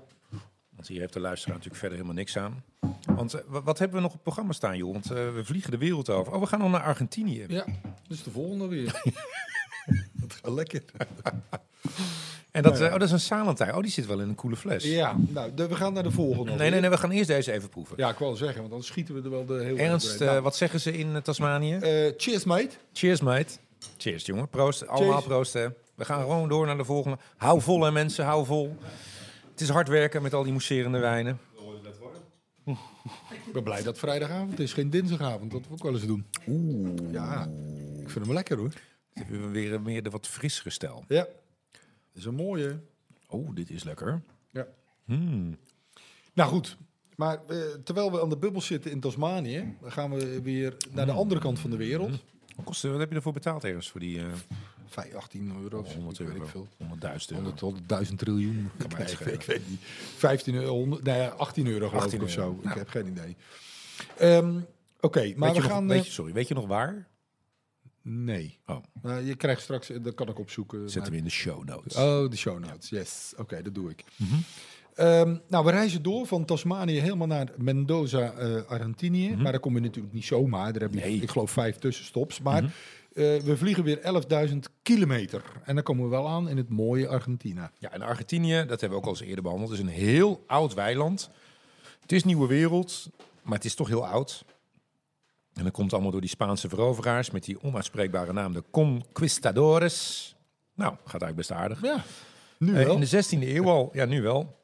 Speaker 3: Want hier heeft de luisteraar natuurlijk verder helemaal niks aan. Want eh, wa- wat hebben we nog op het programma staan, joh? Want eh, we vliegen de wereld over. Oh, we gaan nog naar Argentinië.
Speaker 4: ja, dus de volgende weer. dat gaat lekker.
Speaker 3: En dat,
Speaker 4: Nou ja.
Speaker 3: eh, oh, dat is een Salentijn. Oh, die zit wel in een coole fles.
Speaker 4: Ja, nou, de- we gaan naar de volgende.
Speaker 3: Nee, nee, nee, we gaan eerst deze even proeven.
Speaker 4: Ja, ik wou zeggen, want dan schieten we er wel de hele...
Speaker 3: Ernst, eh,
Speaker 4: Nou,
Speaker 3: wat zeggen ze in eh, Tasmanië?
Speaker 4: eh, cheers, mate.
Speaker 3: Cheers, mate. Cheers, jongen. Proost. Allemaal proost, hè. We gaan gewoon door naar de volgende. Hou vol, hè, mensen. Hou vol. Het is hard werken met al die mousserende wijnen.
Speaker 4: Ik ben blij dat het vrijdagavond is, geen dinsdagavond. Dat we ook wel eens doen. Oeh. Ja, ik vind hem lekker hoor.
Speaker 3: Dan hebben we weer eh, meer de wat frissere stijl.
Speaker 4: Ja. Dat is een mooie.
Speaker 3: Oh, dit is lekker.
Speaker 4: Ja.
Speaker 3: Hmm.
Speaker 4: Nou goed, maar eh, terwijl we aan de bubbel zitten in Tasmanië, dan gaan we weer naar
Speaker 3: Mm.
Speaker 4: de andere kant van de wereld.
Speaker 3: Wat, kost, wat heb je ervoor betaald, Ernst, voor die eh
Speaker 4: 5, 18 euro, of
Speaker 3: 100
Speaker 4: zo, weet
Speaker 3: euro?
Speaker 4: ik veel.
Speaker 3: 100.000 euro.
Speaker 4: 100, 100, 1000 triljoen.
Speaker 3: mij
Speaker 4: Nee,
Speaker 3: schelen.
Speaker 4: ik weet niet. 15 euro, 100, nou ja, 18 euro geloof
Speaker 3: 18
Speaker 4: ik of zo.
Speaker 3: euro.
Speaker 4: Ik heb geen idee. Ehm, Oké,
Speaker 3: weet
Speaker 4: maar we
Speaker 3: je nog-
Speaker 4: gaan...
Speaker 3: weet
Speaker 4: eh,
Speaker 3: je, sorry, weet je nog waar?
Speaker 4: Nee.
Speaker 3: Oh.
Speaker 4: Maar je krijgt straks, eh, dat kan ik opzoeken.
Speaker 3: Zetten we in de show notes.
Speaker 4: Oh, de show notes. Yes. Oké, dat doe ik.
Speaker 3: Mhm.
Speaker 4: Ehm, nou, we reizen door van Tasmanië helemaal naar Mendoza, eh, Argentinië. Maar daar kom je natuurlijk niet zomaar. Daar heb je,
Speaker 3: Mhm. Nee. Mhm.
Speaker 4: ik geloof, vijf tussenstops. Maar eh, we vliegen weer 11.000 kilometer. En dan komen we wel aan in het mooie Argentina.
Speaker 3: Ja, en Argentinië, dat hebben we ook al eens eerder behandeld, is een heel oud weiland. Het is nieuwe wereld, maar het is toch heel oud. En dat komt allemaal door die Spaanse veroveraars met die onuitspreekbare naam de Conquistadores. Nou, gaat eigenlijk best aardig.
Speaker 4: Ja, nu
Speaker 3: Eh,
Speaker 4: wel.
Speaker 3: in de 16e eeuw al, ja, nu wel.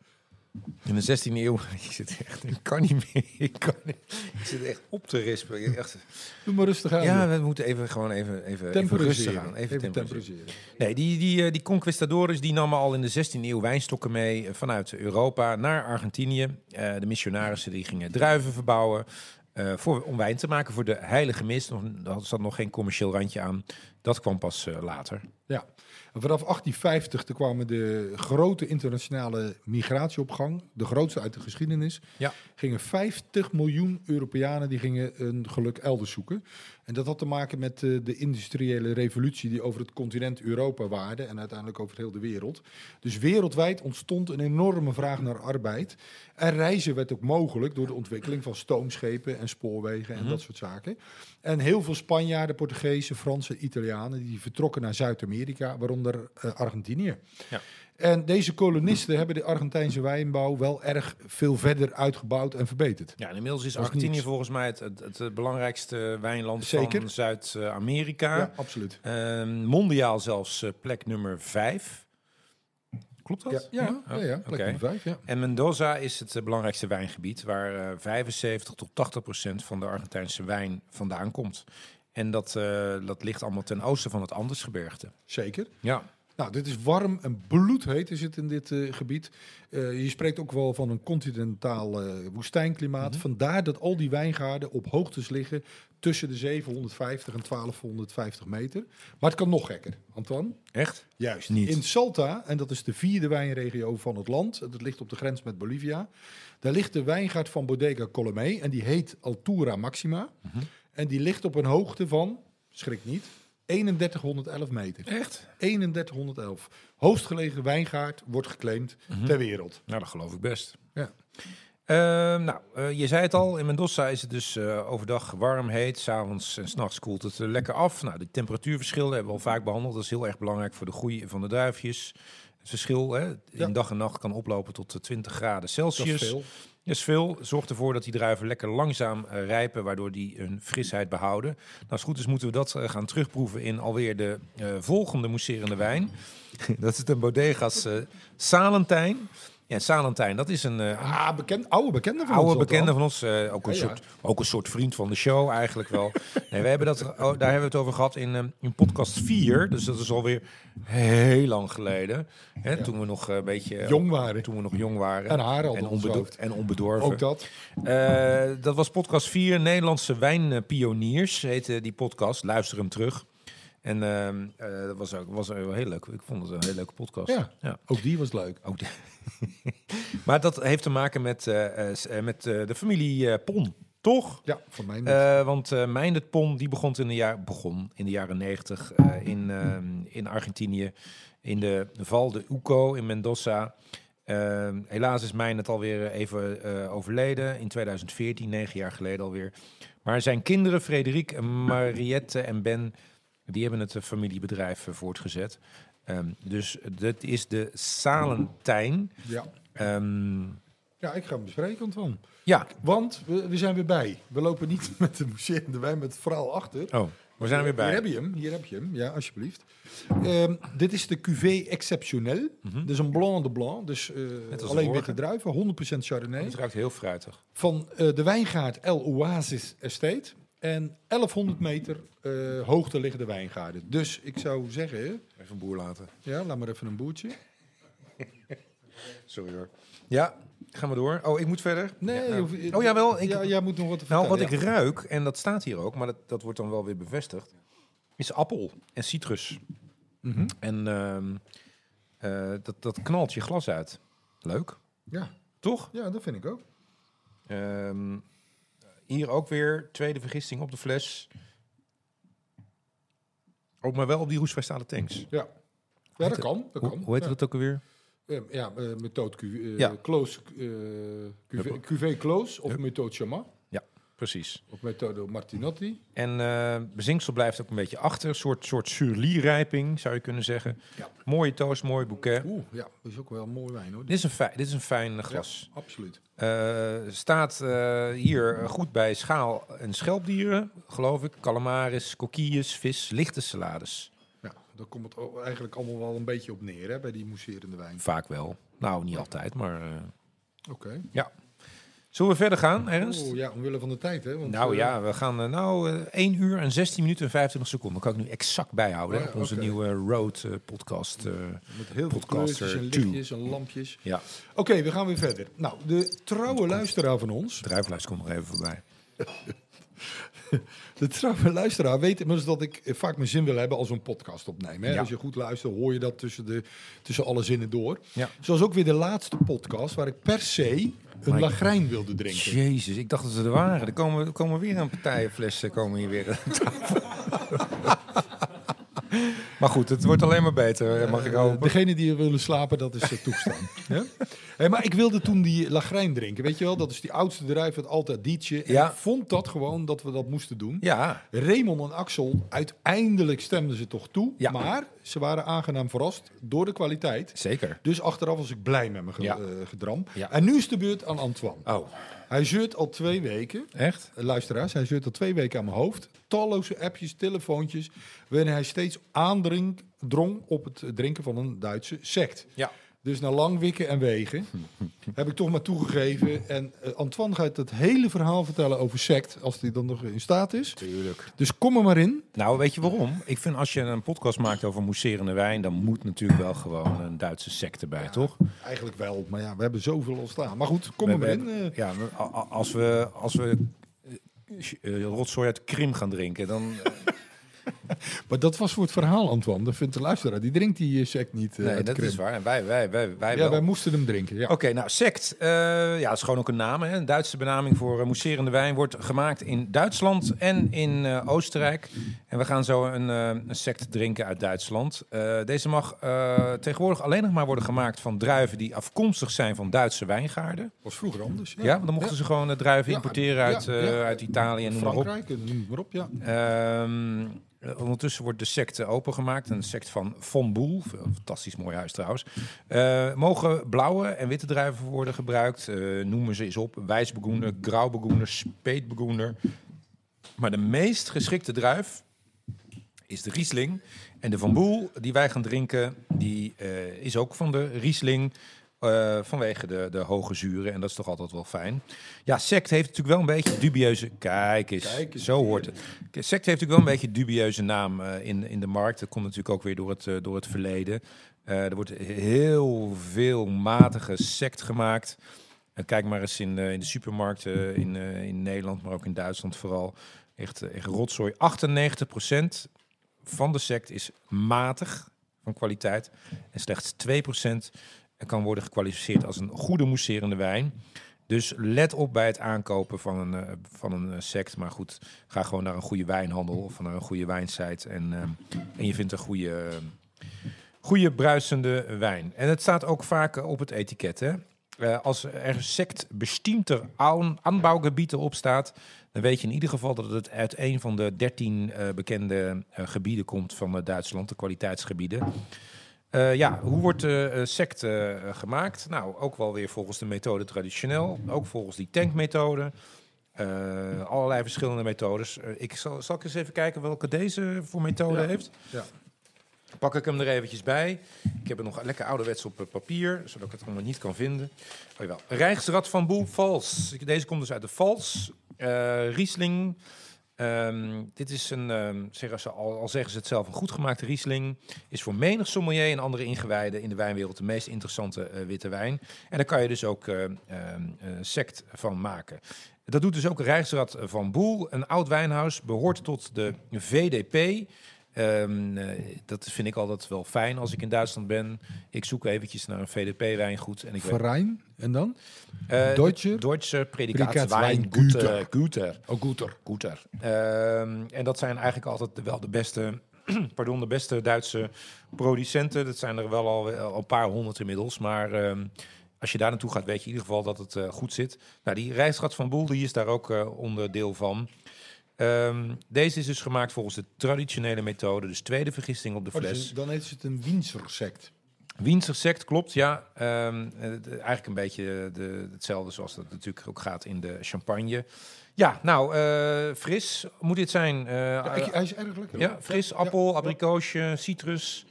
Speaker 3: In de 16e eeuw, ik zit echt, ik kan niet meer, ik, kan niet, ik zit echt op te rispen. Ik Echt,
Speaker 4: Doe maar rustig aan.
Speaker 3: ja,
Speaker 4: joh.
Speaker 3: we moeten even gewoon even, Eh, even, even rustig
Speaker 4: temporiseren.
Speaker 3: aan. Even, temporiseren.
Speaker 4: temporiseren.
Speaker 3: Nee, die, die, eh, die conquistadores die namen al in de 16e eeuw wijnstokken mee eh, vanuit Europa naar Argentinië. Eh, de missionarissen die gingen druiven verbouwen eh, voor, om wijn te maken voor de heilige mist. Nog, daar zat nog geen commercieel randje aan. Dat kwam pas eh, later.
Speaker 4: Ja. En vanaf 1850 toen kwamen de grote internationale migratieopgang, de grootste uit de geschiedenis.
Speaker 3: Ja.
Speaker 4: Gingen 50 miljoen Europeanen die gingen een geluk elders zoeken. En dat had te maken met eh, de industriële revolutie die over het continent Europa waarde en uiteindelijk over heel de wereld. Dus wereldwijd ontstond een enorme vraag naar arbeid. En reizen werd ook mogelijk door de ontwikkeling van stoomschepen en spoorwegen
Speaker 3: Mhm.
Speaker 4: en dat soort zaken. En heel veel Spanjaarden, Portugezen, Fransen, Italianen die vertrokken naar Zuid-Amerika, waaronder eh, Argentinië.
Speaker 3: Ja.
Speaker 4: En deze kolonisten hebben de Argentijnse wijnbouw wel erg veel verder uitgebouwd en verbeterd.
Speaker 3: Ja, en inmiddels is
Speaker 4: Dat is
Speaker 3: Argentinië
Speaker 4: niets.
Speaker 3: volgens mij het, het, het, eh, belangrijkste wijnland van
Speaker 4: Zeker.
Speaker 3: Zuid-Amerika.
Speaker 4: Ja, absoluut.
Speaker 3: Eh, mondiaal zelfs eh, plek nummer 5. Klopt dat?
Speaker 4: Ja, ja,
Speaker 3: Oh,
Speaker 4: ja, ja, plek
Speaker 3: oké.
Speaker 4: nummer vijf, ja.
Speaker 3: En Mendoza is het eh, belangrijkste wijngebied waar eh, 75 tot 80 procent van de Argentijnse wijn vandaan komt. En dat, eh, dat ligt allemaal ten oosten van het Andesgebergte.
Speaker 4: Zeker.
Speaker 3: Ja.
Speaker 4: Nou, dit is warm en bloedheet is het in dit eh, gebied. Eh, je spreekt ook wel van een continentaal eh, woestijnklimaat. Vandaar dat al die wijngaarden op hoogtes liggen tussen de 750 en 1250 meter. Maar het kan nog gekker, Antoine.
Speaker 3: Echt?
Speaker 4: Juist.
Speaker 3: Niet.
Speaker 4: In Salta, en dat is de vierde wijnregio van het land, dat ligt op de grens met Bolivia, daar ligt de wijngaard van Bodega Colomé en die heet Altura Maxima. En die ligt op een hoogte van, schrik niet, 3111 meter.
Speaker 3: Echt?
Speaker 4: 3111. Hoogstgelegen wijngaard wordt geclaimd ter wereld.
Speaker 3: Nou, dat geloof ik best.
Speaker 4: Ja.
Speaker 3: Eh, nou, eh, je zei het al, in Mendoza is het dus eh, overdag warm, heet, s'avonds en s'nachts koelt het eh, lekker af. Nou, de temperatuurverschillen hebben we al vaak behandeld. Dat is heel erg belangrijk voor de groei van de duifjes. Het verschil hè, in
Speaker 4: Ja.
Speaker 3: dag en nacht kan oplopen tot eh, 20 graden
Speaker 4: Dat
Speaker 3: Celsius.
Speaker 4: is veel.
Speaker 3: Dat is veel. Zorgt ervoor dat die druiven lekker langzaam eh, rijpen, waardoor die hun frisheid behouden. Nou, als het goed is, moeten we dat eh, gaan terugproeven in alweer de eh, volgende mousserende wijn. dat is de Bodegas eh, Salentijn. Ja, Salentijn, dat is een eh,
Speaker 4: Ah, bekend, oude bekende van
Speaker 3: oude
Speaker 4: ons dat
Speaker 3: bekende
Speaker 4: al.
Speaker 3: van ons. eh, ook, een
Speaker 4: Ja, ja.
Speaker 3: soort, ook een soort vriend van de show eigenlijk wel. nee, we hebben dat, oh, daar hebben we het over gehad in, ehm, in podcast 4. Dus dat is alweer heel lang geleden. Hè, Toen we nog eh, een beetje...
Speaker 4: Jong waren.
Speaker 3: Toen we nog jong waren.
Speaker 4: En haar al
Speaker 3: en,
Speaker 4: op ons
Speaker 3: onbedo-
Speaker 4: hoofd.
Speaker 3: en onbedorven.
Speaker 4: Ook dat.
Speaker 3: Eh, dat was podcast 4, Nederlandse wijnpioniers heette die podcast. Luister hem terug. En ehm, eh, dat was ook was ook heel leuk. Ik vond het een hele leuke podcast.
Speaker 4: Ja. Ook die was leuk.
Speaker 3: Ook de- maar dat heeft te maken met, eh, eh, s- eh, met eh, de familie eh Pon, toch?
Speaker 4: Ja, van mij.
Speaker 3: Eh, want eh Meindert Pon die begon in de, jaar, begon in de jaren 90 eh, in, ehm, in Argentinië, in de Val de Uco in Mendoza. Ehm, helaas is Meindert alweer even eh, overleden, in 2014, negen jaar geleden alweer. Maar zijn kinderen, Frederik, Mariette en Ben, die hebben het eh, familiebedrijf eh, voortgezet. Ehm, dus dat is de Salentijn.
Speaker 4: ja.
Speaker 3: Ehm,
Speaker 4: ja, ik ga hem bespreken, Antoine.
Speaker 3: ja,
Speaker 4: Want we, we zijn weer bij. We lopen niet met de mousserende wijn met het verhaal achter.
Speaker 3: oh, we zijn er weer bij.
Speaker 4: Hier heb je hem, hier heb je hem. Ja, alsjeblieft. Ehm, dit is de cuvée exceptionnel. Dit is een blanc de blanc, dus eh,
Speaker 3: Mhm. als de
Speaker 4: alleen
Speaker 3: vorige.
Speaker 4: witte druiven, 100% chardonnay.
Speaker 3: Het ruikt heel fruitig.
Speaker 4: Van eh, de wijngaard El Oasis Estate. En 1100 meter eh, hoogte liggen de wijngaarden. Dus ik zou zeggen,
Speaker 3: Even een boer laten.
Speaker 4: ja, laat maar even een boertje.
Speaker 3: Sorry hoor. Ja, gaan we door. Oh, ik moet verder.
Speaker 4: Nee,
Speaker 3: Ja,
Speaker 4: je hoeft-
Speaker 3: oh, jawel. Ik,
Speaker 4: ja, jij moet nog wat te
Speaker 3: nou, wat ik
Speaker 4: vertellen.
Speaker 3: ruik, en dat staat hier ook, maar dat, dat wordt dan wel weer bevestigd, is appel en citrus.
Speaker 4: Mhm.
Speaker 3: En ehm, eh, dat, dat knalt je glas uit. Leuk,
Speaker 4: ja.
Speaker 3: toch?
Speaker 4: Ja, dat vind ik ook.
Speaker 3: Ehm, hier ook weer tweede vergisting op de fles. Ook maar wel op die roestvrijstalen tanks.
Speaker 4: Ja, ja dat kan. Dat
Speaker 3: Hoe,
Speaker 4: kan.
Speaker 3: hoe heet
Speaker 4: ja.
Speaker 3: dat ook alweer?
Speaker 4: Eh, Ja, eh, methode Q, eh,
Speaker 3: Ja.
Speaker 4: close, eh,
Speaker 3: Hup.
Speaker 4: QV, QV close of
Speaker 3: Hup.
Speaker 4: methode Chama
Speaker 3: Precies.
Speaker 4: of methode Martinotti.
Speaker 3: En eh bezinksel blijft ook een beetje achter. Een soort, soort surlie-rijping, zou je kunnen zeggen.
Speaker 4: Ja.
Speaker 3: Mooie toast, mooi bouquet.
Speaker 4: Oeh, ja, dat is ook wel een mooi wijn hoor.
Speaker 3: Dit is een fijn, dit is een fijn glas.
Speaker 4: Absoluut.
Speaker 3: Eh, staat eh, hier goed bij schaal- en schelpdieren, geloof ik. Calamaris, coquilles, vis, lichte salades.
Speaker 4: Ja, daar komt het o- eigenlijk allemaal wel een beetje op neer hè, bij die mousserende wijn.
Speaker 3: Vaak wel. Nou, niet altijd, maar... eh.
Speaker 4: Oké.
Speaker 3: Zullen we verder gaan, Ernst?
Speaker 4: Oh, ja, omwille van de tijd hè. Want,
Speaker 3: nou
Speaker 4: eh,
Speaker 3: ja, we gaan eh, nou eh, 1 uur en 16 minuten en 25 seconden. Kan ik nu exact bijhouden hè,
Speaker 4: Oh Ja,
Speaker 3: op onze
Speaker 4: oké.
Speaker 3: nieuwe Road eh, podcast. eh.
Speaker 4: Met heel veel
Speaker 3: Podcaster
Speaker 4: kleurtjes en
Speaker 3: two.
Speaker 4: lichtjes en lampjes.
Speaker 3: ja,
Speaker 4: Oké, we gaan weer verder. Nou, de trouwe luisteraar van ons,
Speaker 3: de druiflijst komt nog even voorbij.
Speaker 4: De trouwe luisteraar weet immers dat ik vaak mijn zin wil hebben als we een podcast opnemen. Hè?
Speaker 3: Ja.
Speaker 4: Als je goed luistert, hoor je dat tussen, de, tussen alle zinnen door.
Speaker 3: Ja.
Speaker 4: Zoals ook weer de laatste podcast waar ik per se een
Speaker 3: Maar-
Speaker 4: lagrijn wilde drinken.
Speaker 3: Jezus, ik dacht dat ze er waren. Er komen, er komen weer een partijenflessen komen hier weer aan tafel. maar goed, het wordt alleen maar beter, mag ik
Speaker 4: Eh,
Speaker 3: hopen.
Speaker 4: degene die er willen slapen, dat is eh, toestaan. ja? Hé, maar ik wilde toen die lagrijn drinken. Weet je wel, dat is die oudste druif, het altijd dietje. En
Speaker 3: Ja.
Speaker 4: ik vond dat gewoon dat we dat moesten doen.
Speaker 3: Ja,
Speaker 4: Raymond en Axel, uiteindelijk stemden ze toch toe.
Speaker 3: Ja.
Speaker 4: Maar ze waren aangenaam verrast door de kwaliteit.
Speaker 3: zeker.
Speaker 4: Dus achteraf was ik blij met mijn ge-
Speaker 3: Ja.
Speaker 4: eh, gedram.
Speaker 3: Ja.
Speaker 4: En nu is de beurt aan Antoine.
Speaker 3: Oh,
Speaker 4: Hij zeurt al twee weken.
Speaker 3: echt?
Speaker 4: eh, Luisteraars, hij zeurt al twee weken aan mijn hoofd. Talloze appjes, telefoontjes. Waarin hij steeds aandrong drong op het drinken van een Duitse sect.
Speaker 3: Ja.
Speaker 4: Dus na lang wikken en wegen heb ik toch maar toegegeven. En eh, Antoine gaat het hele verhaal vertellen over sect. Als hij dan nog in staat is.
Speaker 3: Tuurlijk.
Speaker 4: Dus kom er maar in.
Speaker 3: Nou, weet je waarom? Ik vind als je een podcast maakt over mousserende wijn, dan moet natuurlijk wel gewoon een Duitse secte bij, toch?
Speaker 4: Eigenlijk wel, maar ja, we hebben zoveel al staan. Maar goed, kom er maar
Speaker 3: We-
Speaker 4: in.
Speaker 3: we-
Speaker 4: eh.
Speaker 3: Ja, we- a- a- als we, als we eh, eh, rotzooi uit Krim gaan drinken, dan... eh,
Speaker 4: Maar dat was voor het verhaal, Antoine. Dat vindt de luisteraar. Die drinkt die eh, sec niet. eh,
Speaker 3: Nee,
Speaker 4: uit
Speaker 3: dat
Speaker 4: Krim.
Speaker 3: is waar. En wij, wij, wij, wij
Speaker 4: Ja,
Speaker 3: wel.
Speaker 4: wij moesten hem drinken. Ja.
Speaker 3: Oké, nou, sect. eh, ja, dat is gewoon ook een naam. Hè? Een Duitse benaming voor eh, mousserende wijn. Wordt gemaakt in Duitsland en in eh, Oostenrijk. En we gaan zo een, eh, een sect drinken uit Duitsland. Eh, deze mag eh, tegenwoordig alleen nog maar worden gemaakt van druiven die afkomstig zijn van Duitse wijngaarden.
Speaker 4: was vroeger anders.
Speaker 3: Ja, want dan mochten ze gewoon eh, druiven
Speaker 4: Ja,
Speaker 3: importeren
Speaker 4: ja,
Speaker 3: uit, eh,
Speaker 4: ja.
Speaker 3: uit Italië en noem maar op.
Speaker 4: Frankrijk, eh, noem maar op. Ja.
Speaker 3: Ehm, ondertussen wordt de secte opengemaakt. Een sect van Von Boel. Fantastisch mooi huis trouwens. Eh, mogen blauwe en witte druiven worden gebruikt. Eh, noemen ze eens op. Wijsbegoender, grauwbegoender, speetbegoender. Maar de meest geschikte druif is de Riesling. En de Van Boel die wij gaan drinken, die eh, is ook van de Riesling. eh, vanwege de, de hoge zuren. En dat is toch altijd wel fijn. Ja, sect heeft natuurlijk wel een beetje dubieuze... Kijk eens,
Speaker 4: Kijk eens,
Speaker 3: zo hoort het. K- Sect heeft natuurlijk wel een beetje dubieuze naam eh, in, in de markt. Dat komt natuurlijk ook weer door het, eh, door het verleden. Eh, er wordt heel veel matige sect gemaakt. Eh, kijk maar eens in, eh, in de supermarkten in, eh, in Nederland, maar ook in Duitsland vooral. Echt, eh, echt rotzooi. 98% van de sect is matig van kwaliteit. En slechts 2% kan worden gekwalificeerd als een goede mousserende wijn. Dus let op bij het aankopen van een, eh, van een eh, sect. Maar goed, ga gewoon naar een goede wijnhandel of naar een goede wijnsite. En, ehm, en je vindt een goede, eh, goede bruisende wijn. En het staat ook vaak eh, op het etiket. Hè? Eh, als er sect bestiemter aan, aanbouwgebieden op staat, dan weet je in ieder geval dat het uit een van de dertien bekende eh, gebieden komt van eh, Duitsland, de kwaliteitsgebieden. Eh, ja, hoe wordt eh, eh, sect eh, eh, gemaakt? Nou, ook wel weer volgens de methode traditioneel, ook volgens die tankmethode. Eh, allerlei verschillende methodes. Eh, ik zal, zal ik eens even kijken welke deze voor methode
Speaker 4: Ja.
Speaker 3: heeft.
Speaker 4: Ja.
Speaker 3: Pak ik hem er eventjes bij. Ik heb het nog lekker ouderwets op eh, papier, zodat ik het allemaal niet kan vinden. Oh, jawel. Rijksrad van Boel, Vals. Deze komt dus uit de Vals. Eh, Riesling. Ehm, dit is een, ehm, zeggen ze, al, al zeggen ze het zelf, een goed gemaakte Riesling. Is voor menig sommelier en andere ingewijden in de wijnwereld de meest interessante eh, witte wijn. En daar kan je dus ook eh, ehm, eh, sect van maken. Dat doet dus ook Rijksrad van Boel. Een oud wijnhuis behoort tot de VDP. Ehm, eh, dat vind ik altijd wel fijn als ik in Duitsland ben. Ik zoek eventjes naar een VDP-wijngoed. En ik weet-
Speaker 4: Verein. En dan?
Speaker 3: eh,
Speaker 4: Deutsche?
Speaker 3: Deutsche
Speaker 4: Predikatsweingüter.
Speaker 3: Predikaatsweingüter. Güter.
Speaker 4: Oh, Guter.
Speaker 3: Guter. Ehm, en dat zijn eigenlijk altijd de- wel de beste, pardon, de beste Duitse producenten. Dat zijn er wel al, al een paar honderd inmiddels. Maar ehm, als je daar naartoe gaat, weet je in ieder geval dat het eh, goed zit. Nou, die reisgat van Boel die is daar ook eh, onderdeel van. Ehm, deze is dus gemaakt volgens de traditionele methode. Dus tweede vergisting
Speaker 4: Oh,
Speaker 3: op de fles.
Speaker 4: dan heet het een Winsersect.
Speaker 3: Wienser sect, klopt, ja. Ehm, eh, d- eigenlijk een beetje de, hetzelfde zoals dat natuurlijk ook gaat in de champagne. Ja, nou, eh, fris moet dit zijn. eh,
Speaker 4: Ja, ik- hij is erg lekker.
Speaker 3: ja, fris, appel, abrikoosje, citrus,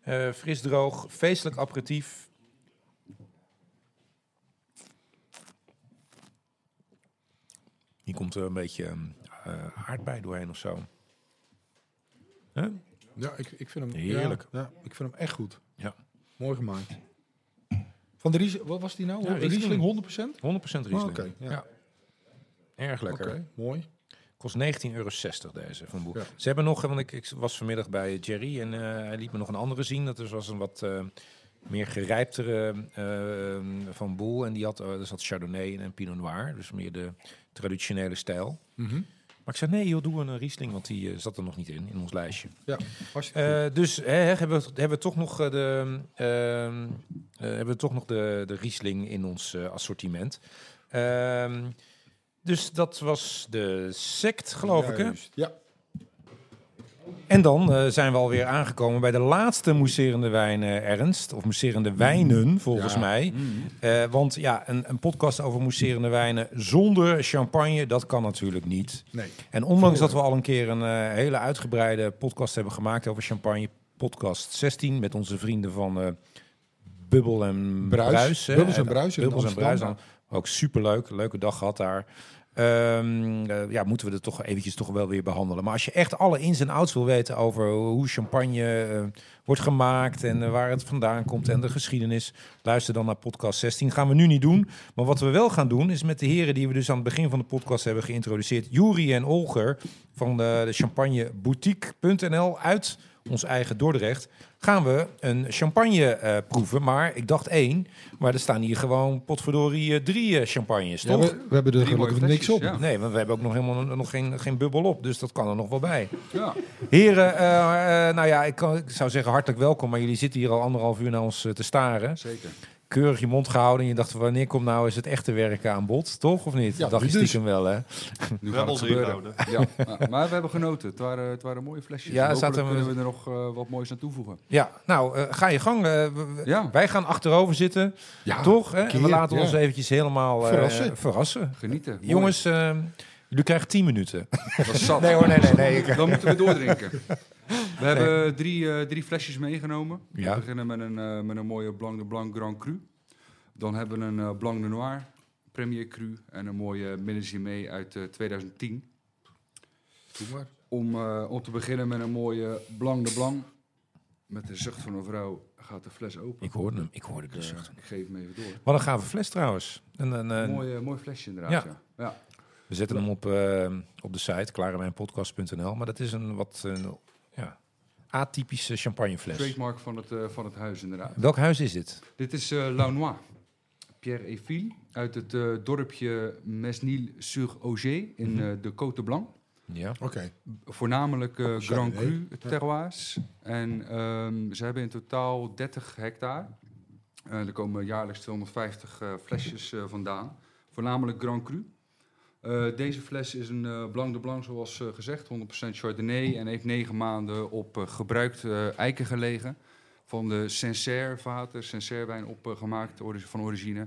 Speaker 3: eh, fris droog, feestelijk aperitief. Hier komt er een beetje eh, aardbei doorheen of zo. Hè?
Speaker 4: Ja, ik, ik vind hem
Speaker 3: Heerlijk.
Speaker 4: Ja, ja, ik vind hem echt goed.
Speaker 3: Ja.
Speaker 4: Mooi gemaakt. Van de Riesling, wat was die nou?
Speaker 3: Ja, Riesling.
Speaker 4: Riesling 100%?
Speaker 3: 100% Riesling.
Speaker 4: Oh, oké, ja.
Speaker 3: Erg
Speaker 4: Oké,
Speaker 3: lekker.
Speaker 4: mooi.
Speaker 3: Kost 19,60 euro deze van Boer.
Speaker 4: Ja.
Speaker 3: Ze hebben nog, want ik, ik was vanmiddag bij Jerry en eh, hij liet me nog een andere zien. Dat dus was een wat eh, meer gerijptere eh, van Boel. En die had, eh, er zat Chardonnay in en Pinot Noir. Dus meer de traditionele stijl. Maar ik zei, nee joh, doe een eh, Riesling, want die eh, zat er nog niet in, in ons lijstje.
Speaker 4: Ja, hartstikke
Speaker 3: Eh, dus hè, hebben, we, hebben we toch nog eh, de, ehm, eh, hebben we toch nog de, de Riesling in ons eh, assortiment. Ehm, dus dat was de sect, geloof ik. Hè?
Speaker 4: Juist. Ja,
Speaker 3: En dan eh, zijn we alweer aangekomen bij de laatste mousserende wijn, eh, Ernst. Of mousserende wijnen, volgens
Speaker 4: Ja.
Speaker 3: mij. Eh, want ja, een, een podcast over mousserende wijnen zonder champagne, dat kan natuurlijk niet.
Speaker 4: nee.
Speaker 3: En ondanks dat we al een keer een eh, hele uitgebreide podcast hebben gemaakt over champagne, podcast 16 met onze vrienden van eh, Bubbel en
Speaker 4: Bruis.
Speaker 3: Bruis. hè.
Speaker 4: Bubbels en Bruis in
Speaker 3: Bubbels en Bruis. nou,
Speaker 4: Amsterdam.
Speaker 3: Ook superleuk, leuke dag gehad daar. Eh, Ehm, eh, ja, moeten we dat toch eventjes toch wel weer behandelen. Maar als je echt alle ins en outs wil weten over hoe champagne eh, wordt gemaakt en eh, waar het vandaan komt en de geschiedenis, luister dan naar podcast 16. Gaan we nu niet doen. Maar wat we wel gaan doen is met de heren die we dus aan het begin van de podcast hebben geïntroduceerd, Juri en Olger van de, de champagneboutique.nl uit ons eigen Dordrecht, gaan we een champagne eh, proeven. Maar ik dacht één, maar er staan hier gewoon potverdorie eh, drie eh, champagnes,
Speaker 4: Ja,
Speaker 3: toch?
Speaker 4: we, we hebben er
Speaker 6: Drie mooie
Speaker 4: gelukkig niks op.
Speaker 6: flesjes, ja.
Speaker 3: Nee, want we hebben ook nog helemaal nog geen, geen bubbel op. Dus dat kan er nog wel bij.
Speaker 6: Ja.
Speaker 3: Heren, eh, eh, nou ja, ik, kan, ik zou zeggen hartelijk welkom. Maar jullie zitten hier al anderhalf uur naar ons eh, te staren.
Speaker 6: Zeker.
Speaker 3: Keurig je mond gehouden. En je dacht, wanneer komt nou eens het echte werk aan bod? Toch of niet?
Speaker 4: Ja,
Speaker 3: Dat dacht je
Speaker 4: nu dus.
Speaker 3: stiekem wel, hè?
Speaker 6: Nu
Speaker 7: We
Speaker 6: gaat
Speaker 7: hebben
Speaker 6: het
Speaker 7: ons
Speaker 6: gebeuren.
Speaker 7: ingehouden.
Speaker 6: Ja, ja, maar we hebben genoten. Het waren, het waren mooie flesjes.
Speaker 3: Ja,
Speaker 6: Ja,
Speaker 3: er
Speaker 6: Hopelijk
Speaker 3: zaten-
Speaker 6: kunnen we er nog eh, wat moois aan toevoegen.
Speaker 3: Ja, nou, eh, ga je gang. eh, we- we-
Speaker 6: Ja.
Speaker 3: Wij gaan achterover zitten,
Speaker 4: Ja,
Speaker 3: toch? Hè? En we
Speaker 4: keer,
Speaker 3: laten
Speaker 4: ja.
Speaker 3: ons eventjes helemaal eh,
Speaker 4: Verrassen.
Speaker 3: verrassen.
Speaker 6: Genieten. Mooi.
Speaker 3: Jongens, eh, jullie krijgen tien minuten.
Speaker 6: dat is zat.
Speaker 3: Nee hoor, nee, nee, nee. Ik-
Speaker 6: Dan moeten we doordrinken. We hebben drie, eh, drie flesjes meegenomen.
Speaker 3: Ja.
Speaker 6: We beginnen met een, eh, met een mooie Blanc de Blanc Grand Cru. Dan hebben we een eh, Blanc de Noir Premier Cru en een mooie Mélisime uit eh, 2010.
Speaker 4: Doe maar.
Speaker 6: Om, eh, om te beginnen met een mooie Blanc de Blanc. Met de zucht van een vrouw gaat de fles open.
Speaker 3: Ik hoorde hem, ik hoorde de
Speaker 6: Eh,
Speaker 3: zucht.
Speaker 6: ik geef hem even door.
Speaker 3: Wat een gave fles trouwens. En, een eh,
Speaker 6: mooi, eh, mooi flesje
Speaker 3: Ja.
Speaker 6: inderdaad. Ja. Ja.
Speaker 3: We zetten hem op, eh, op de site, klarewijnpodcast.nl. Maar dat is een wat eh, ja, atypische champagnefles.
Speaker 6: Trademark van het, eh, van het huis inderdaad.
Speaker 3: Welk huis is dit?
Speaker 6: Dit is eh Launois. Pierre Effil uit het eh, dorpje Mesnil-sur-Auger in eh, de Côte de Blanc.
Speaker 3: Ja.
Speaker 4: Oké.
Speaker 6: Voornamelijk eh, Grand
Speaker 4: Chardonnay.
Speaker 6: Cru terroirs. En ehm, ze hebben in totaal 30 hectare. Eh, er komen jaarlijks 250 eh, flesjes eh, vandaan. Voornamelijk Grand Cru. Eh, deze fles is een eh, Blanc de Blanc, zoals eh, gezegd, 100% Chardonnay. En heeft negen maanden op eh, gebruikt eh, eiken gelegen. Van de Sancerre vaten, Sancerre wijn opgemaakt ori- eh, van origine.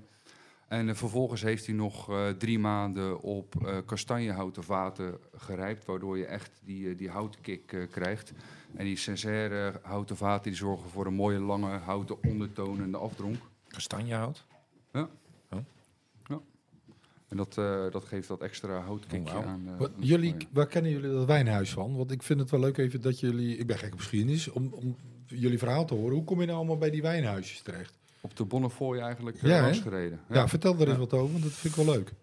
Speaker 6: En eh, vervolgens heeft hij nog eh, drie maanden op eh, kastanjehouten vaten gerijpt. Waardoor je echt die, eh, die houtkick eh, krijgt. En die Sancerre houten vaten die zorgen voor een mooie lange houten ondertoon en de afdronk.
Speaker 3: Kastanjehout.
Speaker 6: En dat, eh, dat geeft dat extra houtkickje
Speaker 3: Oh, Wauw.
Speaker 6: aan. eh,
Speaker 4: Wat,
Speaker 6: aan de
Speaker 4: jullie,
Speaker 6: smaak.
Speaker 4: waar kennen jullie dat wijnhuis van? Want ik vind het wel leuk even dat jullie... Ik ben gek op geschiedenis. Om, om jullie verhaal te horen. Hoe kom je nou allemaal bij die wijnhuisjes terecht?
Speaker 6: Op de Bonnefoy eigenlijk
Speaker 4: Ja,
Speaker 6: eh,
Speaker 4: hè?
Speaker 6: langs gereden.
Speaker 4: Ja, vertel er eens wat over. Want dat vind ik wel leuk.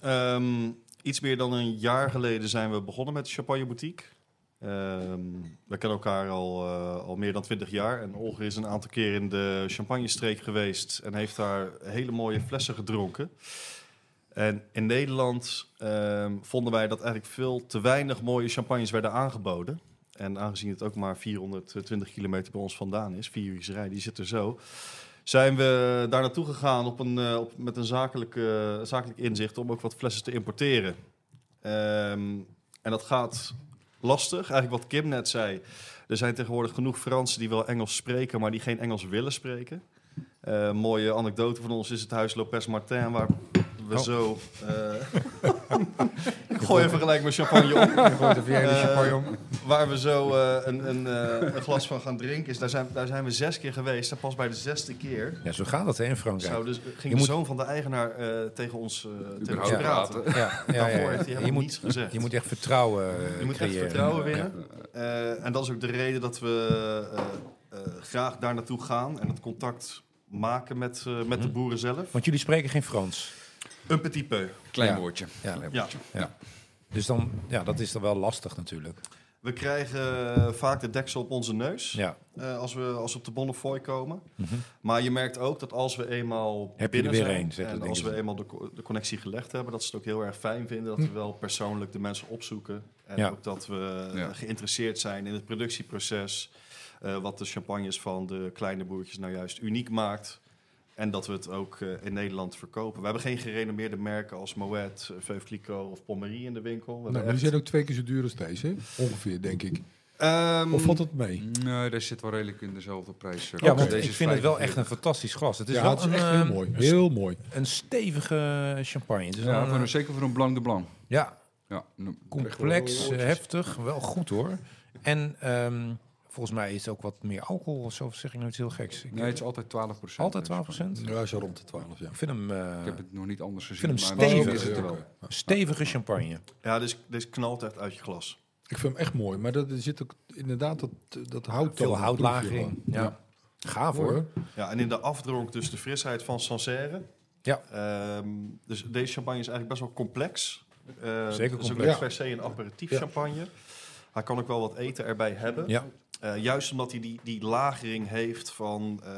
Speaker 7: Ehm, iets meer dan een jaar geleden zijn we begonnen met de Champagne Boutique. Ehm, we kennen elkaar al, eh, al meer dan twintig jaar. En Olger is een aantal keer in de Champagne-streek geweest en heeft daar hele mooie flessen gedronken. En in Nederland ehm, vonden wij dat eigenlijk veel te weinig mooie champagnes werden aangeboden. En aangezien het ook maar 420 kilometer bij ons vandaan is, vier uur rijden, die zit er zo zijn we daar naartoe gegaan op een, eh, op, met een zakelijk, eh, zakelijk inzicht om ook wat flessen te importeren. Ehm, en dat gaat lastig. Eigenlijk wat Kim net zei. Er zijn tegenwoordig genoeg Fransen die wel Engels spreken, maar die geen Engels willen spreken. Eh, Een mooie anekdote van ons is het huis Lopez Martin, waar we
Speaker 3: Oh.
Speaker 7: zo. eh, Ik gooi even gelijk mijn champagne op Eh, waar we zo eh, een, een, eh, een glas van gaan drinken. Is, daar, zijn, daar zijn we zes keer geweest. En pas bij de zesde keer
Speaker 3: Ja, zo gaat dat hè, in
Speaker 7: zou
Speaker 3: Frankrijk.
Speaker 7: dus, ging
Speaker 3: moet-
Speaker 7: de zoon van de eigenaar eh, tegen ons, eh, tegen ons
Speaker 6: Überhaupt
Speaker 7: praten. Nou,
Speaker 6: praten.
Speaker 3: Ja, ja,
Speaker 7: Daarvoor
Speaker 3: ja,
Speaker 7: heeft hij
Speaker 3: ja.
Speaker 7: helemaal
Speaker 3: Je, moet,
Speaker 7: niets gezegd.
Speaker 3: je moet echt vertrouwen eh,
Speaker 7: Je moet echt
Speaker 3: creëren.
Speaker 7: vertrouwen
Speaker 3: Ja.
Speaker 7: winnen. Eh, en dat is ook de reden dat we eh, eh, graag daar naartoe gaan. En het contact maken met, eh, met
Speaker 3: Mhm.
Speaker 7: de boeren zelf.
Speaker 3: Want jullie spreken geen Frans.
Speaker 7: Een petit peu.
Speaker 6: Klein
Speaker 3: Ja.
Speaker 6: woordje.
Speaker 3: Ja.
Speaker 6: Klein
Speaker 7: Ja.
Speaker 6: woordje.
Speaker 3: Dus dan, ja, dat is dan wel lastig natuurlijk.
Speaker 7: We krijgen eh, vaak de deksel op onze neus.
Speaker 3: Ja.
Speaker 7: eh, als, we, als we op de Bonnefoy komen.
Speaker 3: Mhm.
Speaker 7: Maar je merkt ook dat als we eenmaal
Speaker 3: je er
Speaker 7: binnen
Speaker 3: weer
Speaker 7: zijn
Speaker 3: een, zeggen
Speaker 7: en
Speaker 3: de
Speaker 7: als we
Speaker 3: dingen.
Speaker 7: eenmaal de, co- de connectie gelegd hebben, dat ze het ook heel erg fijn vinden dat we wel persoonlijk de mensen opzoeken. En
Speaker 3: Hm. Ja.
Speaker 7: ook dat we eh,
Speaker 6: Ja.
Speaker 7: geïnteresseerd zijn in het productieproces, eh, wat de champagnes van de kleine boertjes nou juist uniek maakt. En dat we het ook eh, in Nederland verkopen. We hebben geen gerenommeerde merken als Moet, eh, Veuve Clicquot of Pommery in de winkel. We
Speaker 4: Nou,
Speaker 7: hebben
Speaker 4: jullie
Speaker 7: echt-
Speaker 4: zijn ook twee keer zo duur als deze. hè? Ongeveer, denk ik.
Speaker 7: Ehm,
Speaker 4: Of valt het mee?
Speaker 6: Nee, daar zit wel redelijk in dezelfde prijs. eh,
Speaker 3: Ja,
Speaker 6: als
Speaker 3: want
Speaker 6: deze
Speaker 3: ik vind het wel echt een
Speaker 6: 45.
Speaker 3: fantastisch glas. Het is
Speaker 4: ja,
Speaker 3: wel
Speaker 4: het is
Speaker 3: een,
Speaker 4: echt
Speaker 3: eh,
Speaker 4: heel mooi.
Speaker 3: een-
Speaker 4: Heel mooi.
Speaker 3: Een stevige champagne. Het is wel
Speaker 6: Ja,
Speaker 3: een,
Speaker 6: voor een, zeker voor een Blanc de Blanc.
Speaker 3: ja,
Speaker 6: Ja, no-
Speaker 3: complex, eh, heftig, wel goed hoor. En ehm, Volgens mij is het ook wat meer alcohol of zo, of zeg ik nooit heel geks. Ik
Speaker 6: Nee, het is altijd 12
Speaker 3: altijd 12
Speaker 4: Ja, zo rond de 12, ja.
Speaker 3: Ik vind hem, eh,
Speaker 6: Ik heb het nog niet anders
Speaker 3: vind
Speaker 6: gezien.
Speaker 3: hem
Speaker 6: misschien
Speaker 3: stevig.
Speaker 6: Is het er wel.
Speaker 4: Oké.
Speaker 3: stevige champagne.
Speaker 7: Ja, deze, deze knalt echt uit je glas.
Speaker 4: Ik vind hem echt mooi, maar dat, er zit ook inderdaad dat, dat hout.
Speaker 3: Veel houtlagering. Ja.
Speaker 4: Gaaf hoor.
Speaker 7: Ja, en in de afdronk dus de frisheid van Sancerre.
Speaker 3: Ja.
Speaker 7: Ehm, dus deze champagne is eigenlijk best wel complex. Eh, Het is ook
Speaker 3: complex.
Speaker 7: niet per se een aperitief
Speaker 4: Ja.
Speaker 7: champagne. Hij kan ook wel wat eten erbij hebben.
Speaker 3: Ja.
Speaker 7: Eh, juist omdat hij die, die lagering heeft van eh,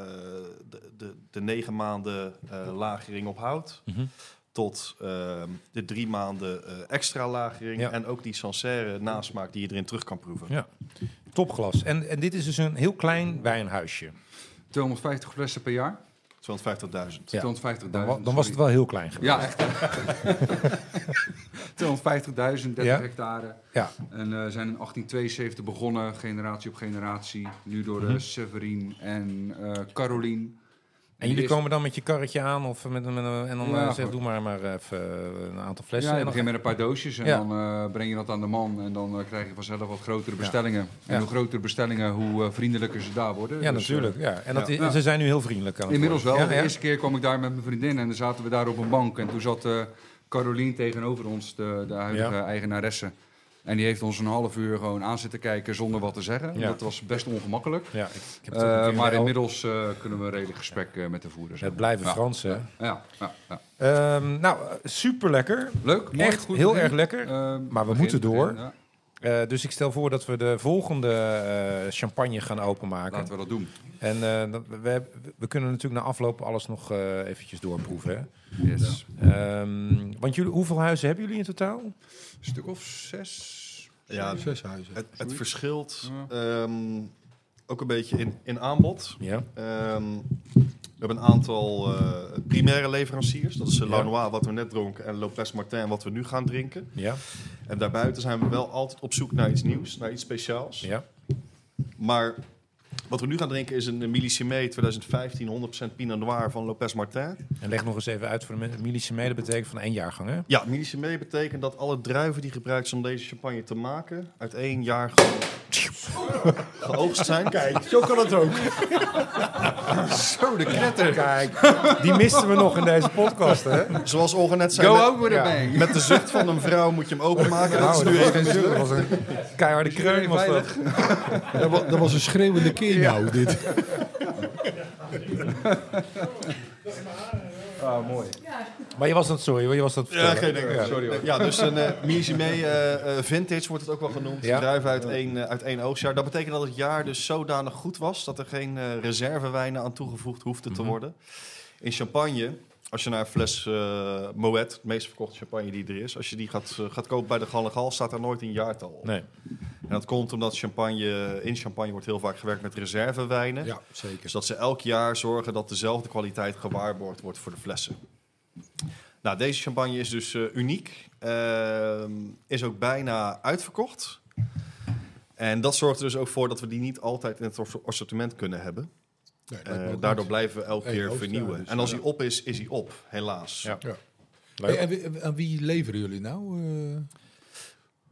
Speaker 7: de, de, de negen maanden eh, lagering op hout.
Speaker 3: Mhm.
Speaker 7: Tot ehm, de drie maanden eh, extra lagering.
Speaker 3: Ja.
Speaker 7: En ook die Sancerre nasmaak die je erin terug kan proeven.
Speaker 3: Ja. Topglas. En, en dit is dus een heel klein wijnhuisje.
Speaker 6: 250 flessen per jaar.
Speaker 7: 250.000.
Speaker 3: Ja.
Speaker 6: 250.000.
Speaker 3: Dan, wa- dan was het wel heel klein geweest.
Speaker 6: Ja, echt. 250.000, 30
Speaker 3: Ja.
Speaker 6: hectare.
Speaker 3: Ja.
Speaker 6: En eh, zijn in 1872 begonnen, generatie op generatie. Nu door eh, Severine en eh Caroline.
Speaker 3: En jullie
Speaker 6: Eerst-
Speaker 3: komen dan met je karretje aan of met, een- met een- en dan
Speaker 6: Ja,
Speaker 3: eh, zeg,
Speaker 6: goed.
Speaker 3: doe maar, maar even eh, een aantal flessen.
Speaker 6: Ja, je
Speaker 3: en
Speaker 6: begint
Speaker 3: dan,
Speaker 6: met een paar doosjes en
Speaker 3: Ja.
Speaker 6: dan eh, breng je dat aan de man. En dan eh, krijg je vanzelf wat grotere bestellingen. En
Speaker 3: Ja.
Speaker 6: hoe grotere bestellingen, hoe eh, vriendelijker ze daar worden.
Speaker 3: ja
Speaker 6: Dus, eh,
Speaker 3: natuurlijk. Ja. En dat,
Speaker 7: Ja.
Speaker 3: is- en ze zijn nu heel vriendelijk aan het
Speaker 6: Inmiddels wel.
Speaker 3: worden.
Speaker 6: De
Speaker 3: Ja, ja.
Speaker 6: eerste keer kwam ik daar met mijn vriendin en dan zaten we daar op een bank. En toen zat eh Caroline tegenover ons, de, de huidige
Speaker 3: Ja.
Speaker 6: eigenaresse. En die heeft ons een half uur gewoon aan zitten kijken zonder wat te zeggen.
Speaker 3: Ja.
Speaker 6: Dat was best ongemakkelijk.
Speaker 3: Ja, ik, ik heb het
Speaker 6: Eh,
Speaker 3: ook natuurlijk
Speaker 6: maar
Speaker 3: wel-
Speaker 6: inmiddels eh, kunnen we een redelijk gesprek eh, met de voerder
Speaker 3: Het
Speaker 6: hebben.
Speaker 3: blijven
Speaker 6: Ja.
Speaker 3: Fransen. hè.
Speaker 6: Ja, ja, ja.
Speaker 3: Ehm, nou, super lekker.
Speaker 6: Leuk. mooi,
Speaker 3: Echt
Speaker 6: goed
Speaker 3: heel
Speaker 6: begin.
Speaker 3: erg lekker.
Speaker 6: Eh,
Speaker 3: Maar we moeten door.
Speaker 6: ja.
Speaker 3: Eh, dus ik stel voor dat we de volgende eh, champagne gaan openmaken.
Speaker 6: Laten we dat doen.
Speaker 3: En eh, dat- we, we- we kunnen natuurlijk na afloop alles nog eh, eventjes doorproeven. Hè?
Speaker 6: Yes.
Speaker 3: Ehm, want jullie, hoeveel huizen hebben jullie in totaal?
Speaker 6: Een stuk of zes.
Speaker 7: Ja,
Speaker 4: Zes huizen.
Speaker 7: Het, het verschilt
Speaker 6: Ja.
Speaker 7: ehm, ook een beetje in, in aanbod.
Speaker 3: Ja.
Speaker 7: Ehm, we hebben een aantal eh, primaire leveranciers. Dat is eh,
Speaker 3: Ja.
Speaker 7: Lanois, wat we net dronken, en Lopez Martin, wat we nu gaan drinken.
Speaker 3: Ja.
Speaker 7: En daarbuiten zijn we wel altijd op zoek naar iets nieuws, naar iets speciaals.
Speaker 3: ja.
Speaker 7: Maar wat we nu gaan drinken is een Millissime 2015 100% Pinot Noir van Lopez Martin.
Speaker 3: En leg nog eens even uit voor de mensen. Millisime, dat betekent van één jaargang, hè?
Speaker 7: Ja, Millissime betekent dat alle druiven die gebruikt zijn om deze champagne te maken, uit één jaar ge- geoogst zijn. Kijk,
Speaker 4: Zo kan het ook.
Speaker 3: Zo, de knetter. Kijk, die misten we nog in deze podcast, hè?
Speaker 7: zoals Olga net zei.
Speaker 6: Go
Speaker 7: met-
Speaker 6: out with
Speaker 3: ja.
Speaker 6: a bang.
Speaker 7: Met de zucht van een vrouw moet je hem openmaken. Oh, Dat is nu even
Speaker 3: Nou, dat was een keiharde kreun, was dat.
Speaker 4: Dat was, dat was een schreeuwende keer nou, dit.
Speaker 3: Maar je was dat, sorry hoor, je was dat
Speaker 7: Ja,
Speaker 3: vertellen.
Speaker 7: geen ding. Sorry hoor. Ja, dus een uh, eh, vintage wordt het ook wel genoemd.
Speaker 3: Ja.
Speaker 7: Druif uit één, eh, uit één oogstjaar. Dat betekent dat het jaar dus zodanig goed was... dat er geen eh, reservewijnen aan toegevoegd hoefden te worden. In champagne, als je naar een fles eh Moet... het meest verkochte champagne die er is... als je die gaat, eh, gaat kopen bij de Gallegal... staat daar nooit een jaartal op.
Speaker 3: Nee.
Speaker 7: En dat komt omdat champagne, in champagne wordt heel vaak gewerkt met reservewijnen.
Speaker 4: Ja, zeker.
Speaker 7: Dus dat ze elk jaar zorgen dat dezelfde kwaliteit gewaarborgd wordt voor de flessen. Nou, deze champagne is dus eh, uniek. Ehm, is ook bijna uitverkocht. En dat zorgt er dus ook voor dat we die niet altijd in het ors- assortiment kunnen hebben.
Speaker 4: Nee,
Speaker 7: Eh,
Speaker 4: lijkt me ook
Speaker 7: daardoor
Speaker 4: niet.
Speaker 7: blijven we elke
Speaker 4: Eén
Speaker 7: keer
Speaker 4: hoofdstijl
Speaker 7: vernieuwen.
Speaker 4: dus,
Speaker 7: En als
Speaker 4: ja.
Speaker 7: die op is, is die op, helaas.
Speaker 3: Ja.
Speaker 4: Ja.
Speaker 3: Leuk.
Speaker 4: Hey, en wie, aan wie leveren jullie nou? eh?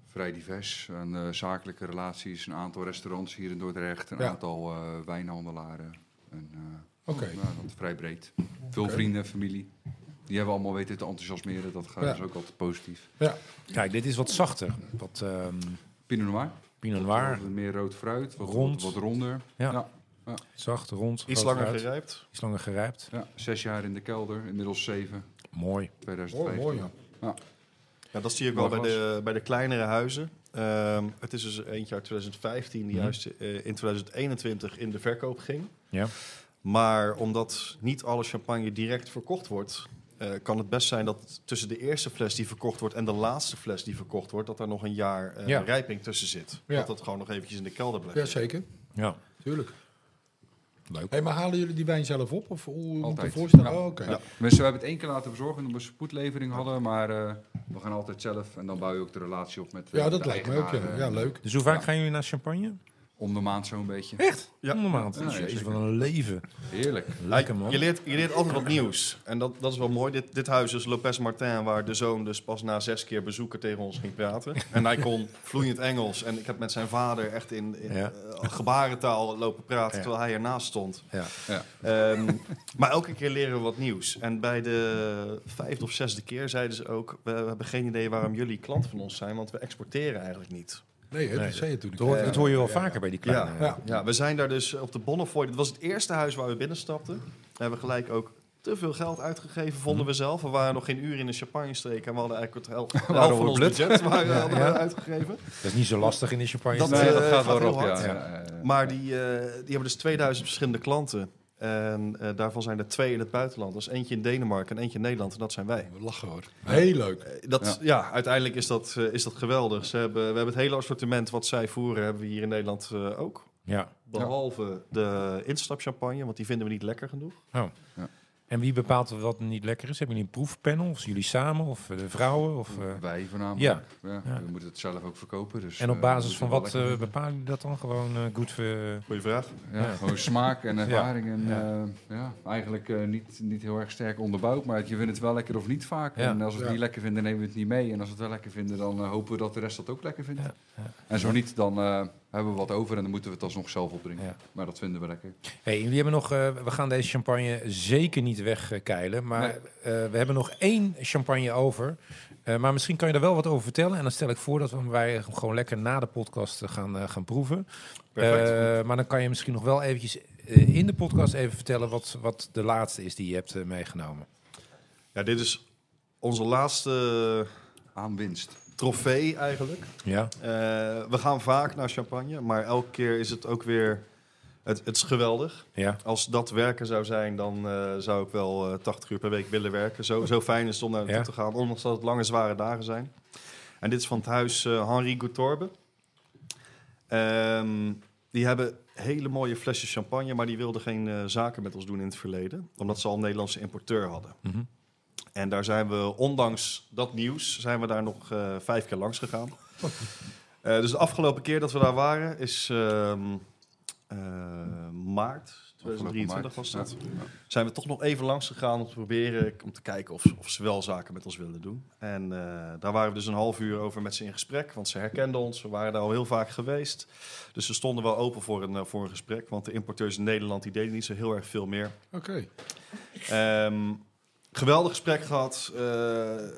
Speaker 6: Vrij divers. En, eh, zakelijke relaties, een aantal restaurants hier in Dordrecht, een
Speaker 4: Ja.
Speaker 6: aantal eh, wijnhandelaren. En, eh,
Speaker 4: Oké.
Speaker 6: nou, dat is vrij breed. Veel vrienden, familie. Die hebben allemaal weten te enthousiasmeren. Dat gaat
Speaker 4: Ja.
Speaker 6: dus ook altijd positief.
Speaker 4: Ja.
Speaker 3: Kijk, dit is wat zachter. Wat ehm
Speaker 6: Pinot Noir.
Speaker 3: Pinot Noir.
Speaker 6: Wat meer rood fruit, wat,
Speaker 3: Rond.
Speaker 6: wat, wat ronder.
Speaker 3: Ja.
Speaker 6: Ja.
Speaker 3: Zacht, rond.
Speaker 7: Iets
Speaker 3: groot
Speaker 7: langer
Speaker 3: fruit.
Speaker 7: gerijpt.
Speaker 3: Iets langer gerijpt.
Speaker 6: Ja, Zes jaar in de kelder, inmiddels zeven,
Speaker 3: Mooi.
Speaker 6: 2015.
Speaker 4: ja.
Speaker 7: Ja, dat zie je ook wel bij
Speaker 6: Mooi
Speaker 7: de, bij de kleinere huizen. Ehm, het is dus eentje uit 2015 die
Speaker 3: Mhm.
Speaker 7: juist eh, in 2021 in de verkoop ging.
Speaker 3: Ja.
Speaker 7: Maar omdat niet alle champagne direct verkocht wordt, eh, kan het best zijn dat tussen de eerste fles die verkocht wordt en de laatste fles die verkocht wordt, dat daar nog een jaar eh,
Speaker 3: Ja.
Speaker 7: rijping tussen zit.
Speaker 4: Ja.
Speaker 7: Dat dat gewoon nog eventjes in de kelder blijft.
Speaker 4: ja, zeker.
Speaker 3: Ja.
Speaker 4: Tuurlijk.
Speaker 3: Leuk.
Speaker 4: Hey, maar halen jullie die wijn zelf op? Of hoe moet ik
Speaker 6: Altijd.
Speaker 4: me voorstellen?
Speaker 6: Ja.
Speaker 4: Oh, oké.
Speaker 7: Ja.
Speaker 6: Mensen, we hebben het één keer laten bezorgen omdat we een spoedlevering hadden. Maar eh, we gaan altijd zelf. En dan bouw je ook de relatie op met eh,
Speaker 4: Ja, dat
Speaker 6: de
Speaker 4: lijkt me ook. Ja,
Speaker 6: eigenaar, eh.
Speaker 4: ja leuk.
Speaker 3: Dus hoe vaak gaan jullie naar Champagne?
Speaker 6: Om de maand zo'n beetje.
Speaker 8: Echt?
Speaker 7: Ja.
Speaker 8: Om de maand.
Speaker 6: Ja, ja,
Speaker 8: Jezus,
Speaker 6: zeker.
Speaker 8: wat een leven.
Speaker 6: Heerlijk.
Speaker 8: Lekker man.
Speaker 7: Je leert, je leert altijd wat nieuws. En dat, dat is wel mooi. Dit, dit huis is Lopez Martin, waar de zoon dus pas na zes keer bezoeken tegen ons ging praten. En hij kon vloeiend Engels. En ik heb met zijn vader echt in, in
Speaker 8: Ja.
Speaker 7: eh, gebarentaal lopen praten,
Speaker 8: Ja.
Speaker 7: terwijl hij ernaast stond.
Speaker 8: Ja.
Speaker 6: Ja.
Speaker 7: Ehm, maar elke keer leren we wat nieuws. En bij de vijfde of zesde keer zeiden ze ook... we, we hebben geen idee waarom jullie klant van ons zijn... want we exporteren eigenlijk niet.
Speaker 4: Nee, hè,
Speaker 8: Nee.
Speaker 4: dat zei je toen niet.
Speaker 8: Dat hoor,
Speaker 7: Ja.
Speaker 8: dat hoor je wel vaker bij die kleine.
Speaker 7: Ja.
Speaker 4: Ja.
Speaker 7: Ja, we zijn daar dus op de Bonnefoy. Dat was het eerste huis waar we binnenstapten. We hebben gelijk ook te veel geld uitgegeven, vonden we zelf. We waren nog geen uur in de champagne-streek en we hadden eigenlijk het hel- de helft
Speaker 8: we
Speaker 7: van ons
Speaker 8: blut.
Speaker 7: budget waren, hadden we Ah, uitgegeven.
Speaker 3: Dat is niet zo lastig in de champagne.
Speaker 7: Dat,
Speaker 6: Nee,
Speaker 7: eh,
Speaker 6: dat gaat
Speaker 7: gaat
Speaker 6: wel
Speaker 7: heel
Speaker 6: rond, ja.
Speaker 7: hard.
Speaker 6: Ja, ja, ja.
Speaker 7: Maar die, eh, die hebben dus 2000 verschillende klanten. En eh, daarvan zijn er twee in het buitenland. Dus eentje in Denemarken en eentje in Nederland. En dat zijn wij.
Speaker 4: We lachen hoor. Heel leuk.
Speaker 7: Eh, Dat, ja. uiteindelijk is dat, eh, is dat geweldig. Ze hebben, we hebben het hele assortiment wat zij voeren, hebben we hier in Nederland eh, ook.
Speaker 3: Ja.
Speaker 7: Behalve de instapchampagne, want die vinden we niet lekker genoeg.
Speaker 3: En wie bepaalt wat niet lekker is? Hebben jullie een proefpanel? Of zijn jullie samen? Of eh, de vrouwen? Of, eh,
Speaker 6: Wij voornamelijk. Ja.
Speaker 3: Ja.
Speaker 6: We moeten het zelf ook verkopen. Dus,
Speaker 3: en
Speaker 6: eh,
Speaker 3: op basis
Speaker 6: we
Speaker 3: van
Speaker 6: moeten
Speaker 3: wat
Speaker 6: wel
Speaker 3: eh,
Speaker 6: lekker-
Speaker 3: bepalen jullie dat dan? Gewoon eh goed voor...
Speaker 7: Goeie vraag.
Speaker 6: ja,
Speaker 3: ja.
Speaker 6: Gewoon smaak en ervaring. En,
Speaker 3: Ja.
Speaker 6: eh, ja, eigenlijk eh, niet, niet heel erg sterk onderbouwd, maar je vindt het wel lekker of niet vaak.
Speaker 3: Ja.
Speaker 6: En als we het
Speaker 4: Ja.
Speaker 6: niet lekker vinden, nemen we het niet mee. En als we het wel lekker vinden, dan eh, hopen we dat de rest dat ook lekker vindt.
Speaker 3: Ja. Ja.
Speaker 6: En zo niet, dan eh, hebben we wat over en dan moeten we het alsnog zelf opdrinken.
Speaker 3: Ja.
Speaker 6: Maar dat vinden we lekker.
Speaker 3: Hey, jullie hebben nog, eh, we gaan deze champagne zeker niet wegkeilen. Maar
Speaker 6: Nee.
Speaker 3: eh, we hebben nog één champagne over. Eh, maar misschien kan je daar wel wat over vertellen. En dan stel ik voor dat we wij hem gewoon lekker na de podcast eh, gaan, eh, gaan proeven.
Speaker 7: Perfect.
Speaker 3: Eh, maar dan kan je misschien nog wel eventjes eh, in de podcast even vertellen wat, wat de laatste is die je hebt eh, meegenomen.
Speaker 7: Ja, dit is onze laatste
Speaker 6: Aan winst.
Speaker 7: trofee eigenlijk.
Speaker 3: Ja,
Speaker 7: Eh, we gaan vaak naar champagne, maar elke keer is het ook weer... Het, het is geweldig.
Speaker 3: ja.
Speaker 7: Als dat werken zou zijn, dan eh, zou ik wel eh 80 uur per week willen werken. Zo, zo fijn is het om naar naartoe
Speaker 3: Ja.
Speaker 7: te gaan, ondanks dat het lange, zware dagen zijn. En dit is van het huis eh, Henri Goutorbe. Ehm, die hebben hele mooie flesjes champagne, maar die wilden geen eh, zaken met ons doen in het verleden. Omdat ze al een Nederlandse importeur hadden.
Speaker 3: Mhm.
Speaker 7: En daar zijn we, ondanks dat nieuws, zijn we daar nog eh, vijf keer langs gegaan. Eh, dus de afgelopen keer dat we daar waren is ehm, eh, maart 2023 was dat. Zijn we toch nog even langs gegaan om te proberen, om te kijken of, of ze wel zaken met ons wilden doen. En eh, daar waren we dus een half uur over met ze in gesprek, want ze herkenden ons. We waren daar al heel vaak geweest. Dus ze stonden wel open voor een, eh, voor een gesprek, want de importeurs in Nederland die deden niet zo heel erg veel meer.
Speaker 4: Oké.
Speaker 7: Ehm, geweldig gesprek gehad. Eh,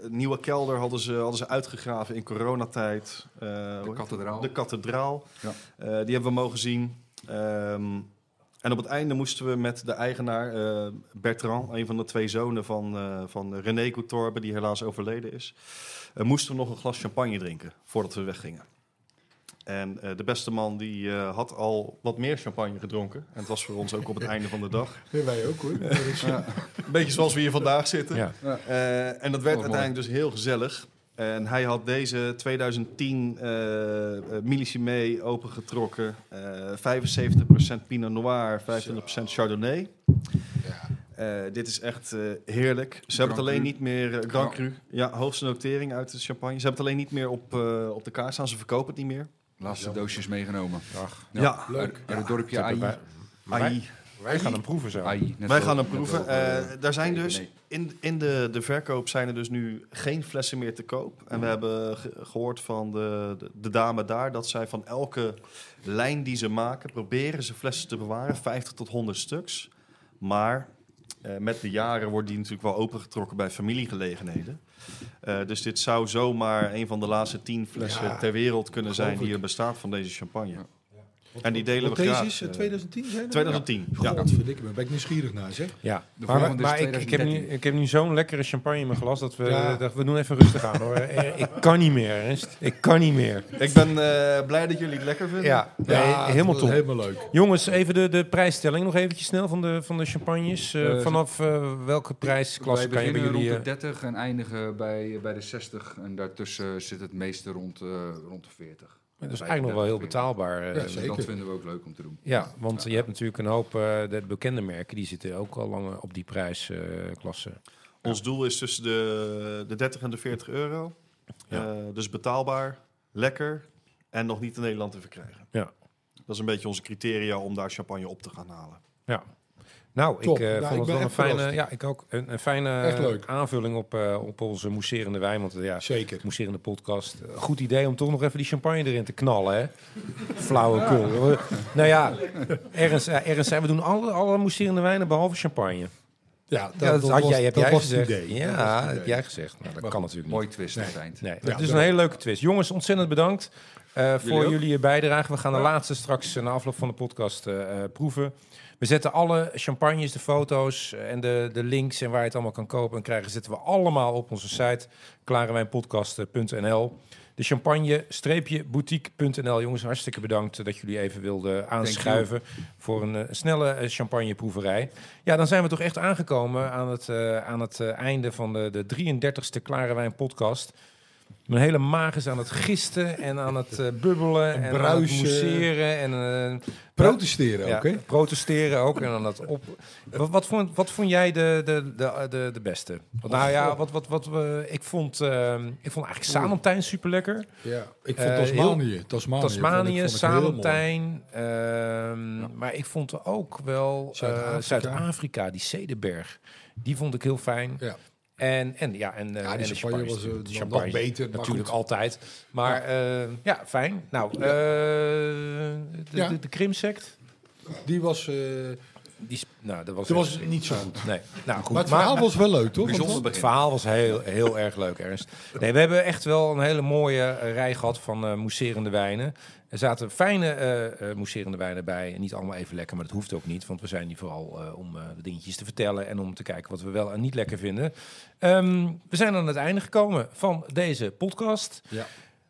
Speaker 7: een nieuwe kelder hadden ze, hadden ze uitgegraven in coronatijd. Eh, hoe heet
Speaker 6: De
Speaker 7: het?
Speaker 6: kathedraal.
Speaker 7: De kathedraal.
Speaker 6: Ja.
Speaker 7: Eh, die hebben we mogen zien. Ehm, en op het einde moesten we met de eigenaar, eh, Bertrand, een van de twee zonen van, eh, van René Coutorbe, die helaas overleden is, eh, moesten we nog een glas champagne drinken voordat we weggingen. En eh, de beste man die eh, had al wat meer champagne gedronken. En het was voor ons ook op het einde van de dag.
Speaker 4: Ja, wij ook hoor.
Speaker 7: Een beetje zoals we hier vandaag zitten.
Speaker 3: Ja.
Speaker 7: Eh, en dat werd
Speaker 6: Oh, mooi.
Speaker 7: uiteindelijk dus heel gezellig. En hij had deze 2010 eh eh, Millicimé opengetrokken. Eh 75% Pinot Noir, 25% Chardonnay. Eh, dit is echt eh, heerlijk. Ze hebben het
Speaker 6: Grand
Speaker 7: alleen
Speaker 6: Cru.
Speaker 7: niet meer... eh, Grand Cru. Ja, hoogste notering uit de champagne. Ze hebben het alleen niet meer op, eh, op de kaart staan. Ze verkopen het niet meer.
Speaker 6: Laatste doosjes meegenomen.
Speaker 3: Ach,
Speaker 7: Ja,
Speaker 4: Leuk.
Speaker 6: Uit het dorpje
Speaker 3: Wij,
Speaker 6: Ai.
Speaker 7: Ai.
Speaker 3: wij gaan hem proeven zo.
Speaker 6: Ai, net
Speaker 7: Wij
Speaker 6: zo-
Speaker 7: gaan hem
Speaker 6: net
Speaker 7: proeven.
Speaker 6: zo, eh,
Speaker 7: Eh, daar zijn
Speaker 6: nee,
Speaker 7: dus
Speaker 6: nee.
Speaker 7: in, in de, de verkoop zijn er dus nu geen flessen meer te koop. En we hebben ge- gehoord van de, de, de dame daar dat zij van elke lijn die ze maken proberen ze flessen te bewaren, 50 tot 100 stuks. Maar eh, met de jaren wordt die natuurlijk wel opengetrokken bij familiegelegenheden. Eh, dus dit zou zomaar een van de laatste 10 flessen ter wereld kunnen zijn die er bestaat van deze champagne.
Speaker 6: Ja.
Speaker 7: En die delen we
Speaker 4: Deze
Speaker 7: graag.
Speaker 4: is eh,
Speaker 7: eh,
Speaker 4: 2010 zijn dat?
Speaker 7: 2010. Ja.
Speaker 4: Godverdikke, daar ben ik nieuwsgierig naar zeg.
Speaker 3: Ja,
Speaker 6: De
Speaker 3: maar,
Speaker 6: volgende is
Speaker 3: maar ik, ik heb nu,
Speaker 6: 2013.
Speaker 3: ik heb nu zo'n lekkere champagne in mijn glas dat we,
Speaker 4: Ja.
Speaker 3: dat we doen even rustig aan hoor. Eh, Ik kan niet meer, Ernst. Ik kan niet meer.
Speaker 7: Ik ben eh, blij dat jullie het lekker vinden.
Speaker 3: Ja, nee,
Speaker 4: Ja,
Speaker 3: helemaal
Speaker 4: dat wordt
Speaker 3: top.
Speaker 4: Helemaal leuk.
Speaker 3: Jongens, even de, de prijsstelling nog eventjes snel van de, van de champagnes. Eh,
Speaker 6: Eh,
Speaker 3: vanaf eh, welke prijsklasse
Speaker 6: Wij
Speaker 3: kan je bij
Speaker 6: beginnen
Speaker 3: jullie...
Speaker 6: rond de
Speaker 3: eh,
Speaker 6: 30 en eindigen bij, bij de 60. En daartussen zit het meeste rond, eh, rond de 40.
Speaker 3: dat is eigenlijk nog wel heel betaalbaar. eh,
Speaker 4: Ja,
Speaker 3: ja,
Speaker 6: Dus
Speaker 4: Zeker.
Speaker 6: dat vinden we ook leuk om te doen.
Speaker 3: want je hebt natuurlijk een hoop eh, de bekende merken, die zitten ook al lang eh, op die prijsklasse.
Speaker 7: Ons doel is tussen de, de 30 en de 40 euro.
Speaker 3: Ja.
Speaker 7: Eh, dus betaalbaar, lekker en nog niet in Nederland te verkrijgen. Dat is een beetje onze criteria om daar champagne op te gaan halen.
Speaker 3: Nou,
Speaker 4: Top.
Speaker 3: ik eh,
Speaker 4: Nou,
Speaker 3: vond
Speaker 4: ik
Speaker 3: het
Speaker 4: ben
Speaker 3: wel een
Speaker 4: echt
Speaker 3: fijne,
Speaker 4: verrast.
Speaker 3: ja, ik ook, een, een fijne
Speaker 4: Echt leuk.
Speaker 3: aanvulling op, eh, op onze mousserende wijn. Want eh, ja,
Speaker 4: Zeker.
Speaker 3: mousserende podcast. Eh, Goed idee om toch nog even die champagne erin te knallen, hè? Flauwekul. We- Nou ja, ergens, eh, ergens zijn we doen alle, alle mousserende wijnen behalve champagne.
Speaker 4: Ja,
Speaker 3: Ja, dat, had
Speaker 4: was-
Speaker 3: jij, heb
Speaker 4: dat
Speaker 3: jij
Speaker 4: was
Speaker 3: gezegd.
Speaker 4: het idee.
Speaker 3: Ja,
Speaker 4: Dat was het
Speaker 3: dat
Speaker 4: idee.
Speaker 3: heb jij gezegd. Nou, dat kan natuurlijk niet.
Speaker 6: Mooi twist aan het eind.
Speaker 3: Nee,
Speaker 4: Ja,
Speaker 3: het is een
Speaker 4: dat-
Speaker 3: hele leuke twist. Jongens, ontzettend bedankt eh, voor
Speaker 6: ook.
Speaker 3: jullie bijdrage. We gaan de laatste straks eh, na afloop van de podcast eh, eh, proeven. We zetten alle champagnes, de foto's eh, en de, de links en waar je het allemaal kan kopen en krijgen, zetten we allemaal op onze site klarewijnpodcast.nl. De champagne-boutique.nl. Jongens, hartstikke bedankt eh, dat jullie even wilden aanschuiven voor een eh, snelle eh, champagneproeverij. Ja, dan zijn we toch echt aangekomen aan het, eh, aan het eh, einde van de, de 33ste Klare Wijn podcast. Mijn hele maag is aan het gisten en aan het eh, bubbelen en, aan het
Speaker 4: bruisen.
Speaker 3: mousseren en eh,
Speaker 4: Protesteren
Speaker 3: ja,
Speaker 4: ook, hè?
Speaker 3: protesteren ook en aan dat op. Wat, wat, vond, wat vond jij de, de, de, de, de beste? Want, nou ja, wat, wat, wat we, ik, vond, ehm, ik vond eigenlijk Samantijn super lekker.
Speaker 4: Ja, ik vond
Speaker 3: Eh,
Speaker 4: Tasmanië. Tasmanië, vond
Speaker 3: Tasmanië,
Speaker 4: ik- vond ik heel mooi.
Speaker 3: Samantijn. ehm, Maar ik vond ook wel eh,
Speaker 4: Zuid-Afrika.
Speaker 3: Zuid-Afrika, die Cederberg. Die vond ik heel fijn.
Speaker 4: Ja.
Speaker 3: En, en ja, en, eh,
Speaker 4: Ja,
Speaker 3: en
Speaker 4: die
Speaker 3: de champagne,
Speaker 4: champagne was, eh,
Speaker 3: natuurlijk. De
Speaker 4: nog- nog
Speaker 3: champagne
Speaker 4: beter, maar
Speaker 3: natuurlijk
Speaker 4: goed.
Speaker 3: altijd. Maar ja, ja fijn. Nou, eh, de,
Speaker 4: Ja.
Speaker 3: de, de Krimsect,
Speaker 4: Die was... eh
Speaker 3: die, is- nou, dat was,
Speaker 4: dat
Speaker 3: echt-
Speaker 4: was niet zo goed.
Speaker 3: Nee, nou goed.
Speaker 4: Maar het verhaal was wel leuk, toch?
Speaker 6: Bijzonder
Speaker 3: het
Speaker 6: begin.
Speaker 3: verhaal was heel, heel erg leuk, Ernst. Nee, we hebben echt wel een hele mooie eh, rij gehad van eh mousserende wijnen. Er zaten fijne eh eh, mousserende wijnen bij. Niet allemaal even lekker, maar dat hoeft ook niet. Want we zijn hier vooral eh, om eh, de dingetjes te vertellen... en om te kijken wat we wel en niet lekker vinden. Ehm, we zijn aan het einde gekomen van deze podcast.
Speaker 4: Ja.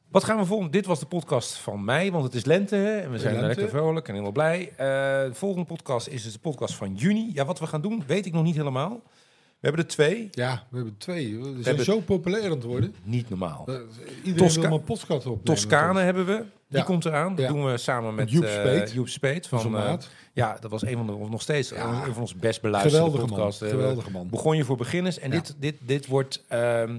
Speaker 3: Wat gaan we volgen? Dit was de podcast van mei, want het is lente. Hè? En we zijn
Speaker 4: Lente.
Speaker 3: lekker vrolijk en helemaal blij. Eh, de volgende podcast is dus de podcast van juni. Ja, wat we gaan doen, weet ik nog niet helemaal. We hebben er twee.
Speaker 4: Ja, we hebben twee. We zijn
Speaker 3: hebben-
Speaker 4: zo populair aan het worden.
Speaker 3: Niet normaal.
Speaker 4: Eh, Iedereen
Speaker 3: Tosca-
Speaker 4: wil mijn podcast opnemen.
Speaker 3: Toscane hebben we. Die
Speaker 4: Ja.
Speaker 3: komt eraan. Dat
Speaker 4: Ja.
Speaker 3: doen we samen met
Speaker 4: Joep
Speaker 3: eh,
Speaker 4: Speet.
Speaker 3: Joep Speet
Speaker 4: Onze
Speaker 3: van, eh,
Speaker 4: maat.
Speaker 3: ja, dat was een van de, of nog steeds,
Speaker 4: Ja.
Speaker 3: een van onze best beluisterde
Speaker 4: Geweldige man.
Speaker 3: podcasts. Eh,
Speaker 4: Geweldige man.
Speaker 3: Begon je voor beginners. En
Speaker 4: Ja.
Speaker 3: dit, dit, dit wordt ehm,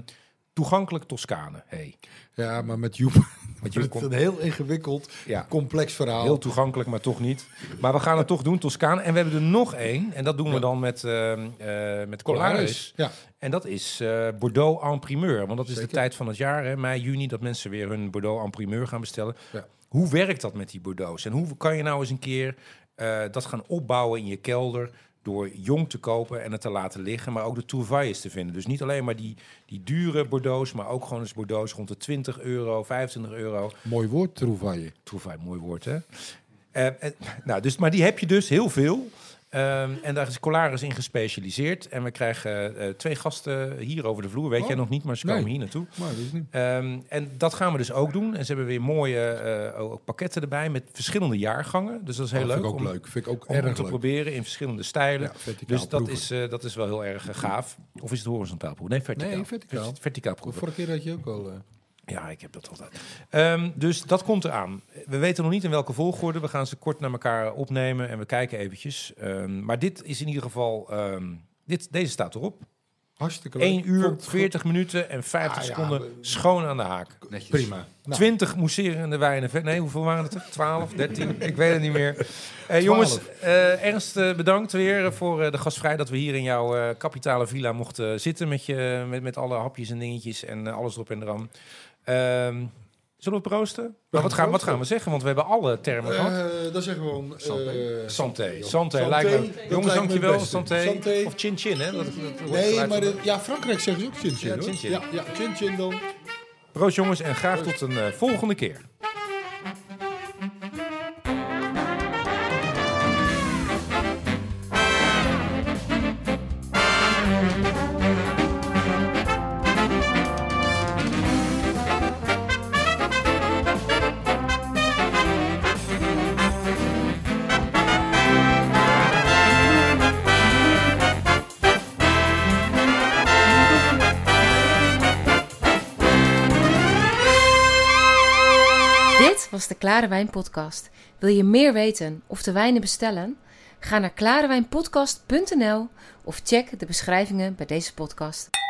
Speaker 3: toegankelijk Toscane. Hey.
Speaker 4: Ja, maar met Joep.
Speaker 3: Met
Speaker 4: Met
Speaker 3: Joep
Speaker 4: Joep
Speaker 3: komt-
Speaker 4: een heel ingewikkeld,
Speaker 3: Ja.
Speaker 4: complex verhaal.
Speaker 3: Heel toegankelijk, maar toch niet. Maar we gaan het toch doen, Toscane. En we hebben er nog één. En dat doen we
Speaker 4: Ja.
Speaker 3: dan met, ehm eh, met Colaris.
Speaker 4: Polaris. Ja,
Speaker 3: En dat is eh, Bordeaux en primeur. Want dat is de
Speaker 4: Zeker.
Speaker 3: tijd van het jaar, hè, mei, juni, dat mensen weer hun Bordeaux en primeur gaan bestellen.
Speaker 4: Ja.
Speaker 3: Hoe werkt dat met die Bordeaux's? En hoe kan je nou eens een keer eh, dat gaan opbouwen in je kelder door jong te kopen en het te laten liggen, maar ook de trouvailles te vinden. Dus niet alleen maar die, die dure Bordeaux's, maar ook gewoon eens Bordeaux's rond de 20 euro, 25 euro.
Speaker 4: mooi woord, trouvaille.
Speaker 3: Trouvaille, mooi woord, hè? Eh, eh, nou, dus, maar die heb je dus heel veel. Ehm, en daar is Colaris in gespecialiseerd. En we krijgen eh, eh, twee gasten hier over de vloer. Weet
Speaker 4: Oh,
Speaker 3: jij nog niet, maar ze komen
Speaker 4: nee.
Speaker 3: hier naartoe.
Speaker 4: Maar dat is niet.
Speaker 3: Ehm, en dat gaan we dus ook doen. En ze hebben weer mooie eh, ook pakketten erbij met verschillende jaargangen. Dus dat is heel
Speaker 4: Oh, Vind
Speaker 3: leuk
Speaker 4: ik ook
Speaker 3: om,
Speaker 4: leuk. Vind ik ook
Speaker 3: om, om
Speaker 4: erg
Speaker 3: te
Speaker 4: leuk.
Speaker 3: proberen in verschillende stijlen.
Speaker 4: Ja, verticaal
Speaker 3: dus dat
Speaker 4: proeven.
Speaker 3: is, eh, dat is wel heel erg eh, gaaf. Of is het horizontaal proeven? Nee, verticaal.
Speaker 4: Nee, verticaal.
Speaker 3: Vers- verticaal proeven.
Speaker 4: Vorige keer had je ook al... eh,
Speaker 3: Ja, ik heb dat altijd. Ehm, dus dat komt eraan. We weten nog niet in welke volgorde. We gaan ze kort naar elkaar opnemen en we kijken eventjes. Ehm, maar dit is in ieder geval... ehm, dit, deze staat erop.
Speaker 4: hartstikke leuk.
Speaker 3: 1 uur,
Speaker 4: Vond-
Speaker 3: 40 minuten en 50
Speaker 4: Ah, ja,
Speaker 3: seconden
Speaker 4: we-
Speaker 3: schoon aan de haak.
Speaker 6: Netjes.
Speaker 4: Prima. Nou,
Speaker 3: 20 mousserende wijnen. ver- Nee, hoeveel waren het er? 12, 13? ik weet het niet meer. Eh, jongens, eh, Ernst, eh, bedankt weer eh, voor eh, de gastvrijheid dat we hier in jouw eh, kapitale villa mochten eh, zitten met, je, met, met alle hapjes en dingetjes en eh, alles erop en eraan. Ehm, zullen we proosten? Maar wat, gaan, wat gaan we zeggen? Want we hebben alle termen gehad.
Speaker 4: eh, dat is gewoon... eh,
Speaker 6: Santé.
Speaker 3: Santé.
Speaker 4: joh.
Speaker 3: Santé, lijkt
Speaker 4: Santé,
Speaker 3: me.
Speaker 4: dat
Speaker 3: Jongens,
Speaker 4: lijkt me
Speaker 3: dankjewel.
Speaker 4: het beste.
Speaker 3: Santé.
Speaker 4: Santé.
Speaker 3: Of chin chin, hè? Dat, dat wordt
Speaker 4: Nee,
Speaker 3: geluid
Speaker 4: maar
Speaker 3: van-
Speaker 4: de- ja, Frankrijk zeggen ze ook chin-chin,
Speaker 3: Ja,
Speaker 4: hoor.
Speaker 3: chin-chin.
Speaker 4: Ja, ja, chin-chin dan.
Speaker 3: Proost jongens en graag tot een eh, volgende keer.
Speaker 2: Dit was de Klare Wijn Podcast. Wil je meer weten of de wijnen bestellen? Ga naar klarewijnpodcast.nl of check de beschrijvingen bij deze podcast.